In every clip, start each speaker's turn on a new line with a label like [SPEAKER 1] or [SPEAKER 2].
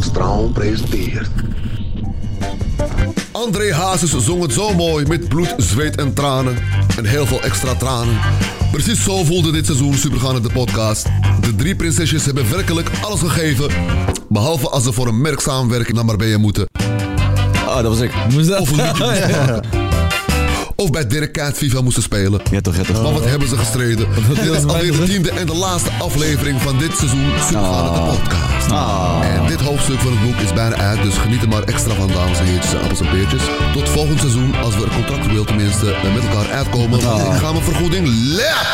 [SPEAKER 1] Straal presenteert.
[SPEAKER 2] André Hazes zong het zo mooi met bloed, zweet en tranen. En heel veel extra tranen. Precies zo voelde dit seizoen Supergaande de podcast. De drie prinsesjes hebben werkelijk alles gegeven. Behalve als ze voor een merk samenwerken naar Marbella moeten.
[SPEAKER 3] Oh, dat was ik.
[SPEAKER 2] Of een liedje moesten maken. Of bij Dirk Kuyt FIFA moesten spelen.
[SPEAKER 3] Ja toch, ja toch.
[SPEAKER 2] Maar wat hebben ze gestreden? Dit is alweer de tiende en de laatste aflevering van dit seizoen
[SPEAKER 3] Ah.
[SPEAKER 2] Supergaande de podcast. En dit hoofdstuk van het boek is bijna uit, dus geniet er maar extra van, dames en heertjes en appels en peertjes. Tot volgend seizoen, als we er contractueel tenminste eh, met elkaar uitkomen. Want
[SPEAKER 3] Ah.
[SPEAKER 2] ik ga mijn vergoeding lap!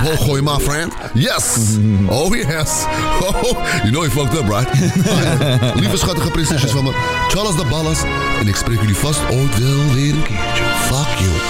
[SPEAKER 2] Omhoog gooien, my friend. Yes!
[SPEAKER 3] Mm-hmm.
[SPEAKER 2] Oh yes! Oh, you know you fucked up, right? Maar, Lieve schattige prinsesjes van me, Charles de Ballas. En ik spreek jullie vast ooit wel weer een keertje. Fuck you.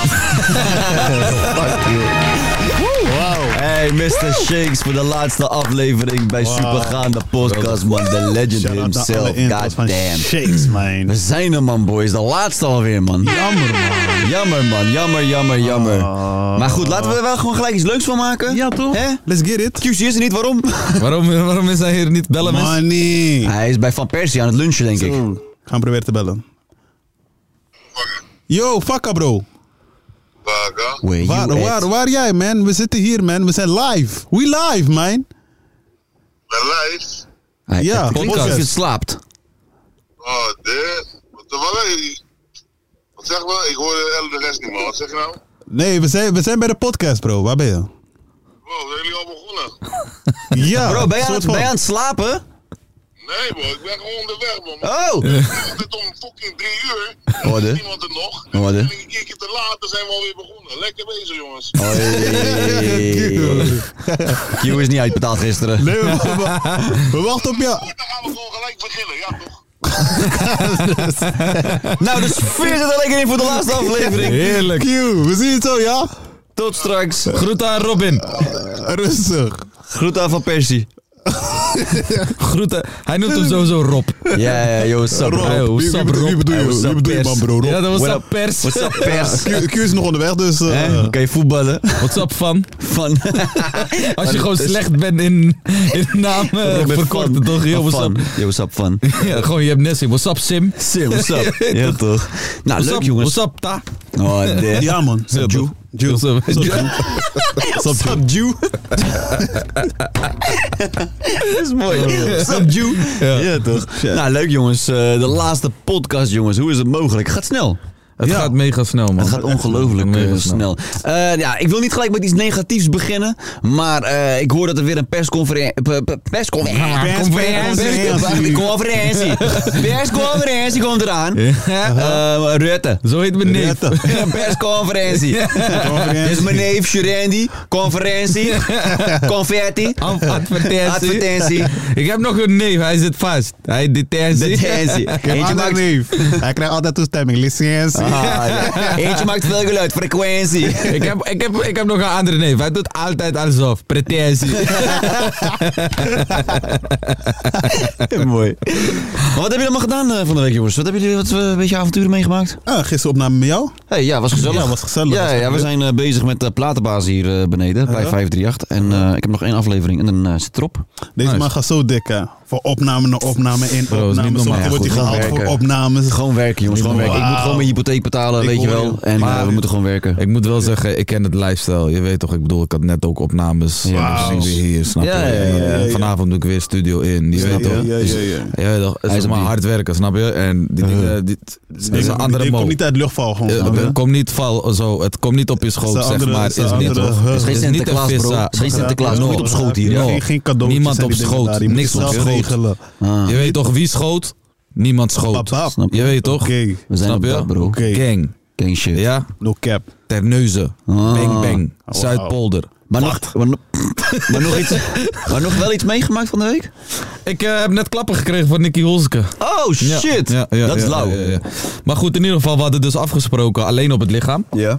[SPEAKER 3] Hey, Mr. Shakes voor de laatste aflevering bij Supergaande Podcast, man. The legend
[SPEAKER 4] Shout out naar
[SPEAKER 3] himself.
[SPEAKER 4] alle intros van
[SPEAKER 3] Goddamn.
[SPEAKER 4] Shakes, man.
[SPEAKER 3] We zijn er, man, boys. De laatste alweer, man.
[SPEAKER 4] Jammer, man.
[SPEAKER 3] Jammer, man. Jammer, jammer, jammer.
[SPEAKER 4] Oh.
[SPEAKER 3] Maar goed, laten we er wel gewoon gelijk iets leuks van maken.
[SPEAKER 4] Ja, toch?
[SPEAKER 3] Hè?
[SPEAKER 4] Let's get it.
[SPEAKER 3] QC is er niet, waarom?
[SPEAKER 5] Waarom, waarom is hij hier niet bellen, mensen?
[SPEAKER 4] Money. Ik
[SPEAKER 3] Hij is bij Van Persie aan het lunchen, denk ik.
[SPEAKER 4] ga hem proberen te bellen. Yo, fucka bro.
[SPEAKER 3] Where you
[SPEAKER 4] Waar,
[SPEAKER 3] at?
[SPEAKER 4] waar, waar jij, man? We zitten hier, man. We zijn live. We live, man.
[SPEAKER 6] Live?
[SPEAKER 3] Hij-
[SPEAKER 4] Ja,
[SPEAKER 3] het klinkt alsof je
[SPEAKER 4] podcast.
[SPEAKER 3] slaapt.
[SPEAKER 6] Oh, de. Wat, wat, wat zeg maar? Ik hoor de hele rest niet, man. Wat zeg je nou?
[SPEAKER 4] Nee, we zijn, we zijn bij de podcast, bro. Waar ben je?
[SPEAKER 6] Wow, zijn jullie al begonnen?
[SPEAKER 4] Ja,
[SPEAKER 3] Bro, Oh, ben je, aan,
[SPEAKER 4] soort
[SPEAKER 3] het-
[SPEAKER 4] van-
[SPEAKER 3] ben je aan het slapen?
[SPEAKER 6] Nee, man. Ik ben gewoon onderweg, man. Maar
[SPEAKER 3] Oh!
[SPEAKER 6] Het is om fucking drie uur.
[SPEAKER 3] Hoor
[SPEAKER 6] Er is
[SPEAKER 3] de.
[SPEAKER 6] niemand er nog.
[SPEAKER 3] Hoor de.
[SPEAKER 6] En een keertje te laat dan zijn we alweer begonnen. Lekker bezig, jongens.
[SPEAKER 3] Hey. Q is niet uitbetaald gisteren.
[SPEAKER 4] Nee, we, we- we wachten op jou.
[SPEAKER 6] Goed, dan gaan we gewoon gelijk beginnen, ja toch?
[SPEAKER 3] Nou, dus veer zit er lekker in voor de laatste aflevering.
[SPEAKER 5] Heerlijk.
[SPEAKER 4] Q, we zien het zo, ja?
[SPEAKER 3] Tot straks.
[SPEAKER 5] Groet aan Robin.
[SPEAKER 4] Rustig.
[SPEAKER 3] Groet aan Van Persie.
[SPEAKER 5] Groet aan... Hij noemt hem sowieso Rob.
[SPEAKER 3] Ja, ja, yo, what's up,
[SPEAKER 5] Hey,
[SPEAKER 3] bro?
[SPEAKER 5] what's
[SPEAKER 4] Wie-
[SPEAKER 5] up,
[SPEAKER 4] wie-
[SPEAKER 5] Rob?
[SPEAKER 4] Wie bedoel
[SPEAKER 3] Hey,
[SPEAKER 4] je?
[SPEAKER 3] what's
[SPEAKER 4] Wie
[SPEAKER 3] up,
[SPEAKER 4] bedoel je,
[SPEAKER 3] pers?
[SPEAKER 4] man, bro? Rob.
[SPEAKER 5] Ja, dat was
[SPEAKER 3] What
[SPEAKER 5] dat
[SPEAKER 3] up?
[SPEAKER 5] pers.
[SPEAKER 3] What's up, pers?
[SPEAKER 4] Q, Q is nog onderweg, dus... eh,
[SPEAKER 3] Hè? Kan je voetballen?
[SPEAKER 5] What's up, van?
[SPEAKER 3] Van...
[SPEAKER 5] Als je
[SPEAKER 3] dat
[SPEAKER 5] gewoon
[SPEAKER 3] is-
[SPEAKER 5] slecht bent in, in namen
[SPEAKER 3] Robert
[SPEAKER 5] verkorten,
[SPEAKER 3] Van.
[SPEAKER 5] toch? Yo,
[SPEAKER 3] Van
[SPEAKER 5] what's
[SPEAKER 3] Van.
[SPEAKER 5] up?
[SPEAKER 3] Yo, what's up, Van?
[SPEAKER 5] Ja, gewoon, je hebt Nessie. What's up, Sim?
[SPEAKER 3] Sim, what's up? Ja, toch? Nou,
[SPEAKER 5] What's
[SPEAKER 3] leuk,
[SPEAKER 5] up,
[SPEAKER 3] jongens.
[SPEAKER 5] What's up, Ta?
[SPEAKER 3] Oh, damn.
[SPEAKER 4] Ja, man. Jew. Jew.
[SPEAKER 5] What's up?
[SPEAKER 3] What's up, Jew? Dat is mooi. What's up, Jew? Ja, toch? Nou, leuk, jongens. Eh, de laatste podcast, jongens. Hoe is het mogelijk? Gaat snel.
[SPEAKER 5] Het
[SPEAKER 4] Ja.
[SPEAKER 5] gaat mega snel, man.
[SPEAKER 3] Het gaat ongelooflijk eh,
[SPEAKER 5] Mega
[SPEAKER 3] snel. Eh, ja, ik wil niet gelijk met iets negatiefs beginnen. Maar eh, ik hoor dat er weer een persconferentie. Persconferentie.
[SPEAKER 4] Persconferentie.
[SPEAKER 3] Conferentie. Persconferentie komt eraan. Eh, Rutte.
[SPEAKER 5] Zo heet mijn neef.
[SPEAKER 4] Rutte.
[SPEAKER 3] Persconferentie. Dit is mijn neef Shurendi. Conferentie. Confetti.
[SPEAKER 5] Ad- Advertentie.
[SPEAKER 3] Advertentie.
[SPEAKER 5] Ik heb nog een neef, hij zit vast. Hij detentie.
[SPEAKER 3] Detentie. Eentje
[SPEAKER 4] Altijd
[SPEAKER 3] maakt
[SPEAKER 4] lief. Hij krijgt altijd toestemming. Licentie.
[SPEAKER 3] Ah, ja. Eentje maakt veel geluid. Frequentie.
[SPEAKER 5] Ik heb, ik, heb, ik heb nog een andere neef. Hij doet altijd alsof. Pretentie.
[SPEAKER 3] Mooi. Maar wat heb je allemaal gedaan eh, van de week, jongens? Wat hebben jullie wat eh, een beetje avonturen meegemaakt?
[SPEAKER 4] Ah, gisteren opname met jou.
[SPEAKER 3] Hey, ja, was gezellig.
[SPEAKER 4] Ja, was gezellig.
[SPEAKER 3] Ja,
[SPEAKER 4] Was
[SPEAKER 3] ja we zijn eh, bezig met de platenbaas hier eh, beneden bij 538. En eh, ik heb nog één aflevering en dan eh, zit het erop.
[SPEAKER 4] Deze man gaat zo dik, hè. Voor opname na opname in
[SPEAKER 5] is niet
[SPEAKER 4] opname.
[SPEAKER 5] normaal.
[SPEAKER 4] Soms
[SPEAKER 3] Ja,
[SPEAKER 4] wordt hij
[SPEAKER 3] goed,
[SPEAKER 4] gehaald
[SPEAKER 3] gewoon
[SPEAKER 4] voor
[SPEAKER 3] werken.
[SPEAKER 4] opnames.
[SPEAKER 3] Gewoon werken, jongens. Gewoon werken. Ik moet
[SPEAKER 4] Wauw.
[SPEAKER 3] gewoon mijn hypotheek betalen,
[SPEAKER 4] Ik
[SPEAKER 3] weet je
[SPEAKER 4] hoor
[SPEAKER 3] wel.
[SPEAKER 4] je.
[SPEAKER 3] En eh, we moeten gewoon werken.
[SPEAKER 5] ik moet wel zeggen, ik ken het lifestyle. Je weet toch, ik bedoel, ik had net ook opnames.
[SPEAKER 3] Wauw.
[SPEAKER 5] Ik ben weer hier, snap je?
[SPEAKER 3] Ja, ja, ja,
[SPEAKER 4] ja, ja.
[SPEAKER 5] Vanavond doe ik weer studio in. Je weet
[SPEAKER 4] Ja,
[SPEAKER 5] toch? Dus
[SPEAKER 4] ja, ja, ja.
[SPEAKER 5] Je weet toch, het
[SPEAKER 3] Hij
[SPEAKER 5] is
[SPEAKER 3] is
[SPEAKER 5] maar
[SPEAKER 3] op die-
[SPEAKER 5] hard werken, snap je? En die dingen, dit dit is een andere
[SPEAKER 4] Ik kom
[SPEAKER 5] mo.
[SPEAKER 4] niet uit luchtval gewoon.
[SPEAKER 5] Eh,
[SPEAKER 4] snap je?
[SPEAKER 5] Het komt niet val, zo, het komt niet op je schoot,
[SPEAKER 4] Het is een
[SPEAKER 5] zeg
[SPEAKER 4] andere-
[SPEAKER 5] maar.
[SPEAKER 4] het
[SPEAKER 5] Is
[SPEAKER 4] is een
[SPEAKER 5] niet
[SPEAKER 4] andere-
[SPEAKER 5] toch?
[SPEAKER 4] het is
[SPEAKER 5] Het
[SPEAKER 3] geen
[SPEAKER 5] is niet een
[SPEAKER 3] Sinterklaas, bro.
[SPEAKER 5] vissa.
[SPEAKER 3] Het is geen Sinterklaas,
[SPEAKER 4] Ja,
[SPEAKER 3] nooit op schoot hier.
[SPEAKER 4] ja,
[SPEAKER 5] No.
[SPEAKER 4] Geen, geen cadeautjes
[SPEAKER 5] Niemand
[SPEAKER 4] en
[SPEAKER 5] op
[SPEAKER 4] die dingen
[SPEAKER 5] schoot.
[SPEAKER 4] daar. Je moet
[SPEAKER 5] Niks
[SPEAKER 4] zelf
[SPEAKER 5] op schoot.
[SPEAKER 4] regelen.
[SPEAKER 5] Je weet toch wie schoot? Niemand schoot.
[SPEAKER 4] Pap, pap.
[SPEAKER 3] Ah. Snap
[SPEAKER 5] Je weet toch?
[SPEAKER 4] Oké.
[SPEAKER 3] We zijn
[SPEAKER 5] Snap
[SPEAKER 3] op
[SPEAKER 5] je?
[SPEAKER 3] dat, bro.
[SPEAKER 4] Oké.
[SPEAKER 5] Gang.
[SPEAKER 3] Gang shit.
[SPEAKER 5] Ja?
[SPEAKER 4] No cap.
[SPEAKER 3] Ah. Oh,
[SPEAKER 5] Terneuzen. Bang bang. Zuidpolder.
[SPEAKER 3] Maar nog... maar nog- Maar nog, iets, maar nog wel iets meegemaakt van de week?
[SPEAKER 5] Ik eh, heb net klappen gekregen van Nicky Holske.
[SPEAKER 3] Oh
[SPEAKER 5] Ja,
[SPEAKER 3] shit!
[SPEAKER 5] ja, ja,
[SPEAKER 3] dat is
[SPEAKER 5] ja,
[SPEAKER 3] lauw.
[SPEAKER 5] ja, ja. Maar goed, in ieder geval, we hadden dus afgesproken alleen op het lichaam.
[SPEAKER 3] Ja.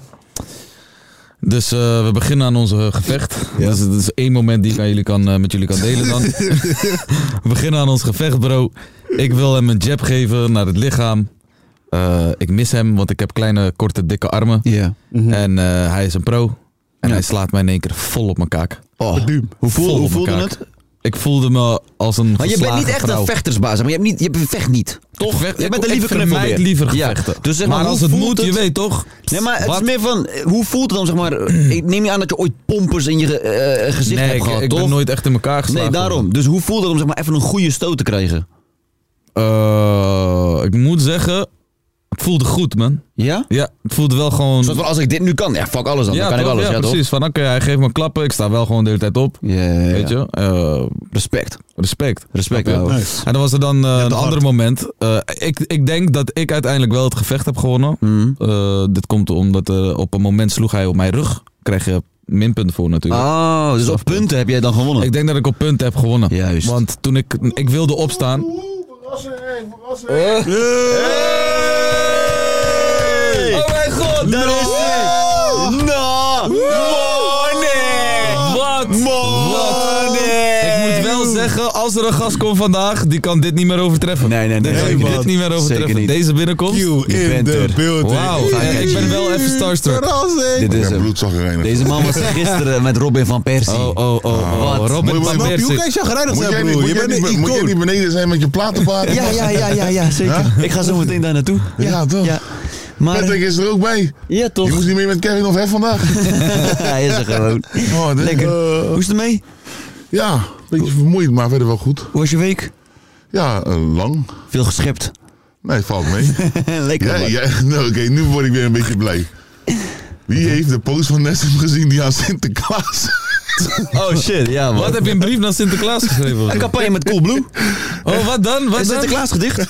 [SPEAKER 5] Dus eh, we beginnen aan onze gevecht.
[SPEAKER 3] Ja.
[SPEAKER 5] Dus dat is één moment die ik aan jullie kan, eh, met jullie kan delen dan. we beginnen aan ons gevecht, bro. Ik wil hem een jab geven naar het lichaam. Eh, ik mis hem, want ik heb kleine, korte, dikke armen.
[SPEAKER 3] Ja. Mhm.
[SPEAKER 5] En eh, hij is een pro. En hij slaat mij in één keer vol op mijn kaak.
[SPEAKER 3] Oh, hoe
[SPEAKER 5] Vol
[SPEAKER 3] voel, hoe
[SPEAKER 5] op
[SPEAKER 3] voelde
[SPEAKER 5] mijn
[SPEAKER 3] het?
[SPEAKER 5] kaak. Ik voelde me als een
[SPEAKER 3] Maar je bent niet
[SPEAKER 5] geslagen
[SPEAKER 3] echt
[SPEAKER 5] vrouw.
[SPEAKER 3] een vechtersbaas, maar je, hebt niet, je vecht niet. Toch?
[SPEAKER 5] Vecht-
[SPEAKER 3] je
[SPEAKER 5] ik-
[SPEAKER 3] bent een lieve
[SPEAKER 5] ik vermijd
[SPEAKER 3] knuffelbeer.
[SPEAKER 5] liever
[SPEAKER 3] Ja.
[SPEAKER 5] gevechten.
[SPEAKER 3] Dus zeg maar,
[SPEAKER 5] maar, als
[SPEAKER 3] hoe
[SPEAKER 5] het
[SPEAKER 3] voelt
[SPEAKER 5] moet, je
[SPEAKER 3] het?
[SPEAKER 5] weet toch?
[SPEAKER 3] Nee, maar het
[SPEAKER 5] Wat?
[SPEAKER 3] is meer van, eh, hoe voelt het dan, zeg maar? Ik neem niet aan dat je ooit pompers in je eh, eh, gezicht
[SPEAKER 5] Nee,
[SPEAKER 3] hebt
[SPEAKER 5] ik,
[SPEAKER 3] gehad,
[SPEAKER 5] ik
[SPEAKER 3] toch?
[SPEAKER 5] ben nooit echt in elkaar geslagen.
[SPEAKER 3] nee, daarom. Dus hoe voelt het om zeg maar, even een goede stoot te krijgen?
[SPEAKER 5] Eh, ik moet zeggen, het voelde goed, man.
[SPEAKER 3] Ja?
[SPEAKER 5] Ja, het voelde wel gewoon...
[SPEAKER 3] Zoals van, als ik dit nu kan, ja, fuck alles dan.
[SPEAKER 5] ja,
[SPEAKER 3] dan kan
[SPEAKER 5] toch?
[SPEAKER 3] ik alles, ja,
[SPEAKER 5] ja, precies. Van, oké, hij geeft me klappen. Ik sta wel gewoon de hele tijd op.
[SPEAKER 3] toch? Ja, ja, ja.
[SPEAKER 5] Weet je? Eh,
[SPEAKER 3] Respect.
[SPEAKER 5] respect.
[SPEAKER 3] Respect,
[SPEAKER 5] Snap je?
[SPEAKER 3] ouwe.
[SPEAKER 4] Nice.
[SPEAKER 5] En dan was er dan eh, een
[SPEAKER 4] hart.
[SPEAKER 5] ander moment. Eh, ik, ik denk dat ik uiteindelijk wel het gevecht heb gewonnen.
[SPEAKER 3] Mhm.
[SPEAKER 5] Eh, dit komt omdat eh, op een moment sloeg hij op mijn rug. Krijg je minpunten voor natuurlijk.
[SPEAKER 3] Oh, dus op punten heb jij dan gewonnen?
[SPEAKER 5] Ik denk dat ik op punten heb gewonnen.
[SPEAKER 3] Ah. Juist.
[SPEAKER 5] Want toen ik, ik wilde opstaan. Oh mijn god!
[SPEAKER 3] Daar is hij! No! Money!
[SPEAKER 5] Wat?
[SPEAKER 3] Money!
[SPEAKER 5] Ik moet wel zeggen, als er een gast komt vandaag, die kan dit niet meer overtreffen.
[SPEAKER 3] Nee, nee, nee.
[SPEAKER 5] Die kan
[SPEAKER 3] Nee,
[SPEAKER 5] dit
[SPEAKER 3] man.
[SPEAKER 5] niet meer overtreffen.
[SPEAKER 3] Zeker niet.
[SPEAKER 5] Deze binnenkomst.
[SPEAKER 4] You
[SPEAKER 3] Je
[SPEAKER 4] in
[SPEAKER 3] bent
[SPEAKER 4] the
[SPEAKER 3] er.
[SPEAKER 4] building.
[SPEAKER 5] Wauw, eh, ik ben wel even starstruck.
[SPEAKER 4] Verrassing.
[SPEAKER 6] Ik
[SPEAKER 3] Dit is
[SPEAKER 6] heb
[SPEAKER 3] hem.
[SPEAKER 6] bloedzagrijnig.
[SPEAKER 3] Deze man was gisteren met Robin van Persie.
[SPEAKER 5] Oh, oh, oh, oh.
[SPEAKER 3] Wat?
[SPEAKER 5] Robin
[SPEAKER 4] Maar
[SPEAKER 5] van
[SPEAKER 4] Mappie, Hoe
[SPEAKER 5] Persie.
[SPEAKER 4] kan je chagrijnig
[SPEAKER 6] Moet
[SPEAKER 4] zijn,
[SPEAKER 6] jij niet-
[SPEAKER 4] broer?
[SPEAKER 6] moet
[SPEAKER 4] Je
[SPEAKER 6] jij
[SPEAKER 4] bent
[SPEAKER 6] niet-
[SPEAKER 4] een
[SPEAKER 6] moet jij
[SPEAKER 4] icoon.
[SPEAKER 6] niet beneden zijn met je platenbaard?
[SPEAKER 3] Ja, ja, ja, ja, ja, zeker. Ik ga zo meteen daar naartoe.
[SPEAKER 6] Ja, toch? Patrick
[SPEAKER 3] Maar,
[SPEAKER 6] is er ook bij.
[SPEAKER 3] ja toch.
[SPEAKER 6] Je moest niet mee met Kevin of Hef vandaag.
[SPEAKER 3] Hij is er gewoon.
[SPEAKER 6] Oh, dit-
[SPEAKER 3] Lekker.
[SPEAKER 6] eh,
[SPEAKER 3] Hoe is het mee?
[SPEAKER 6] ja, een beetje vermoeid, maar verder wel goed.
[SPEAKER 3] Hoe was je week?
[SPEAKER 6] Ja, eh, lang.
[SPEAKER 3] Veel geschept.
[SPEAKER 6] Nee, valt mee.
[SPEAKER 3] Lekker
[SPEAKER 6] Ja,
[SPEAKER 3] man.
[SPEAKER 6] ja, nou, Oké, nu word ik weer een beetje blij. Wie heeft de post van Nessim gezien die aan Sinterklaas?
[SPEAKER 3] Oh shit, ja man.
[SPEAKER 5] Wat heb je een brief naar Sinterklaas geschreven?
[SPEAKER 3] Een campagne met Coolblue.
[SPEAKER 5] Oh, wat dan? Wat
[SPEAKER 3] Is
[SPEAKER 5] dan?
[SPEAKER 3] Sinterklaas gedicht?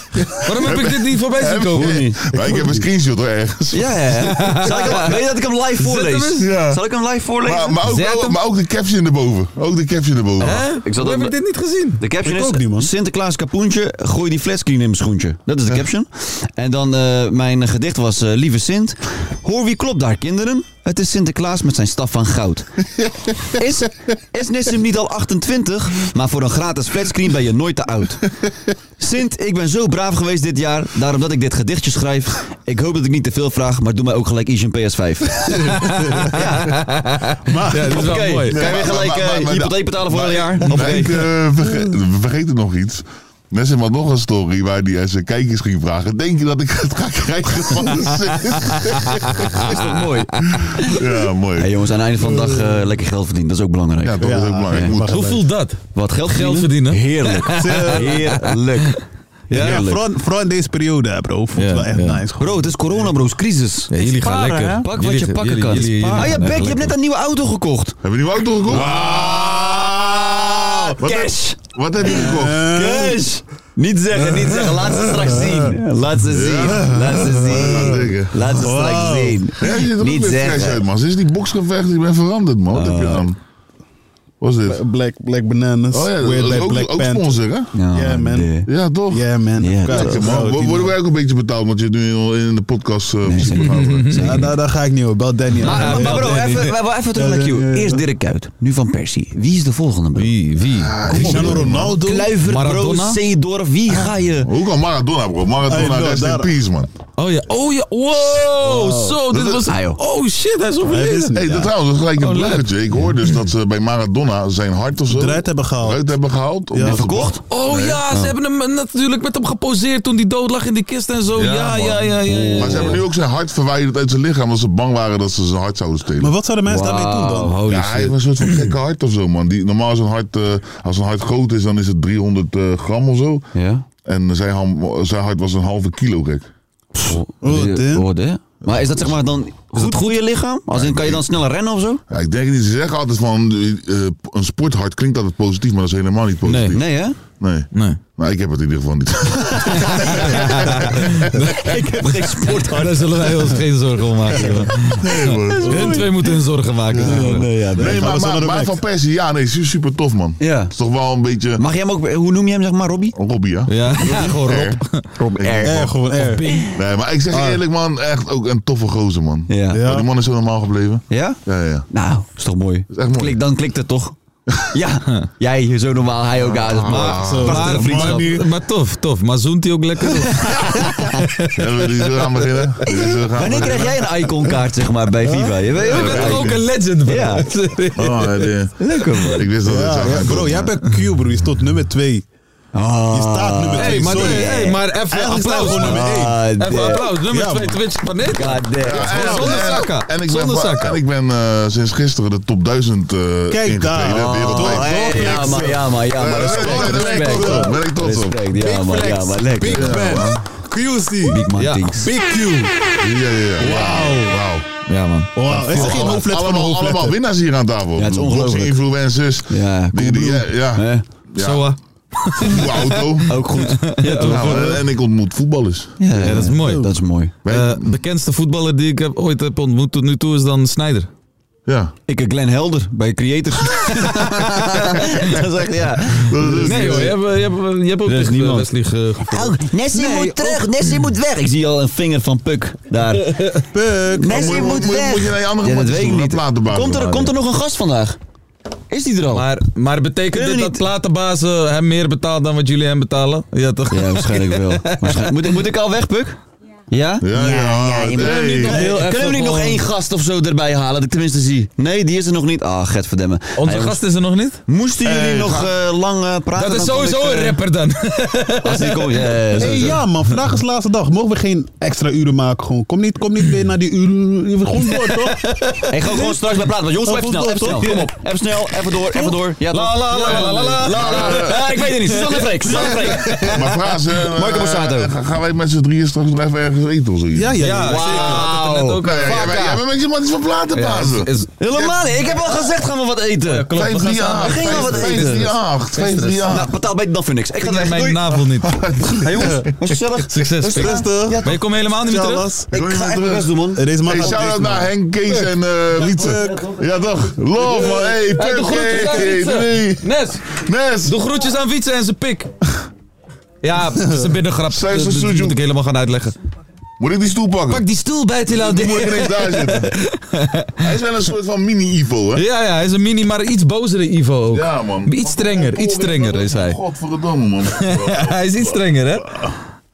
[SPEAKER 5] Waarom heb ik dit niet voorbij zien komen?
[SPEAKER 6] Maar ik heb een screenshot hoor, ergens.
[SPEAKER 3] Ja, ja. Zal ik hem, weet je dat ik hem live voorlees?
[SPEAKER 6] hem eens. Ja.
[SPEAKER 3] Zal ik hem live voorlezen?
[SPEAKER 6] Maar, maar, ook,
[SPEAKER 5] Zet hem.
[SPEAKER 6] maar ook de caption erboven. Ook de caption erboven.
[SPEAKER 5] Hè?
[SPEAKER 3] Ik zal
[SPEAKER 5] Hoe heb
[SPEAKER 3] dat-
[SPEAKER 5] ik dit niet gezien?
[SPEAKER 3] De caption
[SPEAKER 4] Ik
[SPEAKER 3] is
[SPEAKER 4] ook niet, man.
[SPEAKER 3] Sinterklaas Kapoentje, gooi die flatscreen in mijn schoentje. Dat is de caption. En dan eh, mijn gedicht was eh, Lieve Sint, hoor wie klopt daar kinderen? Het is Sinterklaas met zijn staf van goud. Is, is Nissim niet al 28? Maar voor een gratis flatscreen ben je nooit te oud. Sint, ik ben zo braaf geweest dit jaar, daarom dat ik dit gedichtje schrijf. Ik hoop dat ik niet te veel vraag, maar doe mij ook gelijk iets een PS5.
[SPEAKER 5] Ja, dit is wel
[SPEAKER 3] Oké,
[SPEAKER 5] mooi.
[SPEAKER 3] kan je weer
[SPEAKER 6] maar-
[SPEAKER 3] gelijk
[SPEAKER 6] maar- maar-
[SPEAKER 3] eh,
[SPEAKER 6] maar-
[SPEAKER 3] hypotheek betalen
[SPEAKER 6] Maar
[SPEAKER 3] vorig jaar?
[SPEAKER 6] ik- maar ik, eh, verge-
[SPEAKER 7] Mm.
[SPEAKER 6] we vergeten nog iets. Nessim had nog een story waar hij aan zijn kijkers ging vragen. Denk je dat ik het ga krijgen van de
[SPEAKER 3] Is dat mooi?
[SPEAKER 6] Sint? Ja,
[SPEAKER 3] Hey
[SPEAKER 6] mooi.
[SPEAKER 3] jongens, aan het einde van de dag eh, lekker geld verdienen. Dat is ook belangrijk.
[SPEAKER 6] Ja, dat is ook belangrijk.
[SPEAKER 3] ja,
[SPEAKER 6] Moet-
[SPEAKER 5] Hoe voelt dat?
[SPEAKER 3] Wat geld
[SPEAKER 5] Geld
[SPEAKER 3] verdienen?
[SPEAKER 5] verdienen.
[SPEAKER 3] Heerlijk. Heerlijk.
[SPEAKER 4] Ja,
[SPEAKER 3] Heerlijk.
[SPEAKER 4] vooral- vooral in deze periode, hè, bro. Voelt
[SPEAKER 5] Ja,
[SPEAKER 4] wel echt
[SPEAKER 5] ja.
[SPEAKER 4] nice.
[SPEAKER 3] Bro, het is corona, bro. Het is crisis.
[SPEAKER 5] Ja, jullie gaan lekker.
[SPEAKER 3] Pak wat
[SPEAKER 5] Jullie-
[SPEAKER 3] je pakken
[SPEAKER 5] jullie-
[SPEAKER 3] kan.
[SPEAKER 5] jullie- jullie
[SPEAKER 3] ah ja,
[SPEAKER 5] gaan
[SPEAKER 3] Beck,
[SPEAKER 5] echt
[SPEAKER 3] je hebt net
[SPEAKER 5] lekker.
[SPEAKER 3] een nieuwe auto gekocht.
[SPEAKER 6] Hebben we die auto gekocht? Wat heb-
[SPEAKER 3] Cash.
[SPEAKER 6] Wat heb je gekocht?
[SPEAKER 3] Cash. Eh. Niet zeggen, niet zeggen. Laat ze straks zien. Laat ze zien. Laat ze zien.
[SPEAKER 6] Lekker.
[SPEAKER 3] Laat ze straks zien.
[SPEAKER 6] Ja, je ziet er ook
[SPEAKER 3] Niet
[SPEAKER 6] weer fresh uit,
[SPEAKER 3] zeggen. Eh.
[SPEAKER 6] man. Sinds die boksgevecht, ik ben veranderd, man. Wat heb je dan? Wat is dit?
[SPEAKER 4] Black, black Bananas.
[SPEAKER 6] Oh ja, dat
[SPEAKER 4] Weird
[SPEAKER 6] is
[SPEAKER 4] by
[SPEAKER 6] ook,
[SPEAKER 4] Black
[SPEAKER 6] ook
[SPEAKER 4] Panther.
[SPEAKER 6] sponsor, hè?
[SPEAKER 3] Ja,
[SPEAKER 4] Yeah, man.
[SPEAKER 3] de-
[SPEAKER 6] Ja, toch?
[SPEAKER 4] Yeah, man.
[SPEAKER 3] Ja,
[SPEAKER 4] Kijk,
[SPEAKER 3] dat
[SPEAKER 6] Ja,
[SPEAKER 4] man.
[SPEAKER 6] man.
[SPEAKER 4] Goud,
[SPEAKER 6] Wo-
[SPEAKER 4] die
[SPEAKER 6] Worden
[SPEAKER 4] man.
[SPEAKER 6] wij ook een beetje betaald, want je het nu al in de podcast eh
[SPEAKER 3] zeker.
[SPEAKER 6] moet houden.
[SPEAKER 4] Ja, daar, daar ga ik niet op. Bel Danny.
[SPEAKER 6] Ah,
[SPEAKER 4] aan.
[SPEAKER 3] Ah, Maar, maar bro, even, we- we- even terug naar
[SPEAKER 4] Ja, ja,
[SPEAKER 3] Q.
[SPEAKER 4] ja.
[SPEAKER 3] Eerst Dirk Kuyt, nu Van Persie. Wie is de volgende, bro?
[SPEAKER 5] Wie? Wie?
[SPEAKER 4] Cristiano Ronaldo.
[SPEAKER 3] Kluivert, bro,
[SPEAKER 5] Maradona?
[SPEAKER 3] Seedorf, wie ga je?
[SPEAKER 6] Hoe kan Maradona, bro? Maradona,
[SPEAKER 4] Hey, bro,
[SPEAKER 6] rest in
[SPEAKER 4] daar-
[SPEAKER 6] peace, man.
[SPEAKER 5] Oh ja, oh ja, wow, zo, dit was...
[SPEAKER 3] Ah, joh.
[SPEAKER 5] Oh shit, hij is
[SPEAKER 4] Hij
[SPEAKER 5] overleden.
[SPEAKER 4] is-
[SPEAKER 6] hey, dat trouwens, dat is gelijk een
[SPEAKER 5] Oh, leuk.
[SPEAKER 6] bruggetje. Ik hoor dus dat ze bij Maradona zijn hart of zo...
[SPEAKER 4] Eruit hebben gehaald.
[SPEAKER 6] eruit hebben gehaald. Omdat ze-
[SPEAKER 3] Verkocht?
[SPEAKER 5] Oh ja, ze hebben hem natuurlijk met hem geposeerd toen hij dood lag in die kist en zo. Ja, ja,
[SPEAKER 6] man.
[SPEAKER 5] ja, ja. ja,
[SPEAKER 6] Maar ze hebben nu ook zijn hart verwijderd uit zijn lichaam... omdat ze bang waren dat ze zijn hart zouden stelen.
[SPEAKER 4] Maar wat zouden
[SPEAKER 3] Ah.
[SPEAKER 4] mensen daarmee doen dan?
[SPEAKER 5] holy
[SPEAKER 6] ja, hij heeft een soort van gekke hart of zo, man. Die, normaal is een hart, eh, als een hart groot is, dan is het 300 eh, gram of zo.
[SPEAKER 3] Ja.
[SPEAKER 6] En zijn, ham- zijn hart was een halve kilo, gek.
[SPEAKER 4] Oh, damn.
[SPEAKER 3] Orde. Maar is dat zeg maar dan goed voor je lichaam? Als in, kan je dan sneller rennen of zo?
[SPEAKER 6] Ja, ik denk niet, ze zeggen altijd van eh, eh, een sporthart klinkt altijd positief, maar dat is helemaal niet positief.
[SPEAKER 3] Nee, hè?
[SPEAKER 6] Nee.
[SPEAKER 5] Nee.
[SPEAKER 6] Maar ik heb het in ieder geval niet.
[SPEAKER 5] ik heb geen sporthart. Daar zullen wij ons geen zorgen om maken. jongen. Hun twee moeten hun zorgen maken.
[SPEAKER 3] Nee, ja,
[SPEAKER 6] Nee, maar, maar, maar Van Persie, ja, nee, su- super tof, man.
[SPEAKER 3] Ja.
[SPEAKER 6] Is toch wel een beetje...
[SPEAKER 3] Mag jij hem ook, hoe noem je hem zeg maar, Robbie?
[SPEAKER 6] Robbie, ja?
[SPEAKER 5] Ja, gewoon Rob.
[SPEAKER 6] Rob. Rob R.
[SPEAKER 4] Erg, gewoon erg.
[SPEAKER 6] Nee, maar ik zeg je eerlijk, man, echt ook een toffe gozer, man.
[SPEAKER 3] Ah. Ja.
[SPEAKER 4] Ja.
[SPEAKER 6] Die man is zo normaal gebleven.
[SPEAKER 3] Ja?
[SPEAKER 6] Ja, ja.
[SPEAKER 3] Nou, is toch mooi.
[SPEAKER 6] echt mooi.
[SPEAKER 3] Klik, dan klikt het toch? ja, jij zo normaal, hij ook. Ja, dat is maar, prachtige vriendschap.
[SPEAKER 5] Maar, maar tof, tof. Maar zoent hij ook lekker? Of-
[SPEAKER 6] ja. we- die zullen gaan beginnen. Die zullen gaan
[SPEAKER 3] Wanneer krijg
[SPEAKER 6] beginnen.
[SPEAKER 3] jij een iconkaart zeg maar, bij Viva? Je bent, je
[SPEAKER 5] Je bent
[SPEAKER 3] bent
[SPEAKER 5] toch ook
[SPEAKER 3] ook
[SPEAKER 5] een legend, bro?
[SPEAKER 3] Ja.
[SPEAKER 6] Oh, ja, die-
[SPEAKER 3] leuk man.
[SPEAKER 6] ik wist dat het zou
[SPEAKER 4] Ja,
[SPEAKER 6] gaan
[SPEAKER 4] bro,
[SPEAKER 6] komen.
[SPEAKER 4] jij bent Q, bro. Je stond nummer 2.
[SPEAKER 3] Ah.
[SPEAKER 4] Je staat nummer 2.
[SPEAKER 5] Hey, maar,
[SPEAKER 4] sorry.
[SPEAKER 5] nee, hey, maar even
[SPEAKER 4] Eigenlijk staan we
[SPEAKER 5] applaus.
[SPEAKER 4] gewoon nummer één.
[SPEAKER 5] Even applaus. Nummer
[SPEAKER 4] Ja,
[SPEAKER 5] 2
[SPEAKER 4] man.
[SPEAKER 5] Twitch van dit.
[SPEAKER 3] God damn.
[SPEAKER 6] Ja, en-
[SPEAKER 5] Zonder
[SPEAKER 6] en-
[SPEAKER 5] zakken.
[SPEAKER 6] En ik ben,
[SPEAKER 5] Zonder
[SPEAKER 6] va-
[SPEAKER 5] zakken.
[SPEAKER 6] En ik ben eh, sinds gisteren de top 1000 eh ingetreden,
[SPEAKER 4] daar.
[SPEAKER 6] wereldwijd.
[SPEAKER 3] Oh, hey, ja, maar, ja, maar, ja, maar,
[SPEAKER 6] Eh,
[SPEAKER 3] respect,
[SPEAKER 6] eh, daar ben ik
[SPEAKER 3] respect.
[SPEAKER 6] trots op, daar ben ik trots op.
[SPEAKER 3] Respect, ja, maar, ja, maar, lekker.
[SPEAKER 4] Big man. QC.
[SPEAKER 3] Ah, Big man
[SPEAKER 5] Ja.
[SPEAKER 3] things.
[SPEAKER 4] Big Q.
[SPEAKER 6] Ja, ja, ja. Wauw. Wauw.
[SPEAKER 5] Ja, man.
[SPEAKER 3] Oh,
[SPEAKER 4] Wow, is er geen hoofdlet van een
[SPEAKER 6] allemaal, allemaal
[SPEAKER 4] hoofdletter?
[SPEAKER 6] winnaars hier aan tafel.
[SPEAKER 3] Ja, het is ongelooflijk.
[SPEAKER 6] Boxing influencers.
[SPEAKER 3] Ja,
[SPEAKER 6] die, die, ja,
[SPEAKER 3] Hè?
[SPEAKER 6] ja. ja.
[SPEAKER 5] Zo, eh,
[SPEAKER 6] Nieuwe auto.
[SPEAKER 3] Ook goed. Ja, toch?
[SPEAKER 6] Nou, en- en ik ontmoet voetballers.
[SPEAKER 5] Ja, dat is mooi.
[SPEAKER 3] Dat is mooi.
[SPEAKER 6] Wij-
[SPEAKER 5] eh, bekendste voetballer die ik heb, ooit heb ontmoet tot nu toe is dan Snyder.
[SPEAKER 6] ja.
[SPEAKER 3] Ik en Glenn Helder bij Creators. dat is echt, ja.
[SPEAKER 6] Eh,
[SPEAKER 5] Nee hoor, je hebt, je hebt, je hebt ook
[SPEAKER 3] Er is
[SPEAKER 5] tegen
[SPEAKER 3] niemand.
[SPEAKER 5] Wesley ge-
[SPEAKER 3] Oh, Nessie moet terug, Nessie moet weg. Ik zie al een vinger van Puk daar.
[SPEAKER 4] Puk.
[SPEAKER 6] Maar moet,
[SPEAKER 3] Nessie
[SPEAKER 6] moet,
[SPEAKER 3] moet
[SPEAKER 6] moet- moet je
[SPEAKER 3] weg.
[SPEAKER 6] naar je andere
[SPEAKER 3] Ja, dat
[SPEAKER 6] matjes
[SPEAKER 3] weet ik
[SPEAKER 6] toe, naar
[SPEAKER 3] niet.
[SPEAKER 6] platenbazen.
[SPEAKER 3] Komt er, komt er nog een gast vandaag? Is die er al?
[SPEAKER 5] Maar, maar betekent
[SPEAKER 3] Kunnen
[SPEAKER 5] dit
[SPEAKER 3] we
[SPEAKER 5] dat
[SPEAKER 3] niet-
[SPEAKER 5] platenbazen hem meer betaalt dan wat jullie hem betalen? Ja, toch?
[SPEAKER 3] Ja, waarschijnlijk wel. Waarschijnlijk. Moet, ik- moet ik al weg, Puk? Ja?
[SPEAKER 6] Ja, ja,
[SPEAKER 3] je moet-
[SPEAKER 6] nee.
[SPEAKER 3] Kunnen we niet nog-
[SPEAKER 5] Heel even
[SPEAKER 3] Kunnen we niet nog
[SPEAKER 5] gewoon-
[SPEAKER 3] één gast of zo erbij halen, dat ik tenminste zie? Nee, die is er nog niet. Ah, Getverdemme.
[SPEAKER 5] Onze
[SPEAKER 3] Hey,
[SPEAKER 5] gast is er nog niet?
[SPEAKER 3] Moesten jullie
[SPEAKER 6] Hey,
[SPEAKER 3] nog eh, lang eh, praten?
[SPEAKER 5] Dat is
[SPEAKER 3] dan kom
[SPEAKER 5] sowieso
[SPEAKER 3] ik,
[SPEAKER 5] een
[SPEAKER 3] eh,
[SPEAKER 5] rapper dan.
[SPEAKER 3] Als die komt, ja, ja, ja,
[SPEAKER 4] Hey,
[SPEAKER 3] sowieso.
[SPEAKER 4] ja man, vandaag is de laatste dag. Mogen we geen extra uren maken? Gewoon. Kom, niet, kom niet weer naar die uren. Gewoon door, toch?
[SPEAKER 3] Hey, ga gewoon straks bij praten. Maar jongens,
[SPEAKER 4] Oh,
[SPEAKER 3] even
[SPEAKER 4] goed,
[SPEAKER 3] snel,
[SPEAKER 4] goed,
[SPEAKER 3] even snel.
[SPEAKER 4] goed.
[SPEAKER 3] Kom op. Even snel, even door, even door. Ja,
[SPEAKER 5] La,
[SPEAKER 3] toch?
[SPEAKER 5] la, la, la, la, la.
[SPEAKER 3] Ja, ik weet het niet. Suzanne Freek, Suzanne Freek.
[SPEAKER 6] Maar vraag ze. eh,
[SPEAKER 3] Marco Borsato.
[SPEAKER 6] eh, gaan wij met z'n drieën straks nog even ergens eten of zoiets?
[SPEAKER 4] Ja, ja, ja.
[SPEAKER 5] zeker. We hadden het er net ook
[SPEAKER 6] Nou, ja,
[SPEAKER 5] over.
[SPEAKER 6] jij bent- jij bent met je matjes van
[SPEAKER 5] Ja, is-
[SPEAKER 6] platenbazen.
[SPEAKER 5] is-
[SPEAKER 3] Helemaal niet. Ik heb al gezegd, gaan we wat eten.
[SPEAKER 5] klopt, we gaan samen-
[SPEAKER 6] 538.
[SPEAKER 3] We gingen wel wat eten.
[SPEAKER 6] 538. 538.
[SPEAKER 3] Nou, betaal beter dan voor niks. Ik ga
[SPEAKER 5] Ik leg
[SPEAKER 3] weg.
[SPEAKER 5] mijn
[SPEAKER 3] Doei.
[SPEAKER 5] navel niet.
[SPEAKER 3] Hey jongens, was gezellig.
[SPEAKER 5] Succes. Pik.
[SPEAKER 4] Rustig.
[SPEAKER 3] Ja,
[SPEAKER 5] Maar je komt helemaal niet meer terug?
[SPEAKER 4] Charles.
[SPEAKER 3] Ik
[SPEAKER 6] Doe je
[SPEAKER 3] ga
[SPEAKER 6] maar
[SPEAKER 3] echt mijn
[SPEAKER 6] terug.
[SPEAKER 3] best doen, man.
[SPEAKER 4] Eh, Deze man
[SPEAKER 6] Hey,
[SPEAKER 4] gaat op
[SPEAKER 6] shout-out
[SPEAKER 4] deze, man.
[SPEAKER 6] naar Henk, Kees en eh Wietse. Ja toch? Love man. Hey,
[SPEAKER 5] Hey, doe groetjes aan
[SPEAKER 6] Pukkie.
[SPEAKER 5] Wietse. Nes,
[SPEAKER 6] Nes.
[SPEAKER 5] doe groetjes aan Wietse en zijn pik. Ja, het is een binnengrap.
[SPEAKER 6] Zij
[SPEAKER 5] Dat
[SPEAKER 6] is een
[SPEAKER 5] dat
[SPEAKER 6] sujoe.
[SPEAKER 5] moet ik helemaal gaan uitleggen.
[SPEAKER 6] Moet ik die stoel pakken?
[SPEAKER 5] Pak die stoel bij, Tila.
[SPEAKER 6] Moet ik ineens daar zitten? Hij is wel een soort van mini-Ivo, hè?
[SPEAKER 5] Ja, ja, hij is een mini, maar iets bozere Ivo ook.
[SPEAKER 6] Ja, man.
[SPEAKER 5] Iets strenger, iets strenger is hij.
[SPEAKER 6] Godverdomme, man.
[SPEAKER 5] hij is iets strenger, hè?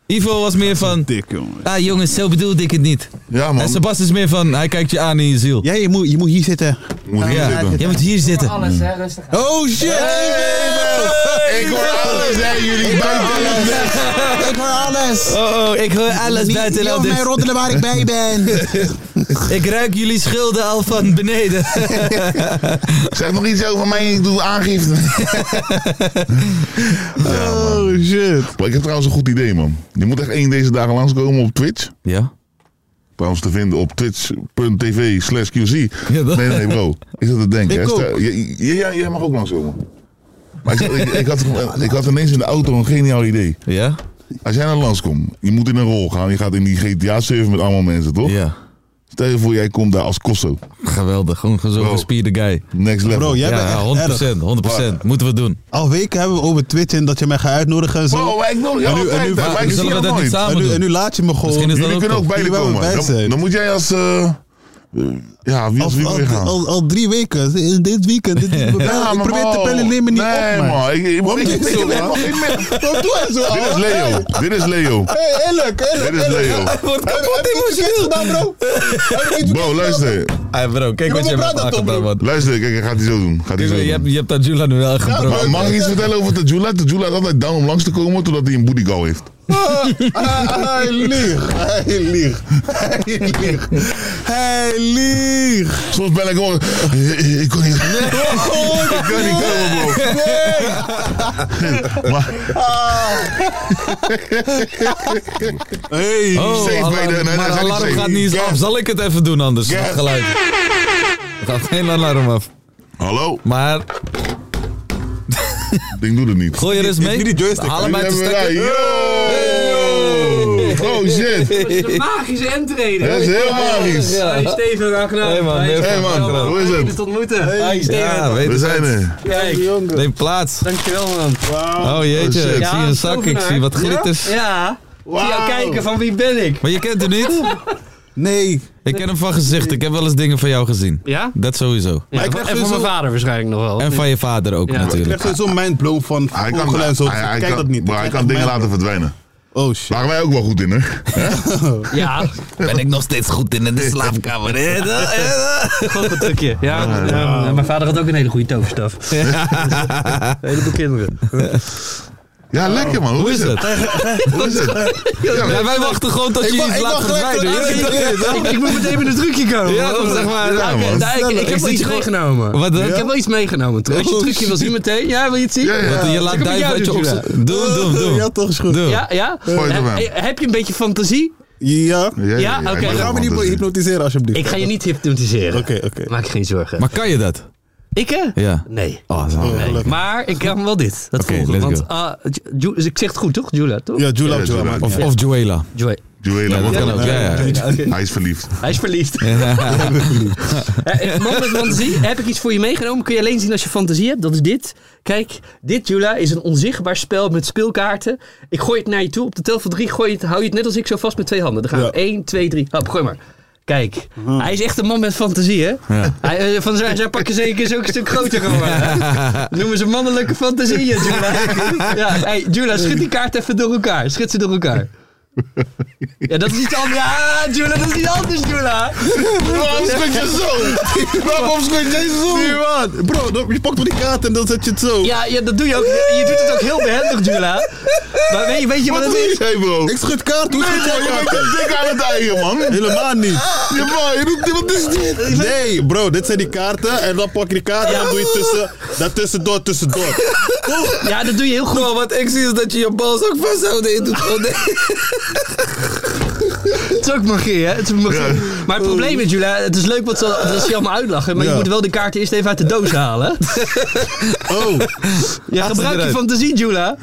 [SPEAKER 5] Ivo was meer van...
[SPEAKER 4] Dik, jongen.
[SPEAKER 5] Ah, jongens, zo bedoelde ik het niet.
[SPEAKER 6] Ja, man.
[SPEAKER 5] En Sebas is meer van, hij kijkt je aan in je ziel.
[SPEAKER 4] Ja, je moet, je moet hier zitten.
[SPEAKER 6] Moet hier
[SPEAKER 5] Ja,
[SPEAKER 6] zitten.
[SPEAKER 5] jij moet hier zitten.
[SPEAKER 7] Alles, hè, rustig aan.
[SPEAKER 4] Oh shit!
[SPEAKER 6] Ik hoor alles, hè, jullie buiten.
[SPEAKER 4] Ik hoor alles!
[SPEAKER 5] Oh, oh, ik hoor alles buitenland.
[SPEAKER 4] mij roddelen waar ik bij ben.
[SPEAKER 5] Ik ruik jullie schilden al van beneden.
[SPEAKER 6] Zeg nog iets over mij, ik doe aangifte. ja, man.
[SPEAKER 4] Oh shit.
[SPEAKER 6] Maar ik heb trouwens een goed idee, man. Je moet echt één deze dagen langskomen op Twitch.
[SPEAKER 5] Ja?
[SPEAKER 6] Trouwens te vinden op twitch.tv slash QC.
[SPEAKER 5] Ja, dat-
[SPEAKER 6] Nee, nee, bro. Ik zat te denken.
[SPEAKER 4] Ik
[SPEAKER 6] hè.
[SPEAKER 4] ook.
[SPEAKER 6] Stel- je- je- ja, jij mag ook langskomen. Maar ik, zat- ik, ik had, ik had ineens in de auto een geniaal idee.
[SPEAKER 5] Ja?
[SPEAKER 6] Als jij naar langskomt, je moet in een rol gaan. Je gaat in die GTA-server met allemaal mensen, toch?
[SPEAKER 5] Ja.
[SPEAKER 6] Stel je voor, jij komt daar als Kosso.
[SPEAKER 5] Geweldig, gewoon zo'n
[SPEAKER 6] Bro.
[SPEAKER 5] gespierde guy.
[SPEAKER 6] Next level.
[SPEAKER 4] Bro, jij
[SPEAKER 5] Ja,
[SPEAKER 4] bent echt
[SPEAKER 5] 100%,
[SPEAKER 4] erg.
[SPEAKER 5] 100%. Moeten we doen.
[SPEAKER 4] Al weken hebben we over Twitch en dat je mij gaat uitnodigen en zo.
[SPEAKER 6] Bro, maar ik nodig
[SPEAKER 4] En
[SPEAKER 6] jou
[SPEAKER 4] nu- en
[SPEAKER 6] altijd
[SPEAKER 4] nu-
[SPEAKER 6] uit,
[SPEAKER 4] maar
[SPEAKER 6] maar ik
[SPEAKER 5] Zullen
[SPEAKER 6] zie
[SPEAKER 5] we
[SPEAKER 6] jou
[SPEAKER 5] dat niet
[SPEAKER 6] nooit.
[SPEAKER 5] samen
[SPEAKER 4] en, nu, en
[SPEAKER 5] doen?
[SPEAKER 4] nu laat je me gewoon.
[SPEAKER 5] Misschien is dat
[SPEAKER 6] Jullie
[SPEAKER 5] ook
[SPEAKER 6] kunnen ook
[SPEAKER 5] toch?
[SPEAKER 6] beide
[SPEAKER 4] Jullie
[SPEAKER 6] komen.
[SPEAKER 4] wouden bij
[SPEAKER 6] Dan,
[SPEAKER 4] zijn.
[SPEAKER 6] dan moet jij als... eh, ja, wie als
[SPEAKER 4] al,
[SPEAKER 6] wie wil je
[SPEAKER 4] al,
[SPEAKER 6] gaan?
[SPEAKER 4] al, al drie weken, dit- dit weekend. Dit, ik
[SPEAKER 6] Ja, maar
[SPEAKER 4] probeer te
[SPEAKER 6] man.
[SPEAKER 4] bellen, neem me niet
[SPEAKER 6] nee,
[SPEAKER 4] op. man.
[SPEAKER 6] man. Ik, ik,
[SPEAKER 4] Waarom
[SPEAKER 6] ik-
[SPEAKER 4] doe je
[SPEAKER 6] ik-
[SPEAKER 4] zo,
[SPEAKER 6] ik-
[SPEAKER 4] man?
[SPEAKER 6] ik- ik-
[SPEAKER 4] Wat doe je zo?
[SPEAKER 6] Dit is Leo. Dit is Leo.
[SPEAKER 4] Hey, eerlijk, eerlijk.
[SPEAKER 6] Dit is Leo.
[SPEAKER 5] wordt
[SPEAKER 4] gedaan, bro.
[SPEAKER 6] Bro, luister.
[SPEAKER 5] Hey bro, kijk wat
[SPEAKER 4] moet
[SPEAKER 5] jij hebt
[SPEAKER 4] praten, Tom,
[SPEAKER 5] aangedaan,
[SPEAKER 4] bro.
[SPEAKER 5] man.
[SPEAKER 6] Luister, kijk, hij gaat hij zo doen. Gaat hij zo
[SPEAKER 5] Je
[SPEAKER 6] doen.
[SPEAKER 5] hebt, je hebt dat Jula nu wel
[SPEAKER 6] Maar
[SPEAKER 5] gebroken.
[SPEAKER 6] Mag ik iets vertellen over Tajula? Tajula is altijd down om langs te komen totdat hij een booty call heeft.
[SPEAKER 5] Ah,
[SPEAKER 4] Hij liegt. Hij liegt. Hij liegt. Hij liegt.
[SPEAKER 6] Soms ben ik gewoon. Ik, ik- ik kon niet. ik kon niet komen, bro. maar
[SPEAKER 5] Ah.
[SPEAKER 4] Hey.
[SPEAKER 5] Oh,
[SPEAKER 6] Safe
[SPEAKER 5] alarm-
[SPEAKER 6] bij de- nee, nee,
[SPEAKER 5] maar
[SPEAKER 6] dat is niet
[SPEAKER 5] alarm
[SPEAKER 6] safe.
[SPEAKER 5] gaat niet eens
[SPEAKER 6] Gas.
[SPEAKER 5] af. Zal ik het even doen anders?
[SPEAKER 6] Gas.
[SPEAKER 5] Dat geluid. Er gaat geen alarm af.
[SPEAKER 6] Hallo?
[SPEAKER 5] Maar
[SPEAKER 6] Ding doet het niet.
[SPEAKER 5] Gooi er eens mee.
[SPEAKER 4] die joystick.
[SPEAKER 5] Haal hem uit de
[SPEAKER 6] Hebben
[SPEAKER 5] stekker.
[SPEAKER 6] wij- Yo! Oh shit.
[SPEAKER 7] Het is een magische entree.
[SPEAKER 6] Dat is heel magisch.
[SPEAKER 7] Hey Steven, aangenaam.
[SPEAKER 5] Hey, man. Heel
[SPEAKER 6] Hey man, hoe is
[SPEAKER 7] Fijn
[SPEAKER 6] het?
[SPEAKER 7] het ontmoeten. Hey
[SPEAKER 5] Ja,
[SPEAKER 7] Steven.
[SPEAKER 5] weet
[SPEAKER 6] We
[SPEAKER 5] ik.
[SPEAKER 6] zijn er.
[SPEAKER 7] Kijk,
[SPEAKER 5] Neem plaats.
[SPEAKER 7] dankjewel man.
[SPEAKER 5] Oh jeetje,
[SPEAKER 6] shit.
[SPEAKER 5] ik
[SPEAKER 7] Ja,
[SPEAKER 5] zie een zak, ik
[SPEAKER 7] tovenaar.
[SPEAKER 5] zie wat glitters.
[SPEAKER 7] Ja. Ik zie jou kijken van wie ben ik.
[SPEAKER 5] Maar je kent hem niet?
[SPEAKER 4] Nee.
[SPEAKER 5] Ik ken hem van gezicht, ik heb wel eens dingen van jou gezien.
[SPEAKER 7] Ja?
[SPEAKER 5] Dat sowieso.
[SPEAKER 7] Ja,
[SPEAKER 4] ik
[SPEAKER 7] en
[SPEAKER 4] krijg
[SPEAKER 7] van mijn
[SPEAKER 4] sowieso-
[SPEAKER 7] vader waarschijnlijk nog wel.
[SPEAKER 5] En van je vader ook
[SPEAKER 7] Ja.
[SPEAKER 4] Ik krijg
[SPEAKER 5] natuurlijk.
[SPEAKER 4] sowieso mindblown van
[SPEAKER 6] Hij kan,
[SPEAKER 4] Google en zo.
[SPEAKER 6] hij, hij
[SPEAKER 4] Kijk
[SPEAKER 6] kan,
[SPEAKER 4] dat niet.
[SPEAKER 6] Maar hij
[SPEAKER 4] Ik
[SPEAKER 6] kan
[SPEAKER 4] krijg
[SPEAKER 6] dingen
[SPEAKER 4] mindblown.
[SPEAKER 6] laten verdwijnen.
[SPEAKER 4] Oh shit.
[SPEAKER 6] Waren wij ook wel goed in, hè?
[SPEAKER 7] Ja,
[SPEAKER 5] Ben ik nog steeds goed in in de slaapkamer? hè? Dat- hè?
[SPEAKER 7] een trucje. Ja, ja, Mijn vader had ook een hele goede toverstaf. Een heleboel kinderen.
[SPEAKER 6] Ja,
[SPEAKER 4] Oh.
[SPEAKER 6] lekker man.
[SPEAKER 5] Hoe is het?
[SPEAKER 6] Hoe is het? Ja,
[SPEAKER 5] Ja, wij wachten gewoon tot je
[SPEAKER 4] wa-
[SPEAKER 5] iets
[SPEAKER 4] ik
[SPEAKER 5] laat
[SPEAKER 4] wacht gelijk
[SPEAKER 5] verdwijnen.
[SPEAKER 4] tot-
[SPEAKER 5] je weet toch?
[SPEAKER 7] Ik, ik moet meteen met een trucje komen.
[SPEAKER 5] Ja, toch, zeg maar.
[SPEAKER 6] Ja,
[SPEAKER 7] Oké,
[SPEAKER 6] man.
[SPEAKER 7] nou, ik, ik
[SPEAKER 5] Ik
[SPEAKER 7] heb wel
[SPEAKER 5] zit
[SPEAKER 7] iets
[SPEAKER 5] je gewoon-
[SPEAKER 7] meegenomen.
[SPEAKER 5] Wat dan? Oh,
[SPEAKER 7] Ik heb wel iets meegenomen. Als je het trucje wil zien meteen. Ja, wil je het zien?
[SPEAKER 6] Ja, ja.
[SPEAKER 5] Wat, je laat
[SPEAKER 7] Ik heb een
[SPEAKER 5] duiven uit je
[SPEAKER 7] jouwtje
[SPEAKER 5] opzet. Doe, doe, doe.
[SPEAKER 4] Ja, toch is goed.
[SPEAKER 5] Doe.
[SPEAKER 7] Ja, ja.
[SPEAKER 6] Gooi het op
[SPEAKER 7] He-
[SPEAKER 6] hem.
[SPEAKER 7] he- heb je een beetje fantasie?
[SPEAKER 4] Ja.
[SPEAKER 7] Ja, oké.
[SPEAKER 6] ik
[SPEAKER 7] Maar
[SPEAKER 4] Ga
[SPEAKER 6] ben
[SPEAKER 4] me
[SPEAKER 6] er
[SPEAKER 4] niet
[SPEAKER 6] wel goed in.
[SPEAKER 4] hypnotiseren alsjeblieft.
[SPEAKER 7] Ik ga je niet hypnotiseren.
[SPEAKER 4] Oké, oké.
[SPEAKER 7] Maak je geen zorgen.
[SPEAKER 5] Maar kan je dat?
[SPEAKER 7] ik hè?
[SPEAKER 5] Ja.
[SPEAKER 7] Nee.
[SPEAKER 5] Oh, zo.
[SPEAKER 4] Oh, gelukkig.
[SPEAKER 7] Maar ik kan wel dit. Dat
[SPEAKER 5] Oké,
[SPEAKER 7] volgende.
[SPEAKER 5] let's
[SPEAKER 7] Want
[SPEAKER 5] go.
[SPEAKER 7] ah, Ju- Ju- ik zeg het goed toch? Jula, toch?
[SPEAKER 4] Ja, Jula,
[SPEAKER 6] Ja,
[SPEAKER 4] Jula.
[SPEAKER 6] Jula.
[SPEAKER 4] maakt
[SPEAKER 5] Of,
[SPEAKER 4] niet
[SPEAKER 5] of Joela.
[SPEAKER 7] Joy.
[SPEAKER 6] Joël,
[SPEAKER 5] Ja, dat
[SPEAKER 6] man.
[SPEAKER 5] kan ook. Ja, ja.
[SPEAKER 6] Hij is verliefd.
[SPEAKER 7] Hij is verliefd. Eh, eh, Man met fantasie, heb ik iets voor je meegenomen. Kun je alleen zien als je fantasie hebt. Dat is dit. Kijk, dit Jula is een onzichtbaar spel met speelkaarten. Ik gooi het naar je toe. Op de tel van drie gooi je het, hou je het net als ik zo vast met twee handen. Dan gaan we.
[SPEAKER 4] Ja.
[SPEAKER 7] 1, 2, 3. Hop, gooi maar. Kijk, hij is echt een man met fantasie, hè? Hij, eh, van zijn, zijn pakken zeker is ook een stuk groter geworden. hè? Noemen ze mannelijke fantasieën, Jula. Ja, hey, Jula, schud die kaart even door elkaar. Schud ze door elkaar. Ja, dat is iets anders. Ja, Jula, dat is iets anders, Jula.
[SPEAKER 6] Waarom schud je zo? Waarom schud jij zo?
[SPEAKER 4] uit. Bro, dan- je pakt me die kaart en dan zet je het zo.
[SPEAKER 7] Ja, ja, dat doe je ook. Je doet het ook heel behendig, Jula. Maar weet, je- weet je wat het is?
[SPEAKER 6] Hey bro.
[SPEAKER 4] Ik schud kaart, hoe schud
[SPEAKER 6] Hey,
[SPEAKER 4] jij
[SPEAKER 6] bro, Je
[SPEAKER 4] kaart?
[SPEAKER 6] bent dik aan het eigen, man.
[SPEAKER 4] Helemaal niet.
[SPEAKER 6] Ja, bro, je doet wat is dit?
[SPEAKER 4] Nee, bro, dit zijn die kaarten. En dan pak je die kaart en dan doe je tussen, dat tussendoor, tussendoor.
[SPEAKER 7] Ja, dat doe je heel goed.
[SPEAKER 5] wat ik zie is dat je je bal ook vasthouden in doet.
[SPEAKER 7] Het is ook magie, hè? Het is magie. Maar het probleem is, Jula, het is leuk wat ze, dat ze je allemaal uitlachen. Maar je
[SPEAKER 4] Ja.
[SPEAKER 7] moet wel de kaart eerst even uit de doos halen.
[SPEAKER 4] Oh,
[SPEAKER 7] Ja, gebruik je
[SPEAKER 5] eruit.
[SPEAKER 7] fantasie, Jula.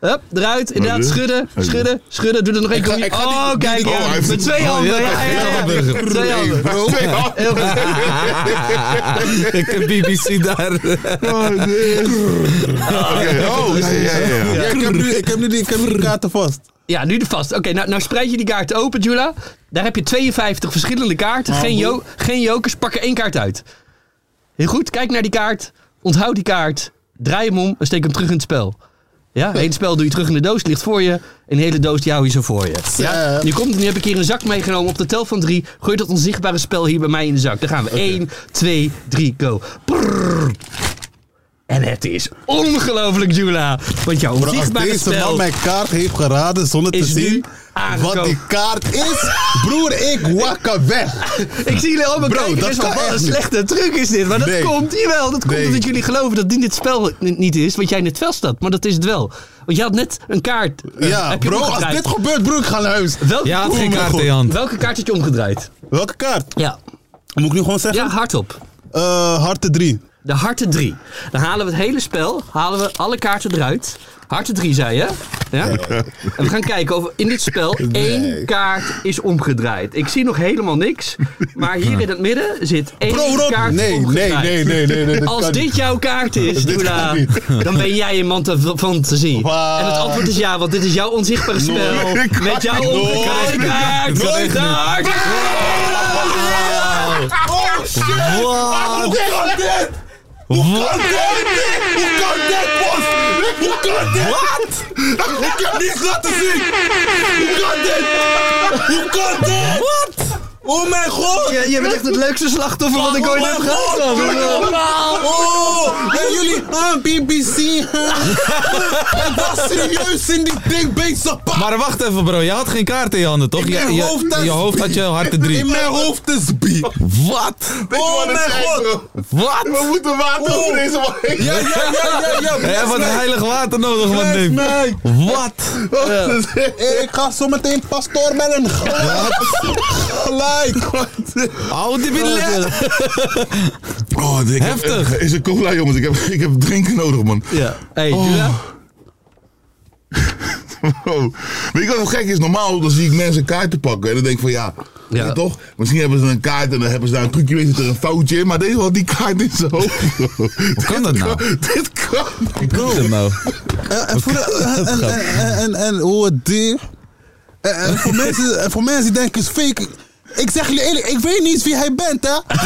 [SPEAKER 7] Hup, eruit. Inderdaad,
[SPEAKER 6] Wat doe je?
[SPEAKER 7] schudden,
[SPEAKER 6] Oké.
[SPEAKER 7] schudden, schudden. Doe er nog één
[SPEAKER 4] ga-
[SPEAKER 7] keer.
[SPEAKER 4] ik ga die-
[SPEAKER 7] Oh,
[SPEAKER 4] die-
[SPEAKER 7] kijk,
[SPEAKER 4] die-
[SPEAKER 7] ja,
[SPEAKER 6] oh, hij heeft
[SPEAKER 7] met
[SPEAKER 6] het-
[SPEAKER 7] twee handen.
[SPEAKER 5] ja,
[SPEAKER 7] Ja, ja, ja,
[SPEAKER 5] ja,
[SPEAKER 7] ja. Twee handen.
[SPEAKER 6] Bro.
[SPEAKER 7] Heel goed.
[SPEAKER 5] Ik heb BBC daar.
[SPEAKER 6] Oh, nee. Oké, oh, ja, ja, ja,
[SPEAKER 4] ja,
[SPEAKER 6] ja.
[SPEAKER 4] ik, heb nu, ik, heb nu die, ik heb nu die kaarten vast.
[SPEAKER 7] Ja, nu de vast. Oké, nou, nou spreid je die kaarten open, Jula. Daar heb je 52 verschillende
[SPEAKER 4] Ah,
[SPEAKER 7] kaarten. geen, jo- geen jokers, pak er één kaart uit. Heel goed, kijk naar die kaart. Onthoud die kaart. Draai hem om en steek hem terug in het spel. Ja, één spel doe je terug in de doos, ligt voor je. Een hele doos die hou je zo voor je. Ja, nu, komt, nu heb ik hier een zak meegenomen op de tel van drie. Gooi dat onzichtbare spel hier bij mij in de zak. Daar gaan we. 1, 2, 3, go. Prrr. En het is ongelooflijk, Jula. Want jouw
[SPEAKER 4] Bro, als
[SPEAKER 7] onzichtbare
[SPEAKER 4] deze man
[SPEAKER 7] spel...
[SPEAKER 4] mijn kaart heeft geraden zonder te
[SPEAKER 7] Is nu
[SPEAKER 4] zien
[SPEAKER 7] aangekomen.
[SPEAKER 4] wat die kaart is, broer, ik wakka weg.
[SPEAKER 7] Ik zie jullie allemaal
[SPEAKER 4] Bro,
[SPEAKER 7] kijken.
[SPEAKER 4] dat
[SPEAKER 7] Dat is
[SPEAKER 4] kan
[SPEAKER 7] wel
[SPEAKER 4] echt
[SPEAKER 7] een
[SPEAKER 4] niet.
[SPEAKER 7] slechte truc is dit. Maar dat
[SPEAKER 4] Nee.
[SPEAKER 7] komt, jawel, dat komt
[SPEAKER 4] Nee.
[SPEAKER 7] omdat jullie geloven dat dit het spel ni- niet is. Wat jij in het veld staat. Maar dat is het wel. Want je had net een kaart. eh,
[SPEAKER 4] Ja,
[SPEAKER 7] heb je
[SPEAKER 4] bro, als
[SPEAKER 7] omgedraaid.
[SPEAKER 4] dit gebeurt, broer, ik ga naar huis.
[SPEAKER 7] welke,
[SPEAKER 5] Ja, had
[SPEAKER 7] Oeh,
[SPEAKER 5] geen
[SPEAKER 7] mijn
[SPEAKER 5] kaart
[SPEAKER 7] God.
[SPEAKER 5] in je hand.
[SPEAKER 7] welke kaart had je omgedraaid?
[SPEAKER 4] Welke kaart?
[SPEAKER 7] Ja,
[SPEAKER 4] Moet ik nu gewoon zeggen?
[SPEAKER 7] ja hardop.
[SPEAKER 4] Eh, harte 3.
[SPEAKER 7] De harte 3. Dan halen we het hele spel, halen we alle kaarten eruit. Harte 3 zei je. Ja? En we gaan kijken of in dit spel één kaart is omgedraaid. Ik zie nog helemaal niks. Maar hier in het midden zit één
[SPEAKER 4] Bro, Rob,
[SPEAKER 7] kaart
[SPEAKER 4] nee, nee,
[SPEAKER 7] omgedraaid.
[SPEAKER 4] nee, nee, nee, nee, dit
[SPEAKER 7] Als
[SPEAKER 4] kan
[SPEAKER 7] dit
[SPEAKER 4] niet.
[SPEAKER 7] jouw kaart is,
[SPEAKER 4] Dit
[SPEAKER 7] Doela,
[SPEAKER 4] kan niet.
[SPEAKER 7] dan ben jij een man te- van te zien.
[SPEAKER 4] Waar?
[SPEAKER 7] En het antwoord is ja, want dit is jouw onzichtbare spel.
[SPEAKER 6] Nooit.
[SPEAKER 7] Met jouw
[SPEAKER 6] Nooit.
[SPEAKER 7] omgedraaide kaart.
[SPEAKER 5] Nooit.
[SPEAKER 7] Nooit. De harte
[SPEAKER 5] Wat?
[SPEAKER 4] Ik heb niets laten zien! Hoe kan dit? Hoe kan dit? Wat? Oh mijn god!
[SPEAKER 7] Je, je bent echt het leukste slachtoffer wat ik
[SPEAKER 4] Oh
[SPEAKER 7] ooit
[SPEAKER 4] mijn
[SPEAKER 7] heb gehad.
[SPEAKER 4] god!
[SPEAKER 7] man.
[SPEAKER 4] Oh, en jullie, ah, BBC. hè? Ik was serieus in die ding bezig, pa.
[SPEAKER 5] Maar wacht even bro, je had geen kaart in je handen toch?
[SPEAKER 4] In
[SPEAKER 5] Je,
[SPEAKER 4] mijn hoofd
[SPEAKER 5] je,
[SPEAKER 4] is-
[SPEAKER 5] je hoofd had je harte
[SPEAKER 4] In
[SPEAKER 5] drie.
[SPEAKER 4] mijn hoofd is B.
[SPEAKER 5] Wat?
[SPEAKER 4] Oh mijn god!
[SPEAKER 5] Wat?
[SPEAKER 6] We moeten water over deze man heen.
[SPEAKER 4] Ja, ja, ja, ja, ja.
[SPEAKER 5] Hij heeft wat heilig water nodig, man.
[SPEAKER 4] Bless
[SPEAKER 5] neem.
[SPEAKER 4] mij.
[SPEAKER 5] Wat?
[SPEAKER 4] Ik ga zo meteen pastoor met een gelijk.
[SPEAKER 5] Oh,
[SPEAKER 7] Oh,
[SPEAKER 5] Hou die billen.
[SPEAKER 6] Oh, ik heb-
[SPEAKER 5] Heftig.
[SPEAKER 6] is een cola, jongens. Ik heb, ik heb drinken nodig, man.
[SPEAKER 7] Ja. Hey,
[SPEAKER 6] Oh.
[SPEAKER 7] Jula?
[SPEAKER 6] Wow. Weet je wat gek is? Normaal dan zie ik mensen kaarten pakken. En dan denk ik van ja,
[SPEAKER 7] Ja.
[SPEAKER 6] ja. toch? Misschien hebben ze een kaart en dan hebben ze daar een trucje in, zit er een foutje in. Maar deze had die kaart in zijn hoofd. Hoe
[SPEAKER 5] kan dat nou?
[SPEAKER 6] dit kan niet.
[SPEAKER 5] Hoe is dat nou?
[SPEAKER 4] En, en, voor, eh, en, en, en, en, en hoe het dier. En, en voor mensen, en voor mensen die denken is fake. Ik zeg jullie eerlijk, ik weet niet eens wie hij bent, hè?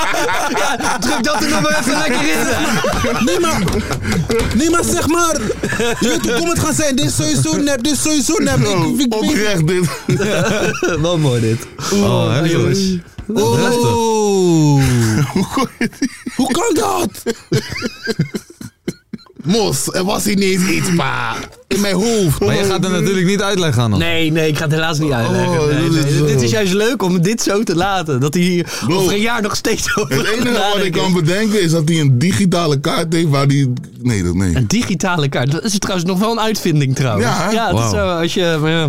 [SPEAKER 7] Druk dat er nog maar even lekker in.
[SPEAKER 4] Nee, maar, nee, maar zeg maar. Je weet hoe kom het gaan zijn. Dit is sowieso nep, dit is sowieso nep. Ik, ik, ik, weet-
[SPEAKER 6] Oprecht dit.
[SPEAKER 7] Wat mooi dit.
[SPEAKER 5] Oh, hè, jongens.
[SPEAKER 4] Oh,
[SPEAKER 6] Hoe kon je dit?
[SPEAKER 4] hoe kan dat?
[SPEAKER 6] Mos, er was ineens iets, pa. In mijn hoofd.
[SPEAKER 5] Maar je gaat er natuurlijk niet uitleg aan. Nee.
[SPEAKER 7] Nee, nee, ik ga het helaas niet uitleggen.
[SPEAKER 6] Oh,
[SPEAKER 7] Nee,
[SPEAKER 6] dat
[SPEAKER 7] nee,
[SPEAKER 6] is-
[SPEAKER 7] Dit is juist leuk om dit zo te laten. Dat hij hier
[SPEAKER 6] Bro.
[SPEAKER 7] over een jaar nog steeds over
[SPEAKER 6] Het
[SPEAKER 7] aan het
[SPEAKER 6] enige wat ik
[SPEAKER 7] nadenken
[SPEAKER 6] kan
[SPEAKER 7] is.
[SPEAKER 6] bedenken is dat hij een digitale kaart heeft waar die. Nee, dat nee.
[SPEAKER 7] Een digitale kaart. Dat is trouwens nog wel een uitvinding trouwens.
[SPEAKER 6] Ja, hè?
[SPEAKER 7] dat is
[SPEAKER 5] Wauw.
[SPEAKER 7] zo. Als je, maar ja,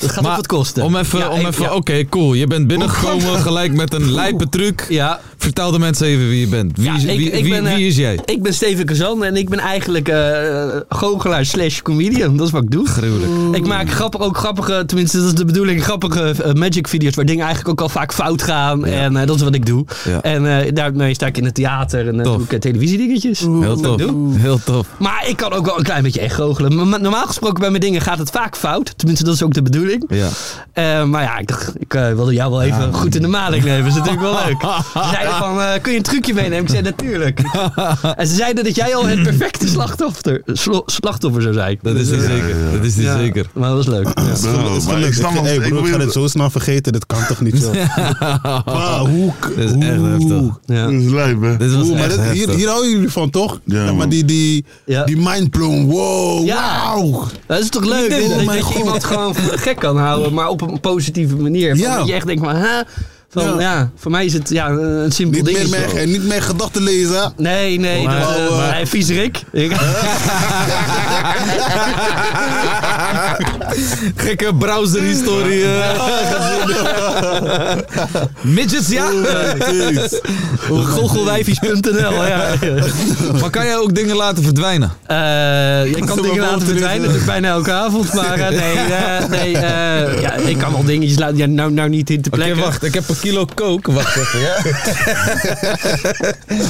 [SPEAKER 7] dat gaat ook wat kosten.
[SPEAKER 5] Om even,
[SPEAKER 7] Ja,
[SPEAKER 5] om
[SPEAKER 7] ik-
[SPEAKER 5] even
[SPEAKER 7] ja.
[SPEAKER 5] oké, cool. Je bent binnengekomen gelijk met een lijpe truc.
[SPEAKER 7] Ja.
[SPEAKER 5] Vertel de mensen even wie je bent. Wie,
[SPEAKER 7] Ja,
[SPEAKER 5] is-
[SPEAKER 7] ik-
[SPEAKER 5] wie,
[SPEAKER 7] ik
[SPEAKER 5] wie,
[SPEAKER 7] ben, eh,
[SPEAKER 5] wie is jij?
[SPEAKER 7] Ik ben Steven Kazan en ik ben eigenlijk eh goochelaar slash comedian. Dat is wat ik doe. Gruwelijk. Ik maak grappig, ook grappige, tenminste dat is de bedoeling, grappige eh, magic video's waar dingen eigenlijk ook al vaak fout gaan. En eh, dat is wat ik doe.
[SPEAKER 5] Ja.
[SPEAKER 7] En eh, daarmee sta ik in het theater en eh,
[SPEAKER 5] Tof.
[SPEAKER 7] doe ik eh, televisiedingetjes. Dat
[SPEAKER 5] Heel
[SPEAKER 7] is wat ik
[SPEAKER 5] tof.
[SPEAKER 7] doe.
[SPEAKER 5] Heel tof.
[SPEAKER 7] Maar ik kan ook wel een klein beetje echt goochelen. Maar- maar normaal gesproken bij mijn dingen gaat het vaak fout. Tenminste, dat is ook de bedoeling.
[SPEAKER 5] Ja.
[SPEAKER 7] Eh, maar ja, ik dacht, ik eh, wilde jou wel even goed in de maling nemen. Dat is natuurlijk wel leuk. Ze zeiden van, eh, kun je een trucje meenemen? Ik zei, natuurlijk. en ze zeiden dat jij al het perfecte slachtoffer, slo- slachtoffer zou zijn.
[SPEAKER 5] Dat is
[SPEAKER 7] Dus,
[SPEAKER 5] niet
[SPEAKER 7] eh,
[SPEAKER 5] zeker. Dat is niet
[SPEAKER 7] ja,
[SPEAKER 5] zeker.
[SPEAKER 7] Maar dat was leuk. Ja.
[SPEAKER 6] Bro,
[SPEAKER 4] Is
[SPEAKER 6] maar ik
[SPEAKER 4] gelukt.
[SPEAKER 6] snap nog
[SPEAKER 4] Hey,
[SPEAKER 6] ik
[SPEAKER 4] broer, ik
[SPEAKER 6] probeer-
[SPEAKER 4] ga dit zo snel vergeten. Dit kan toch niet, joh. Pa, hoe...
[SPEAKER 5] Dat is echt
[SPEAKER 4] hoe-
[SPEAKER 5] heftig.
[SPEAKER 7] Ja.
[SPEAKER 6] Dit is lijp, hè?
[SPEAKER 5] Dit was
[SPEAKER 4] Oeh, maar
[SPEAKER 5] echt
[SPEAKER 4] dit- hier,
[SPEAKER 5] heftig.
[SPEAKER 4] hier houden jullie van, toch?
[SPEAKER 6] Ja,
[SPEAKER 4] maar
[SPEAKER 6] man.
[SPEAKER 4] die, die,
[SPEAKER 7] Ja.
[SPEAKER 4] die mindblown. Wow,
[SPEAKER 7] Ja.
[SPEAKER 4] wauw.
[SPEAKER 7] Dat is toch leuk?
[SPEAKER 4] denk-
[SPEAKER 7] dat-
[SPEAKER 4] oh
[SPEAKER 7] dat
[SPEAKER 4] mijn
[SPEAKER 7] je
[SPEAKER 4] God.
[SPEAKER 7] iemand gewoon voor de gek kan houden, maar op een positieve manier. Van
[SPEAKER 4] Ja.
[SPEAKER 7] Dat je echt denkt van, hè? Van, ja.
[SPEAKER 4] Ja.
[SPEAKER 7] voor mij is het ja, een simpel
[SPEAKER 4] Niet
[SPEAKER 7] ding.
[SPEAKER 4] meer, mijn- en niet meer gedachten lezen.
[SPEAKER 7] Nee, nee.
[SPEAKER 5] Maar-
[SPEAKER 7] dat, eh,
[SPEAKER 5] maar-
[SPEAKER 7] hij- vies Rick. Ik-
[SPEAKER 5] Gekke browserhistorie. eh. Midgets, ja?
[SPEAKER 2] eh,
[SPEAKER 7] Goochelwijfies.nl, ja.
[SPEAKER 5] Maar kan jij ook dingen laten verdwijnen?
[SPEAKER 7] Eh, ik kan
[SPEAKER 4] Zo
[SPEAKER 7] dingen
[SPEAKER 4] maar
[SPEAKER 7] laten
[SPEAKER 4] voor
[SPEAKER 7] verdwijnen,
[SPEAKER 4] dit,
[SPEAKER 7] natuurlijk bijna elke avond. Maar eh, nee, eh, nee eh, ja, ik kan wel dingetjes laten. Ja, nou, nou niet in te
[SPEAKER 5] Oké,
[SPEAKER 7] plekken.
[SPEAKER 5] wacht. Ik heb een kilo kook. Wacht even, ja?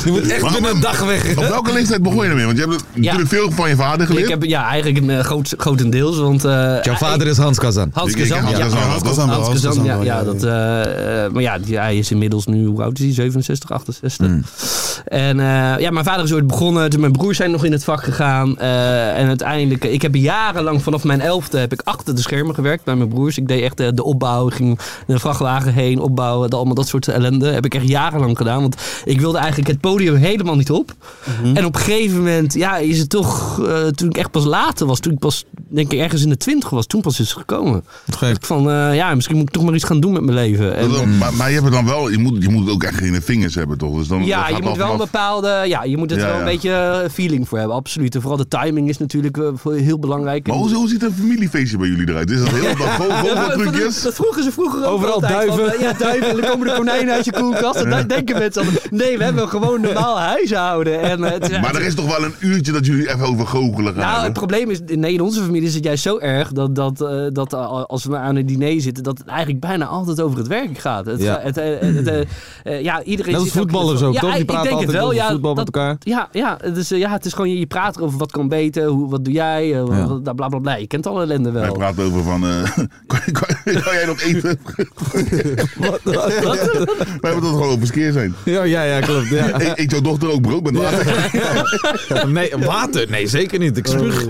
[SPEAKER 5] Die moet echt binnen een dag weg.
[SPEAKER 6] Op welke leeftijd begon je ermee? Want je hebt natuurlijk veel van je vader geleerd.
[SPEAKER 7] Ik heb ja, eigenlijk eh, groot, grotendeels. Want, eh,
[SPEAKER 5] Jouw vader is Hans Kazan.
[SPEAKER 7] Hans
[SPEAKER 6] Ik- dus ik-
[SPEAKER 7] Kazan.
[SPEAKER 6] Hans
[SPEAKER 7] ja.
[SPEAKER 6] Kazan.
[SPEAKER 4] Hans Kazan wel,
[SPEAKER 7] Hans
[SPEAKER 4] Hans
[SPEAKER 7] Kazan,
[SPEAKER 4] Kazan
[SPEAKER 7] ja,
[SPEAKER 4] wel,
[SPEAKER 7] ja,
[SPEAKER 4] ja,
[SPEAKER 7] dat, eh, eh, maar ja, die- hij is inmiddels nu, hoe oud is hij? 67, 68. En eh, ja, mijn vader is ooit begonnen. Toen mijn broers zijn nog in het vak gegaan. eh, en uiteindelijk, eh, ik heb jarenlang vanaf mijn elfde heb ik achter de schermen gewerkt bij mijn broers. Ik deed echt eh, de opbouw, ik ging naar de vrachtwagen heen opbouwen, dat- allemaal dat soort ellende. Heb ik echt jarenlang gedaan, want ik wilde eigenlijk het podium helemaal niet op. En op een gegeven moment, ja, is het toch, eh, toen ik echt pas later was, toen ik pas, denk ik, ergens in de twintig was, toen pas is het gekomen.
[SPEAKER 5] Gek.
[SPEAKER 7] Ik Van, eh, ja, misschien moet ik toch maar iets gaan doen met mijn leven. En,
[SPEAKER 6] Dat- maar, maar je hebt het dan wel, je moet, je moet het ook echt in de vingers hebben, toch? Dus dan, dat
[SPEAKER 7] ja,
[SPEAKER 6] gaat
[SPEAKER 7] je moet wel
[SPEAKER 6] vanaf-
[SPEAKER 7] een bepaalde. Ja, je moet het
[SPEAKER 6] Ja,
[SPEAKER 7] wel een
[SPEAKER 6] ja.
[SPEAKER 7] beetje eh, feeling voor hebben, absoluut. En vooral de timing is natuurlijk eh, voor- heel belangrijk.
[SPEAKER 6] Maar hoe, hoe ziet een familiefeestje bij jullie eruit? Is dat heel dag vol vol
[SPEAKER 7] Ja,
[SPEAKER 6] van
[SPEAKER 7] dat- dat-
[SPEAKER 6] trucjes?
[SPEAKER 7] Dat vroegen ze vroeger ook
[SPEAKER 5] Overal
[SPEAKER 7] altijd,
[SPEAKER 5] duiven.
[SPEAKER 7] van, eh, ja, duiven. En dan komen de konijnen uit je koelkast. En dan denken mensen altijd, nee, we hebben gewoon een normaal huishouden. En, eh, het is-
[SPEAKER 6] Maar er is toch wel een uurtje dat jullie even over goochelen gaan.
[SPEAKER 7] Nou,
[SPEAKER 6] hè?
[SPEAKER 7] het probleem is, nee, in onze familie is het juist zo erg dat, dat, eh, dat eh, als we aan een diner zitten, dat het eigenlijk bijna altijd over het werk gaat. Het,
[SPEAKER 5] Ja.
[SPEAKER 7] ja. het, eh, het, eh, eh, ja, iedereen
[SPEAKER 5] Net als
[SPEAKER 7] zit ook-
[SPEAKER 5] voetballers ook,
[SPEAKER 7] ja,
[SPEAKER 5] toch? Die
[SPEAKER 7] ik- ik
[SPEAKER 5] praten
[SPEAKER 7] denk
[SPEAKER 5] altijd
[SPEAKER 7] het wel,
[SPEAKER 5] over
[SPEAKER 7] ja,
[SPEAKER 5] voetbal
[SPEAKER 7] dat-
[SPEAKER 5] met elkaar.
[SPEAKER 7] Ja, ja, dus, eh, ja, het is gewoon, je, je praat erover wat kan beter, hoe, wat doe jij, eh,
[SPEAKER 5] Ja.
[SPEAKER 7] wat- bla bla bla. Je kent alle ellende
[SPEAKER 6] Hij
[SPEAKER 7] wel.
[SPEAKER 6] praat over van, eh, kan, kan- kan jij nog eten? We hebben dat gewoon over skeer zijn.
[SPEAKER 5] Ja, ja, ja, klopt. Ja.
[SPEAKER 6] Eet, eet jouw dochter ook brood met water?
[SPEAKER 5] Nee, water? Oh. Nee, zeker niet. Ik spuug,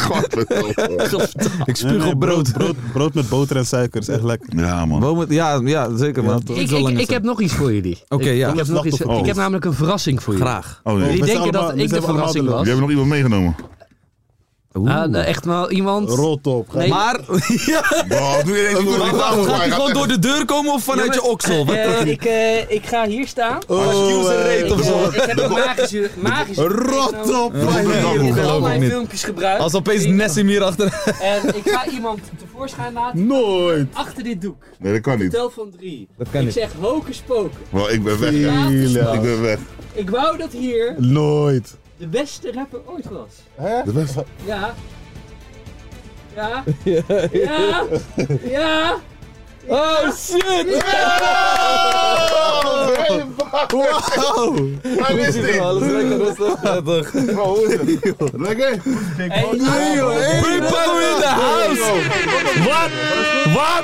[SPEAKER 6] Godverdomme.
[SPEAKER 5] ik spuug
[SPEAKER 4] Nee,
[SPEAKER 5] op brood.
[SPEAKER 4] brood. Brood met boter en suiker is echt lekker.
[SPEAKER 6] Ja man.
[SPEAKER 5] Bomen- ja, ja, zeker man.
[SPEAKER 4] Ja, toch?
[SPEAKER 7] Ik, ik, ik heb nog iets voor jullie.
[SPEAKER 5] Oké,
[SPEAKER 7] Ik-
[SPEAKER 5] ja.
[SPEAKER 7] ik, heb nog iets,
[SPEAKER 4] Slachtoffer.
[SPEAKER 7] ik heb
[SPEAKER 6] Oh.
[SPEAKER 7] namelijk een verrassing voor jullie.
[SPEAKER 5] Graag.
[SPEAKER 6] Oh, nee.
[SPEAKER 4] Oh,
[SPEAKER 7] Jullie
[SPEAKER 4] Mensen
[SPEAKER 7] denken dat
[SPEAKER 4] allemaal-
[SPEAKER 7] ik
[SPEAKER 4] mensen
[SPEAKER 7] de
[SPEAKER 4] hebben allemaal
[SPEAKER 7] verrassing
[SPEAKER 4] de
[SPEAKER 7] was.
[SPEAKER 6] Jij hebt nog iemand meegenomen.
[SPEAKER 7] Ah, nou, echt wel iemand.
[SPEAKER 4] Rot op.
[SPEAKER 7] Nee. eh,
[SPEAKER 3] Maar,
[SPEAKER 6] Bro, nu ineens door die
[SPEAKER 5] Wacht,
[SPEAKER 6] tafel
[SPEAKER 5] gaat hij
[SPEAKER 6] gaan.
[SPEAKER 5] gewoon door de deur komen of vanuit je oksel? Wat-
[SPEAKER 7] Eh, ik, eh, ik ga hier staan.
[SPEAKER 5] Oh.
[SPEAKER 4] hey,
[SPEAKER 7] ik, eh, ik heb een magische, magische
[SPEAKER 4] Rot op.
[SPEAKER 7] Ik
[SPEAKER 4] man.
[SPEAKER 7] heb in al
[SPEAKER 5] geloof ik
[SPEAKER 7] mijn
[SPEAKER 5] niet.
[SPEAKER 7] filmpjes gebruikt.
[SPEAKER 5] als opeens Nessim hier achter.
[SPEAKER 7] En ik ga iemand tevoorschijn laten
[SPEAKER 4] Nooit.
[SPEAKER 7] achter dit doek.
[SPEAKER 6] Nee, dat kan niet.
[SPEAKER 7] Tel van drie.
[SPEAKER 5] Dat kan
[SPEAKER 7] ik
[SPEAKER 5] niet.
[SPEAKER 7] zeg hocus pocus.
[SPEAKER 6] Bro, ik ben weg. ja. Ik ben weg.
[SPEAKER 7] Ik wou dat hier
[SPEAKER 4] Nooit.
[SPEAKER 7] de beste rapper ooit was.
[SPEAKER 6] De beste.
[SPEAKER 7] Ja. Ja. Ja. Ja.
[SPEAKER 5] Oh shit!
[SPEAKER 4] Wow.
[SPEAKER 6] Hij wist niet.
[SPEAKER 5] Alles lekker rustig. Prettig.
[SPEAKER 6] Bro, hoe is het? Lekker?
[SPEAKER 7] Hey,
[SPEAKER 4] Nee, joh. hey.
[SPEAKER 5] People in the house! Wat?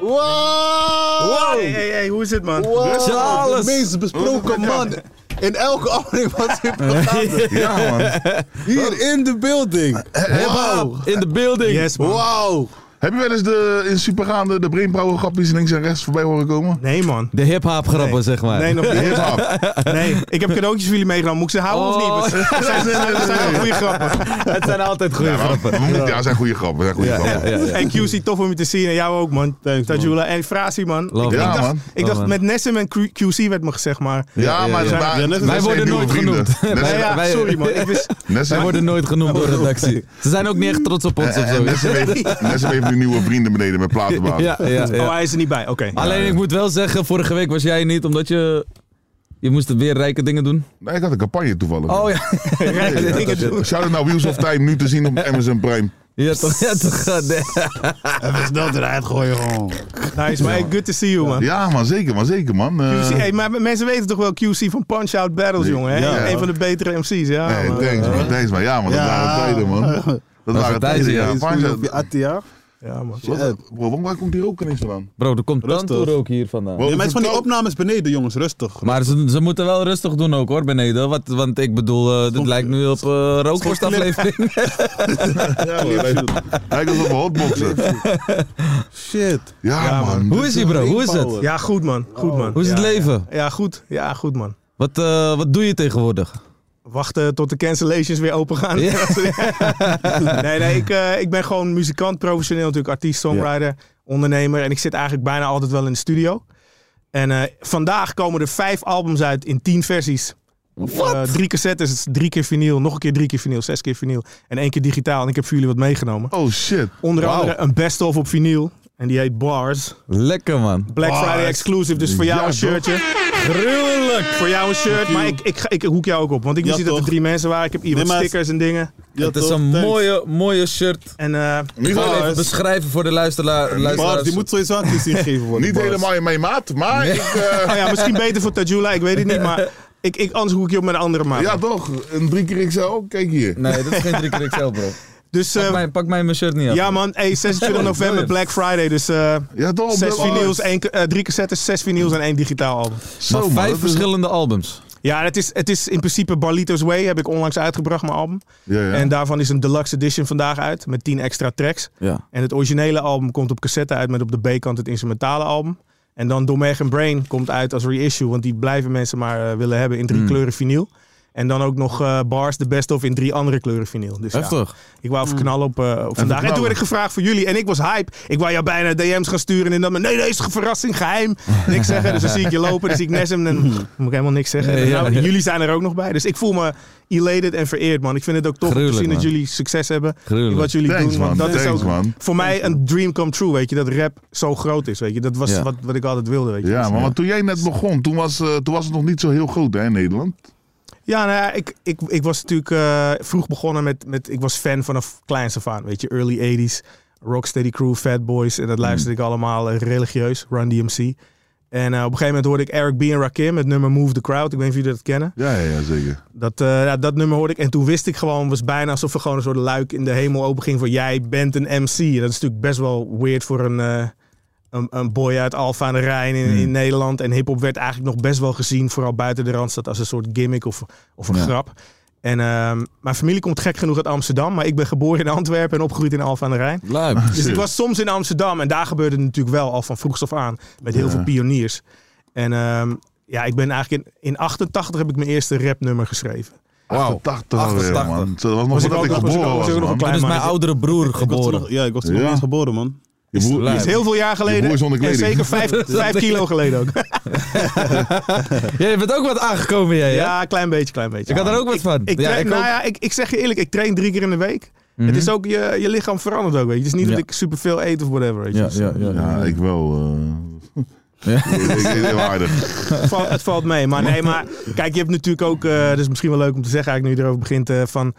[SPEAKER 5] Wat?
[SPEAKER 8] Hey, hey, hey, hoe is het, man?
[SPEAKER 4] Wow.
[SPEAKER 5] Ja, alles.
[SPEAKER 4] De meest besproken man in elke aflevering was dit programma.
[SPEAKER 6] Ja, man.
[SPEAKER 4] Hier in de building. Wow.
[SPEAKER 5] In de building.
[SPEAKER 8] Yes, man.
[SPEAKER 4] Wow.
[SPEAKER 6] Heb je wel eens de, in Supergaande de brainpower grapjes links en rechts voorbij horen komen?
[SPEAKER 8] Nee, man.
[SPEAKER 5] De hip-hop grappen, zeg maar.
[SPEAKER 8] Nee, nog niet.
[SPEAKER 6] Ja.
[SPEAKER 8] Nee, ik heb cadeautjes voor jullie meegenomen. Moet ik ze houden
[SPEAKER 5] Oh.
[SPEAKER 8] of niet? Want Dat zijn, dat zijn wel goede grappen.
[SPEAKER 5] Het zijn altijd goede
[SPEAKER 6] Ja,
[SPEAKER 5] grappen.
[SPEAKER 6] maar- maar moet- ja, zijn goede grappen. Zijn goede grappen.
[SPEAKER 5] ja, ja.
[SPEAKER 8] En QC, tof om je te zien. En jou ook, man.
[SPEAKER 4] Thanks, man.
[SPEAKER 8] Tajula. En Frasi, man. Ik-
[SPEAKER 5] Love
[SPEAKER 8] ik,
[SPEAKER 6] Ja,
[SPEAKER 8] dacht,
[SPEAKER 6] man.
[SPEAKER 8] ik
[SPEAKER 5] Love,
[SPEAKER 8] dacht
[SPEAKER 5] man.
[SPEAKER 8] met Nessim en Q- QC werd me gezegd, maar...
[SPEAKER 6] Ja, maar
[SPEAKER 8] ja.
[SPEAKER 6] maar-
[SPEAKER 8] Ja, net-
[SPEAKER 6] dat
[SPEAKER 5] Wij
[SPEAKER 6] zijn
[SPEAKER 5] worden
[SPEAKER 6] nieuwe
[SPEAKER 5] nooit
[SPEAKER 6] vrienden.
[SPEAKER 5] genoemd.
[SPEAKER 6] Net-
[SPEAKER 8] Nee, ja,
[SPEAKER 5] wij-
[SPEAKER 8] sorry, man. Ik wist...
[SPEAKER 6] net zijn-
[SPEAKER 5] Wij worden nooit genoemd door de redactie. Ze zijn ook niet echt trots op ons of
[SPEAKER 6] En
[SPEAKER 5] zo.
[SPEAKER 6] Nessim heeft- Nessim heeft nu nieuwe vrienden beneden met platenbaan.
[SPEAKER 5] Ja, ja, ja.
[SPEAKER 6] eh,
[SPEAKER 5] Ah,
[SPEAKER 8] Oh, hij is er niet bij. Oké.
[SPEAKER 5] Alleen ik moet wel zeggen, vorige week was jij er niet omdat je... Je moest weer rijke dingen doen.
[SPEAKER 6] Nee, ik had een campagne toevallig.
[SPEAKER 5] Oh ja.
[SPEAKER 8] Rijke dingen doen.
[SPEAKER 6] Shout-out naar Wheels of Time, nu te zien op Amazon Prime.
[SPEAKER 5] Ja toch, ja toch. eh, goddamn.
[SPEAKER 4] Even snel eruit gooien gewoon.
[SPEAKER 8] Nice, man. Hey, Good to see you, man.
[SPEAKER 6] Ja, man, zeker, man, zeker, man. Eh,
[SPEAKER 8] QC, hey, maar mensen weten toch wel QC van Punch Out Battles,
[SPEAKER 6] Nee.
[SPEAKER 8] jongen. Hè?
[SPEAKER 6] Ja.
[SPEAKER 8] Een van de betere MC's, ja.
[SPEAKER 6] hey,
[SPEAKER 8] man.
[SPEAKER 6] thanks, man, thanks, man. Ja, man, dat
[SPEAKER 4] Ja.
[SPEAKER 6] waren tijden, man. Dat waren
[SPEAKER 5] tijden,
[SPEAKER 6] tijden, ja. eh,
[SPEAKER 5] ja.
[SPEAKER 6] Fijn,
[SPEAKER 4] Op je Atia.
[SPEAKER 8] ja, man.
[SPEAKER 6] Wat- Bro, waar- waar komt die rook ineens vandaan?
[SPEAKER 5] Bro, er komt
[SPEAKER 4] Rustig.
[SPEAKER 5] tantoor ook hier vandaan.
[SPEAKER 6] Bro,
[SPEAKER 4] Ja, maar het is van die
[SPEAKER 6] vertel-
[SPEAKER 4] opnames beneden, jongens, rustig.
[SPEAKER 5] Maar ze, ze moeten wel rustig doen ook hoor, beneden. Wat, want ik bedoel, eh, dit lijkt nu op eh rookworstaflevering.
[SPEAKER 6] Ja, man, lijkt- Lijkt alsof we hotboxen.
[SPEAKER 4] Shit.
[SPEAKER 6] Ja,
[SPEAKER 8] Ja, man.
[SPEAKER 6] man.
[SPEAKER 5] Hoe is ie bro? Hoe is het?
[SPEAKER 8] Ja, goed, man. Goed, man.
[SPEAKER 5] Oh. Hoe is het
[SPEAKER 8] Ja,
[SPEAKER 5] leven?
[SPEAKER 8] Ja, goed. Ja, goed, man.
[SPEAKER 5] Wat, eh, wat doe je tegenwoordig?
[SPEAKER 8] Wachten tot de cancellations weer open gaan. nee, nee, ik, eh, ik ben gewoon muzikant, professioneel natuurlijk, artiest, songwriter, ondernemer. En ik zit eigenlijk bijna altijd wel in de studio. En eh, vandaag komen er vijf albums uit in tien versies. Eh, drie cassettes, het is drie keer vinyl, nog een keer drie keer vinyl, zes keer vinyl en één keer digitaal. En ik heb voor jullie wat meegenomen.
[SPEAKER 6] Oh, shit.
[SPEAKER 8] Onder andere een best-of op vinyl. En die heet Bars.
[SPEAKER 5] Lekker man.
[SPEAKER 8] Black Friday exclusive, dus voor jou
[SPEAKER 6] Ja,
[SPEAKER 8] een
[SPEAKER 6] toch?
[SPEAKER 8] shirtje. Gruwelijk! Voor jou een shirt, maar ik, ik, ga- ik hoek jou ook op. Want ik wist
[SPEAKER 4] Ja,
[SPEAKER 8] niet dat er
[SPEAKER 4] toch?
[SPEAKER 8] drie mensen waren. Ik heb hier
[SPEAKER 4] Nee,
[SPEAKER 8] wat
[SPEAKER 4] maar-
[SPEAKER 8] stickers en dingen.
[SPEAKER 4] Ja,
[SPEAKER 5] het is
[SPEAKER 4] toch?
[SPEAKER 5] een
[SPEAKER 4] Thanks.
[SPEAKER 5] mooie, mooie shirt.
[SPEAKER 8] En eh,
[SPEAKER 6] Niet,
[SPEAKER 5] Zal ik even
[SPEAKER 6] helemaal-
[SPEAKER 5] beschrijven voor de luisteraar,
[SPEAKER 4] Bars,
[SPEAKER 5] luisteraars.
[SPEAKER 4] die moet sowieso aan QC gegeven worden.
[SPEAKER 6] niet
[SPEAKER 4] Bars.
[SPEAKER 6] helemaal in mijn maat, maar ik... eh,
[SPEAKER 8] nou ja, misschien beter voor Tajula, ik weet het niet. Maar ik, ik, anders hoek je op met een andere maat.
[SPEAKER 6] ja, toch. Een drie keer XL, kijk hier.
[SPEAKER 5] Nee, dat is geen drie keer XL bro.
[SPEAKER 8] dus eh,
[SPEAKER 5] Pak mij, pak mij mijn shirt niet af.
[SPEAKER 8] ja man, hey, 26 november, Black Friday. Dus eh
[SPEAKER 6] Ja,
[SPEAKER 4] Oh,
[SPEAKER 6] toch.
[SPEAKER 8] zes
[SPEAKER 6] Black-
[SPEAKER 8] vinyls, één, ca- eh, drie cassettes, zes vinyls en één digitaal album.
[SPEAKER 6] Zo,
[SPEAKER 5] maar
[SPEAKER 6] man, dat
[SPEAKER 5] vijf
[SPEAKER 6] is-
[SPEAKER 5] verschillende albums.
[SPEAKER 8] Ja, het is, het is in principe Barlito's Way, heb ik onlangs uitgebracht, mijn album.
[SPEAKER 6] Ja, ja.
[SPEAKER 8] En daarvan is een deluxe edition vandaag uit, met 10 extra tracks.
[SPEAKER 5] Ja.
[SPEAKER 8] En het originele album komt op cassette uit met op de B-kant het instrumentale album. En dan Domeg Brain komt uit als reissue, want die blijven mensen maar eh, willen hebben in
[SPEAKER 6] Mm.
[SPEAKER 8] drie kleuren vinyl. En dan ook nog eh, Bars, de best of in drie andere kleuren vinyl. Dus ja,
[SPEAKER 5] Heftig.
[SPEAKER 8] ik wou even
[SPEAKER 6] Mm.
[SPEAKER 8] knallen op, eh, op vandaag. En toen
[SPEAKER 6] knallen.
[SPEAKER 8] werd ik gevraagd voor jullie. En ik was hype. Ik wou jou bijna DM's gaan sturen. En dan met, nee, nee, is een verrassing, geheim. Niks zeggen. Dus dan zie ik je lopen. Dan zie ik Nesem. En dan moet ik helemaal niks zeggen. En
[SPEAKER 5] Mm. Ja,
[SPEAKER 8] nou,
[SPEAKER 5] ja.
[SPEAKER 8] Jullie zijn er ook nog bij. Dus ik voel me elated en vereerd, man. Ik vind het ook tof om te
[SPEAKER 5] Gruwelijk,
[SPEAKER 8] zien dat
[SPEAKER 5] man.
[SPEAKER 8] jullie succes hebben.
[SPEAKER 5] Gruwelijk.
[SPEAKER 8] In wat jullie
[SPEAKER 6] Thanks,
[SPEAKER 8] doen. Want
[SPEAKER 6] man.
[SPEAKER 8] dat is
[SPEAKER 6] Thanks,
[SPEAKER 8] ook
[SPEAKER 6] man.
[SPEAKER 8] voor mij een dream come true, weet je. Dat rap zo groot is, weet je. Dat was
[SPEAKER 5] Ja.
[SPEAKER 8] wat, wat ik altijd wilde, weet je.
[SPEAKER 6] Ja, maar want toen jij net begon, toen was, eh, toen was het nog niet zo heel groot hè, in Nederland.
[SPEAKER 8] Ja, nou ja, ik, ik, ik was natuurlijk eh, vroeg begonnen met, met... Ik was fan vanaf kleins af aan, weet je. Early 80s, Rocksteady Crew, Fat Boys. En dat luisterde ik allemaal eh, religieus, Run DMC. En eh, op een gegeven moment hoorde ik Eric B. en Rakim met nummer Move the Crowd. Ik weet niet of jullie dat kennen.
[SPEAKER 6] Ja, ja, ja, zeker.
[SPEAKER 8] Dat, eh, ja, dat nummer hoorde ik. En toen wist ik gewoon, was bijna alsof er gewoon een soort luik in de hemel open ging van jij bent een MC. En dat is natuurlijk best wel weird voor een, eh, een, een boy uit Alfa aan de Rijn in, in Nederland. En hip-hop werd eigenlijk nog best wel gezien, vooral buiten de Randstad, als een soort gimmick of, of een grap. En ehm, mijn familie komt gek genoeg uit Amsterdam, maar ik ben geboren in Antwerpen en opgegroeid in Alfa aan de Rijn.
[SPEAKER 5] Luim.
[SPEAKER 8] Dus ik was soms in Amsterdam en daar gebeurde het natuurlijk wel al van vroegs af aan. Met heel veel pioniers. En ehm, ja, ik ben eigenlijk in, in 88 heb ik mijn eerste rapnummer geschreven.
[SPEAKER 6] Wauw, 80 alweer,
[SPEAKER 5] 88.
[SPEAKER 6] man. Dat was nog
[SPEAKER 8] Was ik
[SPEAKER 6] voordat
[SPEAKER 8] ook
[SPEAKER 6] ik
[SPEAKER 8] nog- was ik
[SPEAKER 6] geboren
[SPEAKER 8] ook- was ik
[SPEAKER 6] was,
[SPEAKER 8] ook nog
[SPEAKER 6] man.
[SPEAKER 8] een klein-
[SPEAKER 5] Dat is mijn
[SPEAKER 8] maatje.
[SPEAKER 5] oudere broer
[SPEAKER 4] Ik was
[SPEAKER 5] geboren.
[SPEAKER 4] toen- Ja, ik was toen nog
[SPEAKER 6] Ja.
[SPEAKER 4] niet eens geboren, man.
[SPEAKER 6] Je broer-
[SPEAKER 5] lijp.
[SPEAKER 6] je-
[SPEAKER 8] Is heel veel jaar
[SPEAKER 6] broer
[SPEAKER 8] geleden.
[SPEAKER 6] is zonder
[SPEAKER 8] en
[SPEAKER 6] kleding.
[SPEAKER 8] zeker vijf, vijf kilo geleden ook.
[SPEAKER 5] Jij bent ook wat aangekomen, jij, hè?
[SPEAKER 8] Ja, klein beetje, klein beetje.
[SPEAKER 5] Ik had er ook wat van.
[SPEAKER 8] Ik,
[SPEAKER 5] Ja,
[SPEAKER 8] train-
[SPEAKER 5] ik ook. Mhm.
[SPEAKER 8] nou ja, ik, ik zeg je eerlijk, ik train drie keer in de week. Het is ook, je, je lichaam verandert ook, weet je. Het is niet
[SPEAKER 5] Ja.
[SPEAKER 8] dat ik superveel eet of whatever, weet je.
[SPEAKER 5] Ja,
[SPEAKER 8] Dus
[SPEAKER 5] ja, ja.
[SPEAKER 6] Ja, ik wel. eh. ik ik- heel aardig.
[SPEAKER 8] Het, valt, het valt mee. Maar nee, maar kijk, je hebt natuurlijk ook, eh dat is misschien wel leuk om te zeggen eigenlijk nu je erover begint, eh, van...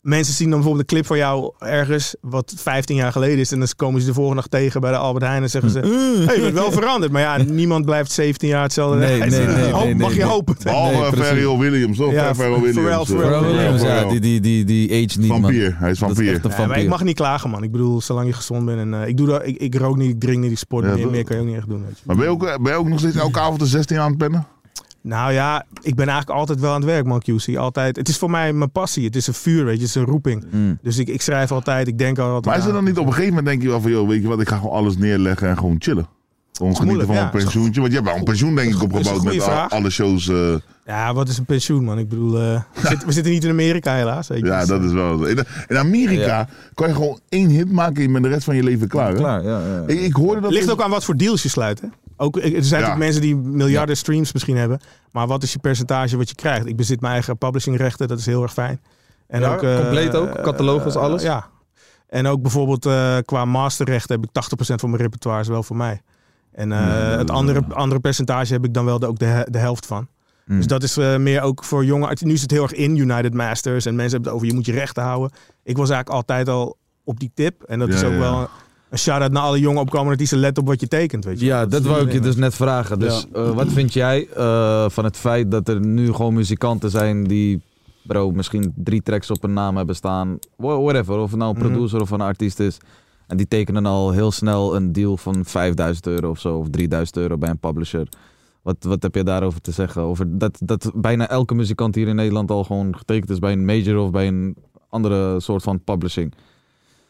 [SPEAKER 8] Mensen zien dan bijvoorbeeld een clip van jou ergens, wat 15 jaar geleden is. En dan komen ze de volgende dag tegen bij de Albert Heijn en zeggen ze... hey, je bent wel veranderd. Maar ja, niemand blijft 17 jaar hetzelfde.
[SPEAKER 5] Mm. Nee, nee, nee, nee,
[SPEAKER 8] Hoop-
[SPEAKER 5] nee,
[SPEAKER 8] mag je
[SPEAKER 5] nee.
[SPEAKER 8] hopen.
[SPEAKER 6] Behalve
[SPEAKER 5] Nee, precies.
[SPEAKER 6] Pharrell Williams, toch?
[SPEAKER 8] Ja,
[SPEAKER 6] Pharrell Williams.
[SPEAKER 8] Pharrell,
[SPEAKER 6] eh,
[SPEAKER 8] Pharrell
[SPEAKER 5] Pharrell Williams, ja,
[SPEAKER 6] Pharrell.
[SPEAKER 5] die, die, die, die age niet,
[SPEAKER 6] Vampier,
[SPEAKER 5] man.
[SPEAKER 6] hij is
[SPEAKER 5] Dat is
[SPEAKER 6] vampier.
[SPEAKER 5] echt een
[SPEAKER 8] Ja, maar ik
[SPEAKER 5] vampier.
[SPEAKER 8] mag niet klagen, man. Ik bedoel, zolang je gezond bent. En, eh, ik, doe dat, ik, ik rook niet, ik drink niet, ik sport
[SPEAKER 6] Ja,
[SPEAKER 8] niet.
[SPEAKER 6] dat-
[SPEAKER 8] Meer kan je ook niet echt doen. Weet je.
[SPEAKER 6] Maar ben je, ook, eh, ben je ook nog steeds elke avond de 16 aan het pennen?
[SPEAKER 8] Nou ja, ik ben eigenlijk altijd wel aan het werk, man, QC. Altijd. Het is voor mij mijn passie. Het is een vuur, weet je. Het is een roeping. Dus ik, ik schrijf altijd, ik denk altijd
[SPEAKER 6] Maar is er
[SPEAKER 8] aan.
[SPEAKER 6] dan niet op een gegeven moment denk je wel van, joh, weet je wat, ik ga gewoon alles neerleggen en gewoon chillen? Gewoon genieten
[SPEAKER 8] moeilijk,
[SPEAKER 6] van
[SPEAKER 8] ja.
[SPEAKER 6] een pensioentje. Want je hebt wel een pensioen denk ik
[SPEAKER 8] is een
[SPEAKER 6] opgebouwd
[SPEAKER 8] goede
[SPEAKER 6] met al-
[SPEAKER 8] vraag.
[SPEAKER 6] alle shows. eh,
[SPEAKER 8] Ja, wat is een pensioen, man? Ik bedoel, eh, we, zitten, we zitten niet in Amerika, helaas. Weet je.
[SPEAKER 6] ja,
[SPEAKER 8] Dus,
[SPEAKER 6] dat is wel. In, in Amerika kan je gewoon één hit maken en je bent de rest van je leven klaar. hè?
[SPEAKER 5] Klaar, ja, ja.
[SPEAKER 6] Ik, ik hoorde dat.
[SPEAKER 8] Ligt
[SPEAKER 6] dus-
[SPEAKER 8] ook aan wat voor deals je sluit, hè? Ook, eh, er zijn natuurlijk mensen die miljarden streams misschien hebben. Maar wat is je percentage wat je krijgt? Ik bezit mijn eigen publishingrechten, dat is heel erg fijn. En
[SPEAKER 5] Ja,
[SPEAKER 8] eh,
[SPEAKER 5] compleet ook,
[SPEAKER 8] eh,
[SPEAKER 5] catalogus,
[SPEAKER 8] eh,
[SPEAKER 5] alles?
[SPEAKER 8] ja. En ook bijvoorbeeld eh, qua masterrechten heb ik 80% van mijn repertoire is wel voor mij. En eh,
[SPEAKER 5] Hmm.
[SPEAKER 8] het andere, andere percentage heb ik dan wel de, ook de, he- de helft van.
[SPEAKER 6] Hm.
[SPEAKER 8] Dus dat is eh, meer ook voor jonge artiesten. Nu is het heel erg in, United Masters. En mensen hebben het over, je moet je rechten houden. Ik was eigenlijk altijd al op die tip. En dat
[SPEAKER 6] Ja,
[SPEAKER 8] is ook
[SPEAKER 6] ja.
[SPEAKER 8] wel een shout-out naar alle jonge opkomende artiesten. Let op wat je tekent, weet je.
[SPEAKER 5] Ja, dat
[SPEAKER 8] is
[SPEAKER 5] wou ik je
[SPEAKER 8] iedereen,
[SPEAKER 5] dus net vragen. Dus eh, wat vind jij eh, van het feit dat er nu gewoon muzikanten zijn die, bro, misschien drie tracks op een naam hebben staan. Wha- Whatever, of het nou een
[SPEAKER 8] Mhm.
[SPEAKER 5] producer of een artiest is. En die tekenen al heel snel een deal van 5000 euro of zo, of 3000 euro bij een publisher. Wat, wat heb je daarover te zeggen? Over dat, dat bijna elke muzikant hier in Nederland al gewoon getekend is bij een major of bij een andere soort van publishing.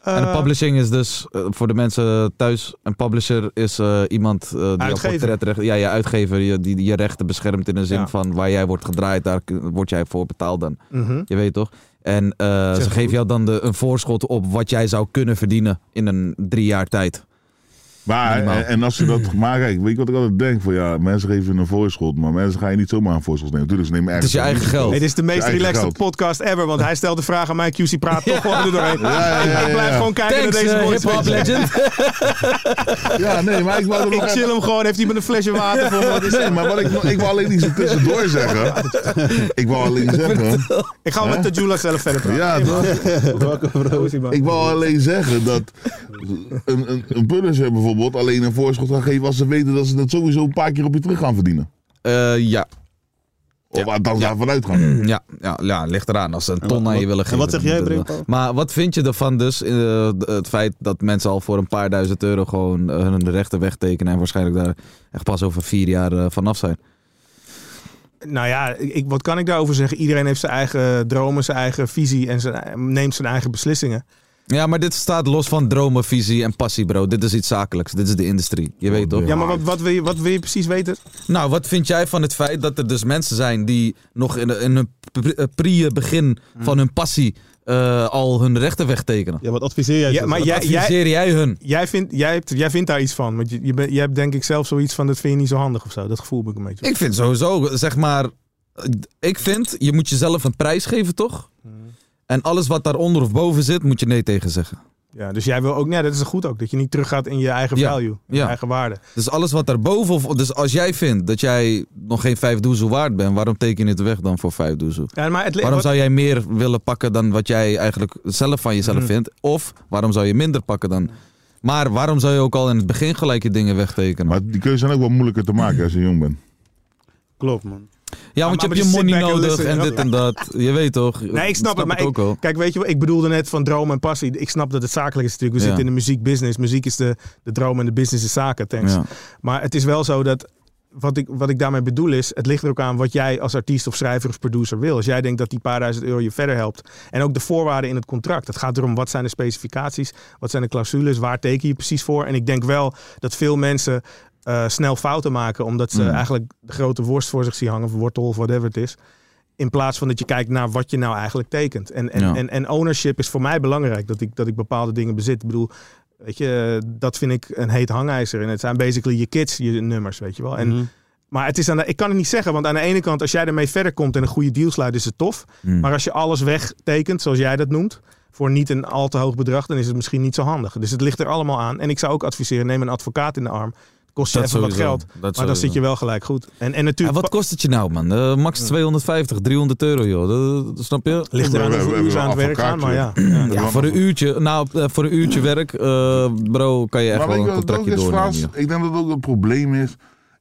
[SPEAKER 8] man.
[SPEAKER 5] En
[SPEAKER 8] Eh,
[SPEAKER 5] publishing is dus, eh, voor de mensen thuis, een publisher is eh, iemand eh, die jouw
[SPEAKER 8] Uitgever.
[SPEAKER 5] portretrecht, ja, je uitgever, je, die, die je rechten beschermt in de zin
[SPEAKER 8] Ja.
[SPEAKER 5] van waar jij wordt gedraaid, daar k- word jij voor betaald dan.
[SPEAKER 8] mhm.
[SPEAKER 5] Je weet toch? En eh, ze
[SPEAKER 8] het
[SPEAKER 5] geven
[SPEAKER 8] goed.
[SPEAKER 5] jou dan de, een voorschot op wat jij zou kunnen verdienen in een drie jaar tijd.
[SPEAKER 6] Maar, eh,
[SPEAKER 5] Minimaal.
[SPEAKER 6] en, en als je dat. Maar kijk, weet je wat ik altijd denk? Van ja, mensen geven je een voorschot, maar mensen gaan je niet zomaar een voorschot nemen. Tuurlijk, ze nemen
[SPEAKER 5] Het is
[SPEAKER 6] ergens
[SPEAKER 5] je
[SPEAKER 6] een
[SPEAKER 5] eigen
[SPEAKER 6] risico.
[SPEAKER 8] Hey,
[SPEAKER 5] geld.
[SPEAKER 8] dit is de meest
[SPEAKER 6] Je eigen
[SPEAKER 8] relaxed
[SPEAKER 6] geld.
[SPEAKER 8] podcast ever, want hij stelt de vraag aan mij, QC praat toch gewoon er doorheen.
[SPEAKER 6] ja, ja,
[SPEAKER 8] Ik
[SPEAKER 6] ja,
[SPEAKER 8] blijf
[SPEAKER 6] ja.
[SPEAKER 8] gewoon kijken
[SPEAKER 5] Thanks,
[SPEAKER 8] naar deze
[SPEAKER 5] eh,
[SPEAKER 8] boys.
[SPEAKER 5] hip-hop legend.
[SPEAKER 6] Ja, nee, maar ik wou er nog
[SPEAKER 8] ik chill hem gewoon, heeft hij met een flesje water voor me. Wat is
[SPEAKER 6] Nee,
[SPEAKER 8] dat?
[SPEAKER 6] maar wat ik, ik wil alleen iets er tussendoor zeggen. Ik wil alleen zeggen.
[SPEAKER 8] Ik ga met de Jula zelf verder praten.
[SPEAKER 6] Ja, toch?
[SPEAKER 8] Welke vrouw is hij, man?
[SPEAKER 6] Ik wil alleen zeggen dat een, een, een publisher bijvoorbeeld alleen een voorschot gaat geven als ze weten dat ze dat sowieso een paar keer op je terug gaan verdienen.
[SPEAKER 5] Eh, ja.
[SPEAKER 6] Of althans daarvan uitgaan.
[SPEAKER 5] Ja, ja, ja, ligt eraan. Als ze een ton aan je
[SPEAKER 4] wat-
[SPEAKER 5] willen
[SPEAKER 4] en
[SPEAKER 5] geven.
[SPEAKER 4] wat zeg
[SPEAKER 5] dan
[SPEAKER 4] jij,
[SPEAKER 5] moet het
[SPEAKER 4] Brinko?
[SPEAKER 5] wel. Maar wat vind je ervan dus, eh, het feit dat mensen al voor een paar duizend euro gewoon eh, hun rechten wegtekenen en waarschijnlijk daar echt pas over vier jaar eh, vanaf zijn?
[SPEAKER 8] Nou ja, ik, wat kan ik daarover zeggen? Iedereen heeft zijn eigen dromen, zijn eigen visie en zijn, neemt zijn eigen beslissingen.
[SPEAKER 5] Ja, maar dit staat los van dromen, visie en passie, bro. Dit is iets zakelijks. Dit is de industrie. Je weet toch?
[SPEAKER 8] Ja, maar wat, wat, wil, je, wat wil je precies weten?
[SPEAKER 5] Nou, wat vind jij van het feit dat er dus mensen zijn die nog in, in hun pri- eh, prije begin
[SPEAKER 8] Hmm.
[SPEAKER 5] van hun passie eh, al hun rechten wegtekenen?
[SPEAKER 4] Ja, wat adviseer jij?
[SPEAKER 8] Ja, maar jij, jij,
[SPEAKER 5] Adviseer jij hun?
[SPEAKER 8] jij, vindt, jij, hebt, jij vindt daar iets van. Want je, je, bent- je hebt denk ik zelf zoiets van, dat vind je niet zo handig of zo. Dat gevoel heb ik een beetje.
[SPEAKER 5] Ik vind sowieso, zeg maar. Ik vind, je moet jezelf een prijs geven, toch?
[SPEAKER 4] Hmm.
[SPEAKER 5] En alles wat daaronder of boven zit, moet je nee tegen zeggen.
[SPEAKER 8] Ja, dus jij wil ook, ja, dat is goed ook, dat je niet teruggaat in je eigen
[SPEAKER 5] Ja,
[SPEAKER 8] value, in
[SPEAKER 5] ja.
[SPEAKER 8] je eigen waarde.
[SPEAKER 5] Dus alles wat daarboven of. Dus als jij vindt dat jij nog geen vijf doezel waard bent, waarom teken je het weg dan voor vijf doezel?
[SPEAKER 8] Ja, maar het, le-
[SPEAKER 5] Waarom
[SPEAKER 8] wat-
[SPEAKER 5] zou jij meer willen pakken dan wat jij eigenlijk zelf van jezelf
[SPEAKER 8] Mhm.
[SPEAKER 5] vindt? Of waarom zou je minder pakken dan. Maar waarom zou je ook al in het begin gelijk je dingen wegtekenen?
[SPEAKER 6] Maar die keuzes zijn ook wel moeilijker te maken als je jong bent.
[SPEAKER 4] Klopt, man.
[SPEAKER 5] ja,
[SPEAKER 8] maar-
[SPEAKER 5] want je
[SPEAKER 8] maar
[SPEAKER 5] hebt
[SPEAKER 8] die
[SPEAKER 5] je money
[SPEAKER 8] sit back and
[SPEAKER 5] nodig
[SPEAKER 8] listen,
[SPEAKER 5] en
[SPEAKER 8] ja.
[SPEAKER 5] dit en dat. Je weet toch?
[SPEAKER 8] Nee, ik snap, het, maar
[SPEAKER 5] ook
[SPEAKER 8] ik-
[SPEAKER 5] al.
[SPEAKER 8] kijk, weet je, wel, ik bedoelde net van droom en passie. Ik snap dat het zakelijk is natuurlijk. We
[SPEAKER 5] Ja.
[SPEAKER 8] zitten in de muziekbusiness. Muziek is de, de droom en de business is zaken, thanks.
[SPEAKER 5] Ja.
[SPEAKER 8] Maar het is wel zo dat, wat ik, wat ik daarmee bedoel is, het ligt er ook aan wat jij als artiest of schrijver of producer wil. Als jij denkt dat die paar duizend euro je verder helpt. En ook de voorwaarden in het contract. Het gaat erom, wat zijn de specificaties, wat zijn de clausules, waar teken je precies voor. En ik denk wel dat veel mensen... eh, snel fouten maken omdat ze
[SPEAKER 5] Mm.
[SPEAKER 8] eigenlijk de grote worst voor zich zien hangen, of wortel of whatever het is. In plaats van dat je kijkt naar wat je nou eigenlijk tekent. En, en,
[SPEAKER 3] Ja.
[SPEAKER 8] en, en ownership is voor mij belangrijk. Dat ik, dat ik bepaalde dingen bezit. Ik bedoel, weet je, dat vind ik een heet hangijzer. En het zijn basically je kids, je nummers, weet je wel. En,
[SPEAKER 5] Mhm.
[SPEAKER 8] Maar het is aan de, ik kan het niet zeggen. Want aan de ene kant, als jij ermee verder komt en een goede deal sluit, is het tof.
[SPEAKER 5] Mhm.
[SPEAKER 8] Maar als je alles wegtekent, zoals jij dat noemt. Voor niet een al te hoog bedrag, dan is het misschien niet zo handig. Dus het ligt er allemaal aan. En ik zou ook adviseren: neem een advocaat in de arm. Kost je
[SPEAKER 5] Dat
[SPEAKER 8] even wat
[SPEAKER 5] sowieso.
[SPEAKER 8] geld.
[SPEAKER 5] Dat
[SPEAKER 8] maar dan
[SPEAKER 5] sowieso.
[SPEAKER 8] zit je wel gelijk goed. En, en
[SPEAKER 5] Ja,
[SPEAKER 8] natuurlijk.
[SPEAKER 5] wat kost het je nou, man? Eh, max 250, 300 euro, joh. Dat, dat- snap je?
[SPEAKER 8] Ligt eraan
[SPEAKER 6] We- we-
[SPEAKER 8] hoeveel
[SPEAKER 6] we
[SPEAKER 8] uur ze aan het
[SPEAKER 6] hebben
[SPEAKER 8] werk gaan, maar ja.
[SPEAKER 6] advocaat,
[SPEAKER 5] Ja, voor een uurtje, nou, eh, voor een uurtje werk, eh, bro, kan je echt
[SPEAKER 6] Maar
[SPEAKER 5] wel
[SPEAKER 6] weet je
[SPEAKER 5] een
[SPEAKER 6] wat het ook
[SPEAKER 5] contractje
[SPEAKER 6] is,
[SPEAKER 5] doornemen.
[SPEAKER 6] Frans?
[SPEAKER 5] joh.
[SPEAKER 6] Ik denk dat het ook een probleem is.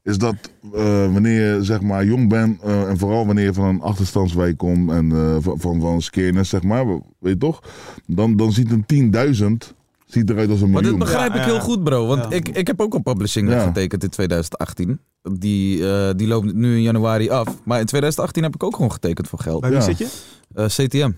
[SPEAKER 6] Is dat eh, wanneer je zeg maar jong bent eh, en vooral wanneer je van een achterstandswijk komt en eh, van, van, van Skeernes, zeg maar, weet je toch? Dan, dan ziet een 10.000 ziet eruit als een
[SPEAKER 5] Maar dit
[SPEAKER 6] miljoen.
[SPEAKER 5] begrijp
[SPEAKER 8] Ja,
[SPEAKER 5] ik heel
[SPEAKER 8] ja.
[SPEAKER 5] goed, bro. Want ik, ik heb ook een publishing
[SPEAKER 6] Ja.
[SPEAKER 5] getekend in 2018. Die, eh, die loopt nu in januari af. Maar in 2018 heb ik ook gewoon getekend voor geld.
[SPEAKER 8] Bij wie
[SPEAKER 6] Ja.
[SPEAKER 8] zit je?
[SPEAKER 5] Eh, CTM.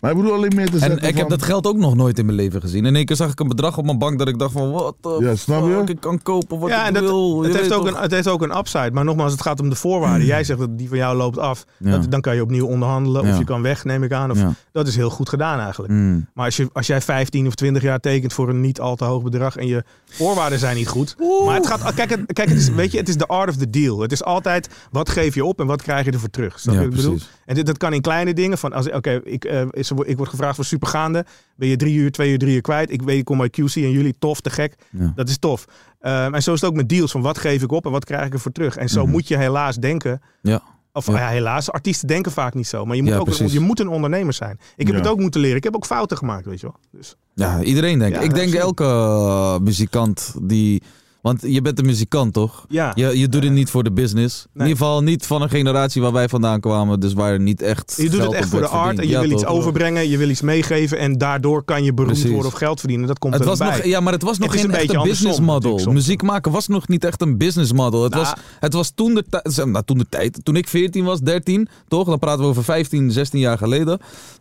[SPEAKER 6] Maar ik bedoel alleen meer te
[SPEAKER 5] En
[SPEAKER 6] zeggen
[SPEAKER 5] ik heb
[SPEAKER 6] van-
[SPEAKER 5] dat geld ook nog nooit in mijn leven gezien. In één keer zag ik een bedrag op mijn bank dat ik dacht van... Wat de
[SPEAKER 6] Ja, snap je?
[SPEAKER 5] fuck, ik kan kopen wat
[SPEAKER 8] Ja,
[SPEAKER 5] ik
[SPEAKER 8] en dat,
[SPEAKER 5] wil. je
[SPEAKER 8] het, heeft
[SPEAKER 5] weet
[SPEAKER 8] ook
[SPEAKER 5] toch?
[SPEAKER 8] een, het heeft ook een upside. Maar nogmaals, het gaat om de voorwaarden. Jij zegt dat die van jou loopt af.
[SPEAKER 5] Ja.
[SPEAKER 8] Dat, dan kan je opnieuw onderhandelen. Of
[SPEAKER 5] Ja.
[SPEAKER 8] je kan weg, neem ik aan. Of,
[SPEAKER 5] Ja.
[SPEAKER 8] Dat is heel goed gedaan eigenlijk.
[SPEAKER 5] Mm.
[SPEAKER 8] Maar als, je, als jij 15 of 20 jaar tekent voor een niet al te hoog bedrag. En je voorwaarden zijn niet goed. Maar het gaat, kijk, het, kijk het, is, weet je, het is de art of the deal. Het is altijd, wat geef je op en wat krijg je ervoor terug? Snap je
[SPEAKER 5] Ja,
[SPEAKER 8] wat ik bedoel?
[SPEAKER 5] precies.
[SPEAKER 8] En dit, dat kan in kleine dingen. Van als oké, ik, eh, is- ik word gevraagd voor supergaande. Ben je drie uur, twee uur, drie uur kwijt. Ik weet, ik kom bij QC en jullie tof, te gek.
[SPEAKER 5] Ja.
[SPEAKER 8] Dat is tof. Ehm, en zo is het ook met deals. Van wat geef ik op en wat krijg ik ervoor terug? En zo moet je helaas denken.
[SPEAKER 5] Mhm. Ja.
[SPEAKER 8] Of
[SPEAKER 5] Ja.
[SPEAKER 8] ja, helaas, artiesten denken vaak niet zo. Maar je moet,
[SPEAKER 5] Ja,
[SPEAKER 8] ook, een-
[SPEAKER 5] precies.
[SPEAKER 8] je moet een ondernemer zijn. Ik heb
[SPEAKER 6] Ja.
[SPEAKER 8] het ook moeten leren. Ik heb ook fouten gemaakt, weet je wel. Dus,
[SPEAKER 5] Ja, iedereen denkt.
[SPEAKER 8] Ja,
[SPEAKER 5] ik denk
[SPEAKER 8] absoluut.
[SPEAKER 5] elke eh, muzikant die... Want je bent een muzikant, toch?
[SPEAKER 8] ja.
[SPEAKER 5] Je, je doet het niet voor de business. In
[SPEAKER 8] Nee.
[SPEAKER 5] ieder geval niet van een generatie waar wij vandaan kwamen. Dus waar niet echt
[SPEAKER 8] Je doet
[SPEAKER 5] geld
[SPEAKER 8] het echt
[SPEAKER 5] op
[SPEAKER 8] voor de
[SPEAKER 5] werd
[SPEAKER 8] art en
[SPEAKER 5] verdiend.
[SPEAKER 8] je
[SPEAKER 5] Ja,
[SPEAKER 8] wil iets
[SPEAKER 5] toch?
[SPEAKER 8] overbrengen, je wil iets meegeven en daardoor kan je beroemd
[SPEAKER 5] Precies.
[SPEAKER 8] worden of geld verdienen. Dat komt
[SPEAKER 5] Het
[SPEAKER 8] er
[SPEAKER 5] was
[SPEAKER 8] bij.
[SPEAKER 5] nog, ja, maar het was nog
[SPEAKER 8] is
[SPEAKER 5] geen
[SPEAKER 8] een
[SPEAKER 5] echt
[SPEAKER 8] beetje
[SPEAKER 5] een
[SPEAKER 8] andersom
[SPEAKER 5] business model.
[SPEAKER 8] natuurlijk soms.
[SPEAKER 5] Muziek maken was nog niet echt een business model. Het,
[SPEAKER 8] Nou.
[SPEAKER 5] was, het was toen de tijd, nou, toen de tijd, toen ik 14 was, 13, toch? Dan praten we over 15, 16 jaar geleden.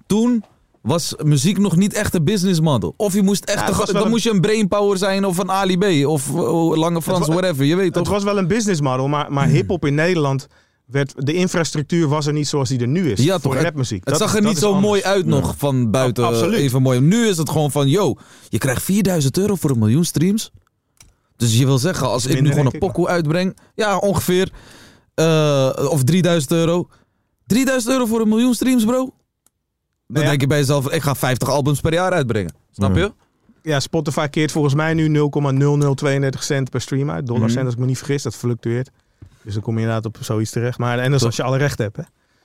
[SPEAKER 5] Toen was muziek nog niet echt een business model. Of je moest
[SPEAKER 8] Ja,
[SPEAKER 5] echt, een-
[SPEAKER 8] Nou, het was wel
[SPEAKER 5] dan
[SPEAKER 8] een-
[SPEAKER 5] moest je een brainpower zijn of een Ali B of oh, Lange Frans,
[SPEAKER 8] wa-
[SPEAKER 5] whatever. Je weet
[SPEAKER 8] Het
[SPEAKER 5] toch? Mhm.
[SPEAKER 8] was wel een business model, maar, maar hip-hop in Nederland. Werd, de infrastructuur was er niet zoals die er nu is.
[SPEAKER 5] Ja,
[SPEAKER 8] voor
[SPEAKER 5] toch?
[SPEAKER 8] rapmuziek.
[SPEAKER 5] Het
[SPEAKER 8] Dat-
[SPEAKER 5] zag er
[SPEAKER 8] dat
[SPEAKER 5] niet
[SPEAKER 8] is
[SPEAKER 5] zo
[SPEAKER 8] anders.
[SPEAKER 5] mooi uit nog van buiten. eh,
[SPEAKER 8] Ab- absoluut.
[SPEAKER 5] Even mooi. Nu is het gewoon van, yo, je krijgt 4000 euro voor een miljoen streams. Dus je wil zeggen, als ik nu
[SPEAKER 8] Minder,
[SPEAKER 5] gewoon een
[SPEAKER 8] denk ik,
[SPEAKER 5] pokoe uitbreng, ja, ongeveer, eh, of 3000 euro. 3000 euro voor een miljoen streams, bro? Dan
[SPEAKER 8] ja.
[SPEAKER 5] denk je bij jezelf, ik ga 50 albums per jaar uitbrengen. Snap je?
[SPEAKER 8] Ja, Spotify keert volgens mij nu 0,0032 cent per stream uit. Dollarcent, als ik me niet vergis, dat fluctueert. Dus dan kom je inderdaad op zoiets terecht. Maar, en dat is als je alle recht hebt, hè?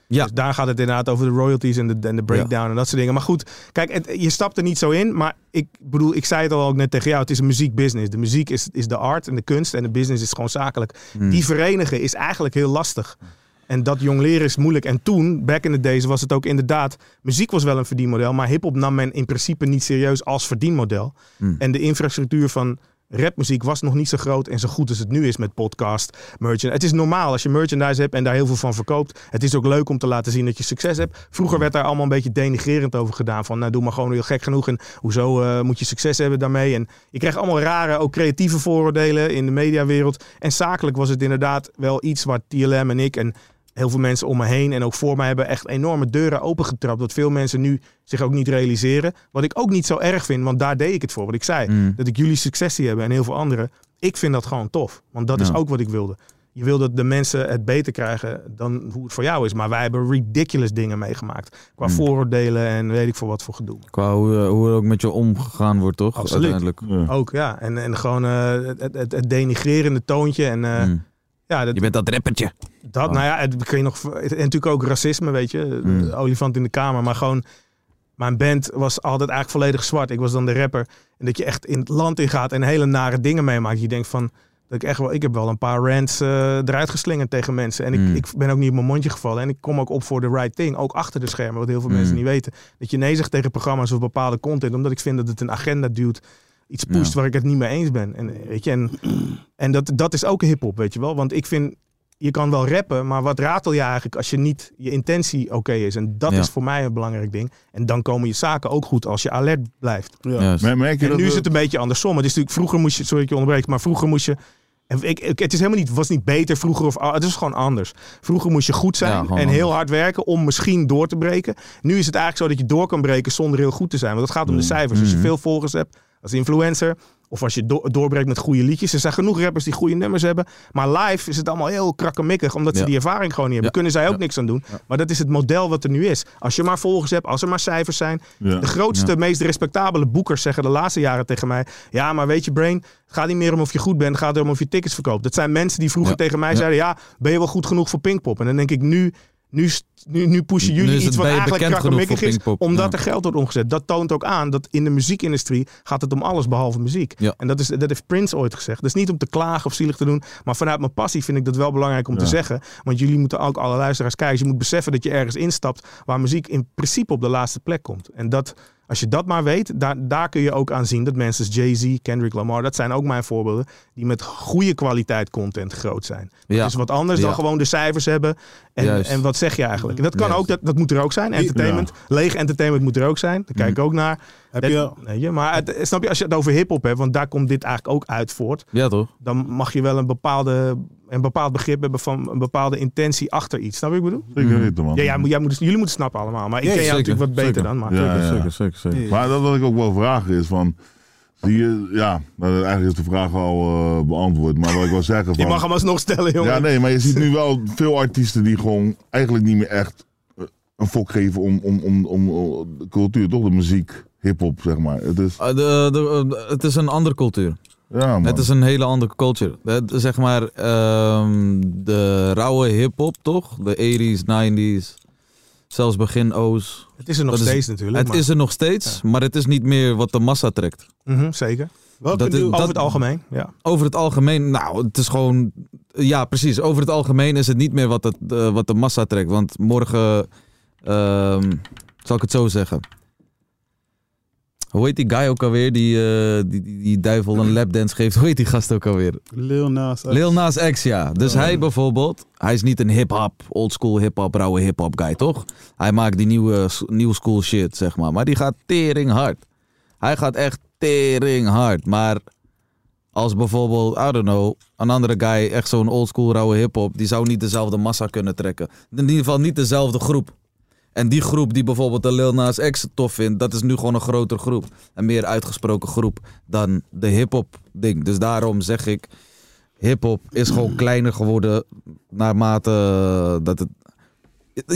[SPEAKER 5] Ja.
[SPEAKER 8] Dus daar gaat het inderdaad over de royalties en de, en de breakdown en dat soort dingen. Maar goed, kijk, het- je stapt er niet zo in. Maar ik bedoel, ik zei het al ook net tegen jou. Het is een muziekbusiness. De muziek is, is de art en de kunst en de business is gewoon zakelijk. Die verenigen is eigenlijk heel lastig. En dat jong leren is moeilijk. En toen, back in the days, was het ook inderdaad... Muziek was wel een verdienmodel, maar hiphop nam men in principe niet serieus als verdienmodel. En de infrastructuur van rapmuziek was nog niet zo groot en zo goed als het nu is met podcast, merchandise. Het is normaal als je merchandise hebt en daar heel veel van verkoopt. Het is ook leuk om te laten zien dat je succes hebt. Vroeger werd daar allemaal een beetje denigrerend over gedaan. Van nou, doe maar gewoon heel gek genoeg en hoezo eh, moet je succes hebben daarmee. En je krijgt allemaal rare, ook creatieve vooroordelen in de mediawereld. En zakelijk was het inderdaad wel iets waar TLM en ik en heel veel mensen om me heen en ook voor mij hebben echt enorme deuren opengetrapt. Dat veel mensen nu zich ook niet realiseren. Wat ik ook niet zo erg vind, want daar deed ik het voor. Wat ik zei, dat ik jullie successie hebben en heel veel anderen. Ik vind dat gewoon tof, want dat is ook wat ik wilde. Je wil dat de mensen het beter krijgen dan hoe het voor jou is. Maar wij hebben ridiculous dingen meegemaakt. Qua vooroordelen en weet ik veel wat voor gedoe.
[SPEAKER 5] Qua hoe, eh, hoe er ook met je omgegaan wordt, toch?
[SPEAKER 8] Absoluut.
[SPEAKER 5] Uiteindelijk.
[SPEAKER 8] Ook, ja. En, en gewoon eh, het, het, het denigrerende toontje. En, eh,
[SPEAKER 5] Mm.
[SPEAKER 8] ja, dat,
[SPEAKER 5] Je bent dat rappertje.
[SPEAKER 8] Dat, nou ja, het kun je nog. En natuurlijk ook racisme, weet je. de Olifant in de kamer. Maar gewoon. Mijn band was altijd eigenlijk volledig zwart. Ik was dan de rapper. En dat je echt in het land ingaat en hele nare dingen meemaakt. Je denkt van. Dat ik, echt wel, ik heb wel een paar rants eh, eruit geslingerd tegen mensen. En ik,
[SPEAKER 5] Mm.
[SPEAKER 8] ik ben ook niet op mijn mondje gevallen. En ik kom ook op voor de right thing. Ook achter de schermen, wat heel veel mensen
[SPEAKER 5] Mm.
[SPEAKER 8] niet weten. Dat je nee zegt tegen programma's of bepaalde content. Omdat ik vind dat het een agenda duwt. Iets pusht
[SPEAKER 5] Ja.
[SPEAKER 8] waar ik het niet mee eens ben. En, eh, weet je, en, en dat, dat is ook hip-hop, weet je wel. Want ik vind, je kan wel rappen, maar wat ratel je eigenlijk als je niet je intentie oké is? En dat
[SPEAKER 5] Ja.
[SPEAKER 8] is voor mij een belangrijk ding. En dan komen je zaken ook goed als je alert blijft.
[SPEAKER 5] Juist.
[SPEAKER 6] Mer- merk je
[SPEAKER 8] En
[SPEAKER 6] dat
[SPEAKER 8] nu
[SPEAKER 6] we-
[SPEAKER 8] is het een beetje andersom. Het is natuurlijk vroeger moest je, sorry dat ik je onderbreek, maar vroeger moest je En ik, ik- het is helemaal niet, was niet beter vroeger of het is gewoon anders. Vroeger moest je goed
[SPEAKER 5] Ja,
[SPEAKER 8] zijn
[SPEAKER 5] gewoon
[SPEAKER 8] en heel hard werken om misschien door te breken. Nu is het eigenlijk zo dat je door kan breken zonder heel goed te zijn. Want het gaat om
[SPEAKER 6] Mm.
[SPEAKER 8] de cijfers. Als je veel volgers hebt als influencer of als je do- doorbreekt met goede liedjes. Er zijn genoeg rappers die goede nummers hebben. Maar live is het allemaal heel krakkemikkig omdat ze
[SPEAKER 5] Ja.
[SPEAKER 8] die ervaring gewoon niet hebben. Kunnen zij ook niks aan doen. Maar dat is het model wat er nu is. Als je maar volgers hebt, als er maar cijfers zijn.
[SPEAKER 6] Ja.
[SPEAKER 8] De grootste, meest respectabele boekers zeggen de laatste jaren tegen mij: Ja, maar weet je, Brain, het gaat niet meer om of je goed bent, het gaat erom of je tickets verkoopt. Dat zijn mensen die vroeger
[SPEAKER 5] Ja.
[SPEAKER 8] tegen mij zeiden: Ja, ben je wel goed genoeg voor Pinkpop? En dan denk ik nu. Nu, st- nu, nu pushen
[SPEAKER 5] Nu
[SPEAKER 8] jullie
[SPEAKER 5] is het
[SPEAKER 8] iets wat
[SPEAKER 5] bij je
[SPEAKER 8] eigenlijk
[SPEAKER 5] bekend genoeg
[SPEAKER 8] krakkemikkig
[SPEAKER 5] voor
[SPEAKER 8] is,
[SPEAKER 5] Pinkpop,
[SPEAKER 8] omdat
[SPEAKER 5] ja.
[SPEAKER 8] er geld wordt omgezet. Dat toont ook aan dat in de muziekindustrie gaat het om alles behalve muziek.
[SPEAKER 5] Ja.
[SPEAKER 8] En dat, is, dat heeft Prince ooit gezegd. Dus niet om te klagen of zielig te doen, maar vanuit mijn passie vind ik dat wel belangrijk om te zeggen. Want jullie moeten ook alle luisteraars kijken. dus Je moet beseffen dat je ergens instapt waar muziek in principe op de laatste plek komt. En dat, als je dat maar weet, daar, daar kun je ook aan zien dat mensen als Jay-Z, Kendrick Lamar, dat zijn ook mijn voorbeelden, die met goede kwaliteit content groot zijn. Dat
[SPEAKER 5] Ja.
[SPEAKER 8] is wat anders dan
[SPEAKER 5] Ja.
[SPEAKER 8] gewoon de cijfers hebben en,
[SPEAKER 5] Juist.
[SPEAKER 8] en wat zeg je eigenlijk. En dat kan
[SPEAKER 5] Juist.
[SPEAKER 8] ook, dat, dat moet er ook zijn. Entertainment, leeg entertainment moet er ook zijn. Daar kijk ik ook naar.
[SPEAKER 4] Heb
[SPEAKER 8] Dat-
[SPEAKER 4] je-
[SPEAKER 8] weet je, maar het- snap je, als je het over hip-hop hebt, want daar komt dit eigenlijk ook uit voort.
[SPEAKER 5] Ja, toch?
[SPEAKER 8] Dan mag je wel een, bepaalde, een bepaald begrip hebben van een bepaalde intentie achter iets. Snap je wat ik bedoel?
[SPEAKER 6] Zeker weten, man.
[SPEAKER 8] Ja, jij, moet- jij moet, het- jullie moeten het snappen allemaal. Maar ik
[SPEAKER 4] Ja,
[SPEAKER 8] ken jou
[SPEAKER 5] zeker,
[SPEAKER 8] natuurlijk wat beter
[SPEAKER 5] zeker.
[SPEAKER 8] dan. Maar,
[SPEAKER 6] Ja, ja.
[SPEAKER 5] zeker, zeker.
[SPEAKER 6] Maar dat wat ik ook wel vraag is van... Zie je, ja, nou, eigenlijk is de vraag al eh, beantwoord. Maar wat ik wil zeggen van...
[SPEAKER 8] Je mag hem alsnog stellen, jongen.
[SPEAKER 6] Ja, nee, maar je ziet nu wel veel artiesten die gewoon eigenlijk niet meer echt eh, een fok geven om, om, om, om, om de cultuur, toch? De muziek, hip-hop, zeg maar. Het is,
[SPEAKER 5] Eh, de- de- eh, het is een andere cultuur.
[SPEAKER 6] ja, man.
[SPEAKER 5] Het is een hele andere culture. Het- zeg maar, ehm, de rauwe hip-hop, toch? De 80s, 90s, zelfs begin O's.
[SPEAKER 8] Het is er nog
[SPEAKER 5] Dat is-
[SPEAKER 8] steeds natuurlijk.
[SPEAKER 5] Het
[SPEAKER 8] maar-
[SPEAKER 5] is er nog steeds, maar het is niet meer wat de massa trekt.
[SPEAKER 8] Mhm, zeker.
[SPEAKER 4] Welke
[SPEAKER 5] Dat is-
[SPEAKER 4] dude-
[SPEAKER 8] Over het algemeen, ja.
[SPEAKER 5] Over het algemeen, nou, het is gewoon. Ja, precies. Over het algemeen is het niet meer wat, het, eh, wat de massa trekt. Want morgen. ehm, zal ik het zo zeggen? Hoe heet die guy ook alweer? Die, eh, die, die, die duivel een lapdance geeft. Hoe heet die gast ook alweer?
[SPEAKER 4] Lil Nas. X. Oh.
[SPEAKER 5] Lil Nas X, ja. Dus hij bijvoorbeeld, hij is niet een hip-hop, oldschool hip-hop, rauwe hip-hop guy, toch? Hij maakt die nieuwe, nieuw school shit, zeg maar. Maar die gaat tering hard. Hij gaat echt tering hard. Maar als bijvoorbeeld, I don't know, een andere guy, echt zo'n oldschool rauwe hip-hop, die zou niet dezelfde massa kunnen trekken. In ieder geval niet dezelfde groep. En die groep die bijvoorbeeld de Lil Nas X tof vindt, dat is nu gewoon een grotere groep. Een meer uitgesproken groep dan de hip-hop ding. Dus daarom zeg ik, hip-hop is gewoon kleiner geworden naarmate dat het.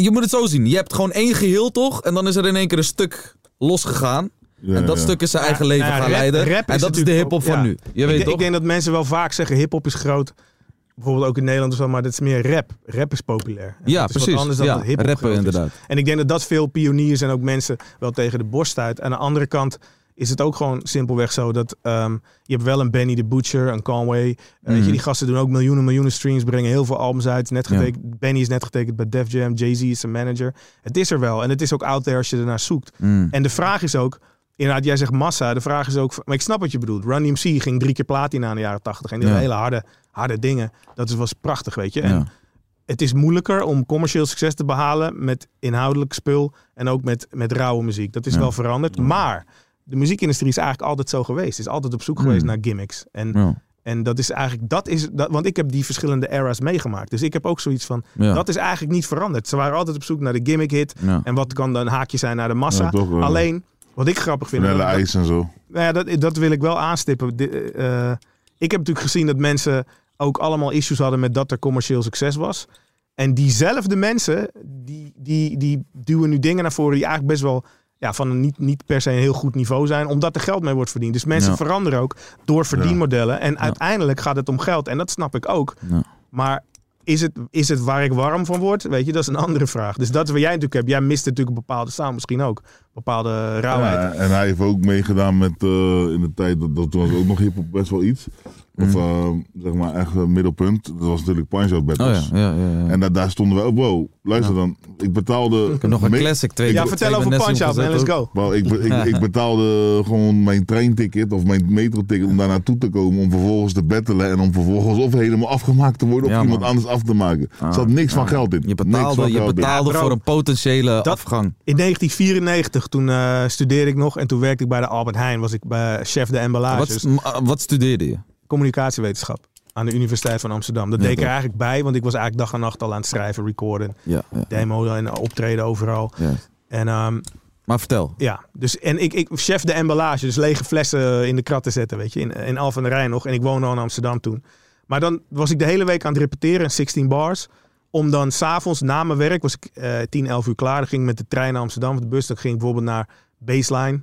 [SPEAKER 5] Je moet het zo zien. Je hebt gewoon één geheel toch? En dan is er in één keer een stuk losgegaan.
[SPEAKER 6] Ja,
[SPEAKER 5] en dat
[SPEAKER 6] ja.
[SPEAKER 5] stuk is zijn eigen leven
[SPEAKER 8] Nou ja,
[SPEAKER 5] gaan
[SPEAKER 8] rap-
[SPEAKER 5] leiden.
[SPEAKER 8] rap
[SPEAKER 5] en dat is de
[SPEAKER 8] natuurlijk
[SPEAKER 5] hip-hop
[SPEAKER 8] ook-
[SPEAKER 5] van
[SPEAKER 8] ja.
[SPEAKER 5] nu. Je
[SPEAKER 8] ik,
[SPEAKER 5] weet
[SPEAKER 8] denk-
[SPEAKER 5] toch?
[SPEAKER 8] Ik denk dat mensen wel vaak zeggen: hip-hop is groot. Bijvoorbeeld ook in Nederland of zo, maar dat is meer rap. Rap is populair. En
[SPEAKER 5] Ja,
[SPEAKER 8] dat is
[SPEAKER 5] precies.
[SPEAKER 8] Wat anders dan
[SPEAKER 5] Ja,
[SPEAKER 8] dat hip-hop
[SPEAKER 5] rappen
[SPEAKER 8] groot is.
[SPEAKER 5] inderdaad.
[SPEAKER 8] En ik denk dat dat veel pioniers en ook mensen wel tegen de borst stuit. Aan de andere kant is het ook gewoon simpelweg zo dat ehm, je hebt wel een Benny the Butcher, een Conway. Eh, weet je, die gasten doen ook miljoenen, miljoenen streams, brengen heel veel albums uit. Net
[SPEAKER 5] Mhm. Ja.
[SPEAKER 8] getekend, Benny is net getekend bij Def Jam, Jay-Z is zijn manager. Het is er wel en het is ook out there als je ernaar zoekt.
[SPEAKER 5] Mm.
[SPEAKER 8] En de vraag is ook, inderdaad, jij zegt massa. De vraag is ook, maar ik snap wat je bedoelt. Run DMC ging drie keer platina in de jaren tachtig. En die
[SPEAKER 5] Ja.
[SPEAKER 8] had hele harde, harde dingen. Dat is- was prachtig, weet je. En
[SPEAKER 5] Ja.
[SPEAKER 8] het is moeilijker om commercieel succes te behalen met inhoudelijk spul en ook met, met rauwe muziek. Dat is wel veranderd. Maar de muziekindustrie is eigenlijk altijd zo geweest. Is altijd op zoek geweest naar gimmicks. En,
[SPEAKER 5] Hmm. Ja.
[SPEAKER 8] en dat is eigenlijk, dat is, dat, want ik heb die verschillende eras meegemaakt. Dus ik heb ook zoiets van,
[SPEAKER 5] Ja.
[SPEAKER 8] dat is eigenlijk niet veranderd. Ze waren altijd op zoek naar de gimmick hit.
[SPEAKER 5] Ja.
[SPEAKER 8] En wat kan dan een haakje zijn naar de massa.
[SPEAKER 6] Ja, toch, eh.
[SPEAKER 8] Alleen, wat ik grappig vind.
[SPEAKER 6] Vanilla
[SPEAKER 8] dat-
[SPEAKER 6] ijs en zo.
[SPEAKER 8] nou ja, dat, dat wil ik wel aanstippen. Di- eh, eh, ik heb natuurlijk gezien dat mensen ook allemaal issues hadden met dat er commercieel succes was. En diezelfde mensen, die, die, die duwen nu dingen naar voren die eigenlijk best wel ja, van een niet, niet per se een heel goed niveau zijn, omdat er geld mee wordt verdiend. Dus mensen
[SPEAKER 5] Ja.
[SPEAKER 8] veranderen ook door verdienmodellen. En uiteindelijk gaat het om geld. En dat snap ik ook.
[SPEAKER 5] Ja.
[SPEAKER 8] Maar is het, is het waar ik warm van word? Weet je, dat is een andere vraag. Dus dat is wat jij natuurlijk hebt. Jij mist natuurlijk een bepaalde samen misschien ook. Bepaalde rauwheid.
[SPEAKER 6] Ja, Eh, en hij heeft ook meegedaan met eh, in de tijd, dat, dat was ook nog hip-hop best wel iets.
[SPEAKER 5] Mhm.
[SPEAKER 6] Of eh, zeg maar echt eh, middelpunt. Dat was natuurlijk Punch Out
[SPEAKER 5] Oh ja,
[SPEAKER 6] Battles.
[SPEAKER 5] ja, ja, ja.
[SPEAKER 6] En da- daar stonden we, oh, wow, luister dan. Ik betaalde.
[SPEAKER 5] Ik heb nog een classic twee.
[SPEAKER 8] Ja,
[SPEAKER 5] twee
[SPEAKER 8] vertel over
[SPEAKER 5] Vanessa
[SPEAKER 8] Punch-Out man.
[SPEAKER 5] opgezet
[SPEAKER 8] Let's
[SPEAKER 5] ook.
[SPEAKER 8] go.
[SPEAKER 6] Wel, ik, be- ik, ik betaalde gewoon mijn treinticket of mijn metroticket om daar naartoe te komen. Om vervolgens te battelen en om vervolgens of helemaal afgemaakt te worden of
[SPEAKER 5] Ja,
[SPEAKER 6] iemand
[SPEAKER 5] man. Ah,
[SPEAKER 6] anders af te maken. Er zat niks van geld in.
[SPEAKER 5] Je
[SPEAKER 6] niks van
[SPEAKER 5] betaalde, je
[SPEAKER 6] geld in.
[SPEAKER 5] betaalde
[SPEAKER 8] Ja, bro.
[SPEAKER 5] voor een potentiële
[SPEAKER 8] Dat-
[SPEAKER 5] afgang.
[SPEAKER 8] In 1994, toen eh, studeerde ik nog en toen werkte ik bij de Albert Heijn. Was ik bij eh, chef de emballage,
[SPEAKER 5] Wat,
[SPEAKER 8] dus
[SPEAKER 5] m- wat studeerde je?
[SPEAKER 8] communicatiewetenschap. aan de Universiteit van Amsterdam. Dat
[SPEAKER 5] Ja,
[SPEAKER 8] deed ik er
[SPEAKER 5] toch.
[SPEAKER 8] eigenlijk bij, want ik was eigenlijk dag en nacht al aan het schrijven, recorden,
[SPEAKER 5] Ja, ja,
[SPEAKER 8] demo en optreden overal.
[SPEAKER 5] ja.
[SPEAKER 8] En ehm,
[SPEAKER 5] Maar vertel.
[SPEAKER 8] ja, dus en ik, ik chef de emballage, dus lege flessen in de krat te zetten, weet je, in, in Alphen aan de Rijn nog. En ik woonde al in Amsterdam toen. Maar dan was ik de hele week aan het repeteren in 16 bars. Om dan s'avonds na mijn werk, was ik eh 10, 11 uur klaar. Dan ging ik met de trein naar Amsterdam of de bus. Dan ging ik bijvoorbeeld naar Baseline.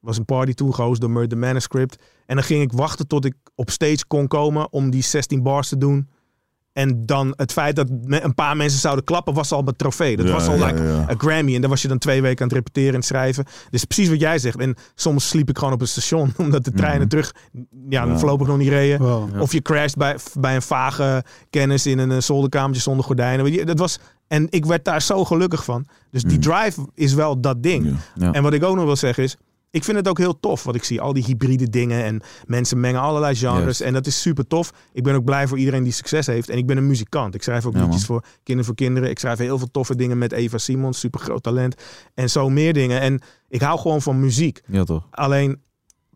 [SPEAKER 8] was een party toen, gehost door Murder Manuscript. En dan ging ik wachten tot ik op stage kon komen om die 16 bars te doen. En dan het feit dat me- een paar mensen zouden klappen, was al mijn trofee. Dat
[SPEAKER 6] Ja,
[SPEAKER 8] was al
[SPEAKER 6] ja,
[SPEAKER 8] like
[SPEAKER 6] ja.
[SPEAKER 8] een Grammy. En dan was je dan twee weken aan het repeteren en schrijven. Dus precies wat jij zegt. En soms sliep ik gewoon op het station, omdat de treinen terug ja, voorlopig nog niet reden.
[SPEAKER 4] Wow.
[SPEAKER 8] Of je crasht bij, bij een vage kennis in een eh, zolderkamertje zonder gordijnen. Weet je, Dat was, en ik werd daar zo gelukkig van. Dus die drive is wel dat ding.
[SPEAKER 5] Ja.
[SPEAKER 8] En wat ik ook nog wil zeggen is, ik vind het ook heel tof wat ik zie. Al die hybride dingen en mensen mengen allerlei genres.
[SPEAKER 5] Juist.
[SPEAKER 8] En dat is super tof. Ik ben ook blij voor iedereen die succes heeft. En ik ben een muzikant. Ik schrijf ook
[SPEAKER 5] Ja,
[SPEAKER 8] liedjes
[SPEAKER 5] man.
[SPEAKER 8] voor Kinderen voor Kinderen. Ik schrijf heel veel toffe dingen met Eva Simons. Super groot talent. En zo meer dingen. En ik hou gewoon van muziek.
[SPEAKER 5] Ja, toch?
[SPEAKER 8] Alleen,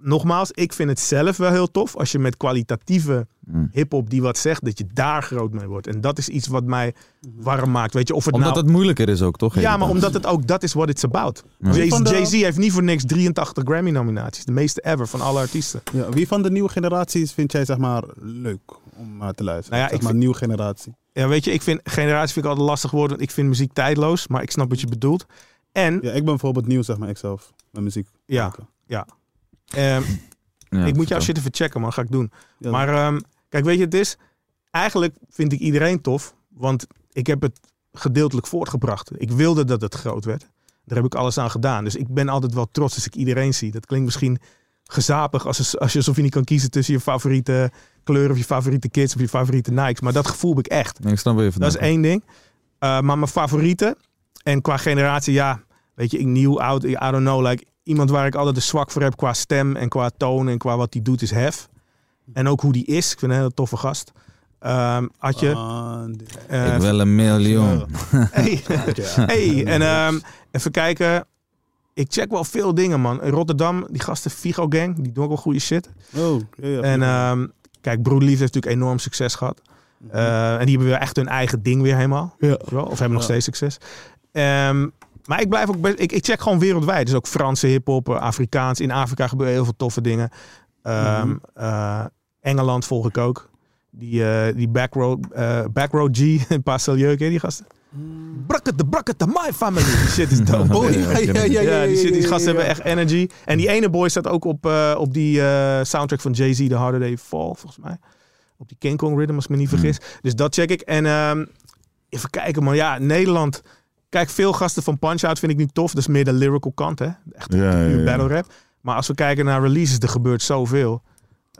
[SPEAKER 8] nogmaals, ik vind het zelf wel heel tof als je met kwalitatieve
[SPEAKER 5] Mm.
[SPEAKER 8] hip-hop die wat zegt, dat je daar groot mee wordt. En dat is iets wat mij warm maakt. Weet je, of het
[SPEAKER 5] Omdat
[SPEAKER 8] nou.
[SPEAKER 5] het moeilijker is ook, toch?
[SPEAKER 8] ja, maar
[SPEAKER 5] Inderdaad.
[SPEAKER 8] omdat het ook dat is what it's about.
[SPEAKER 5] Ja.
[SPEAKER 8] Jay-
[SPEAKER 4] Van de-
[SPEAKER 8] Jay-Z heeft niet voor niks 83 Grammy-nominaties. De meeste ever van alle artiesten.
[SPEAKER 4] Ja, wie van de nieuwe generaties vind jij zeg maar leuk om naar te luisteren?
[SPEAKER 8] Nou ja, ik
[SPEAKER 4] zeg maar
[SPEAKER 8] vind-
[SPEAKER 4] nieuwe generatie.
[SPEAKER 8] Ja, weet je, ik vind generatie vind ik altijd een lastig woord, want ik vind muziek tijdloos, maar ik snap wat je bedoelt. En
[SPEAKER 4] Ja, ik ben bijvoorbeeld nieuw zeg maar ikzelf met muziek.
[SPEAKER 8] ja,
[SPEAKER 4] Oké.
[SPEAKER 8] ehm,
[SPEAKER 5] Ja,
[SPEAKER 8] ik moet
[SPEAKER 5] vertel.
[SPEAKER 8] jouw shit even checken, man. Ga ik doen.
[SPEAKER 4] Ja,
[SPEAKER 8] Maar ehm, kijk, weet je, het is. Eigenlijk vind ik iedereen tof, want ik heb het gedeeltelijk voortgebracht. Ik wilde dat het groot werd. Daar heb ik alles aan gedaan. Dus ik ben altijd wel trots als ik iedereen zie. Dat klinkt misschien gezapig als, als je alsof je niet kan kiezen tussen je favoriete kleur of je favoriete kids of je favoriete Nikes. Maar dat gevoel heb ik echt.
[SPEAKER 5] Nee, ik snap even.
[SPEAKER 8] Dat is één ding. Uh, maar mijn favoriete. En qua generatie, ja, weet je, ik nieuw, oud, I don't know. Like, iemand waar ik altijd een zwak voor heb qua stem en qua toon en qua wat die doet is Hef. En ook hoe die is. Ik vind hem een hele toffe gast. Ehm Adje.
[SPEAKER 4] Ah, dit-
[SPEAKER 8] eh,
[SPEAKER 5] Ik wil een miljoen.
[SPEAKER 8] hey.
[SPEAKER 4] ja.
[SPEAKER 8] hey. En ehm, even kijken. Ik check wel veel dingen, man. In Rotterdam, die gasten Figo Gang, die doen ook wel goede shit.
[SPEAKER 4] Oh, ja, ja,
[SPEAKER 8] En
[SPEAKER 4] ja.
[SPEAKER 8] ehm, kijk, Broederliefde heeft natuurlijk enorm succes gehad. Eh, en die hebben weer echt hun eigen ding weer helemaal.
[SPEAKER 4] Mhm. ja.
[SPEAKER 8] Weet je wel? Of hebben nog
[SPEAKER 4] Ja.
[SPEAKER 8] steeds succes. Ehm, maar ik blijf ook best. Ik, ik check gewoon wereldwijd. Dus ook Franse hip-hop, eh, Afrikaans. In Afrika gebeuren heel veel toffe dingen. Ehm, eh, Engeland volg ik ook. Die, eh, die backroad, eh, backroad G en Pasteljeuk, hè, die gasten. Bracket de bracket de my family. Mm. Die shit is dope.
[SPEAKER 4] Oh, ja, ja, ja, ja,
[SPEAKER 8] Ja, die, shit, die
[SPEAKER 4] ja,
[SPEAKER 8] gasten
[SPEAKER 4] ja.
[SPEAKER 8] hebben echt energy. En die ene boy staat ook op, eh, op die eh, soundtrack van Jay-Z, The Harder Day Fall, volgens mij. Op die King Kong rhythm, als ik me niet vergis. Dus dat check ik. En ehm, even kijken, man. Ja, Nederland. Kijk, veel gasten van Punch-Out vind ik nu tof. Dat is meer de lyrical kant, hè. Echt
[SPEAKER 6] Ja, ja,
[SPEAKER 8] puur
[SPEAKER 6] ja.
[SPEAKER 8] battle rap. Maar als we kijken naar releases, er gebeurt zoveel.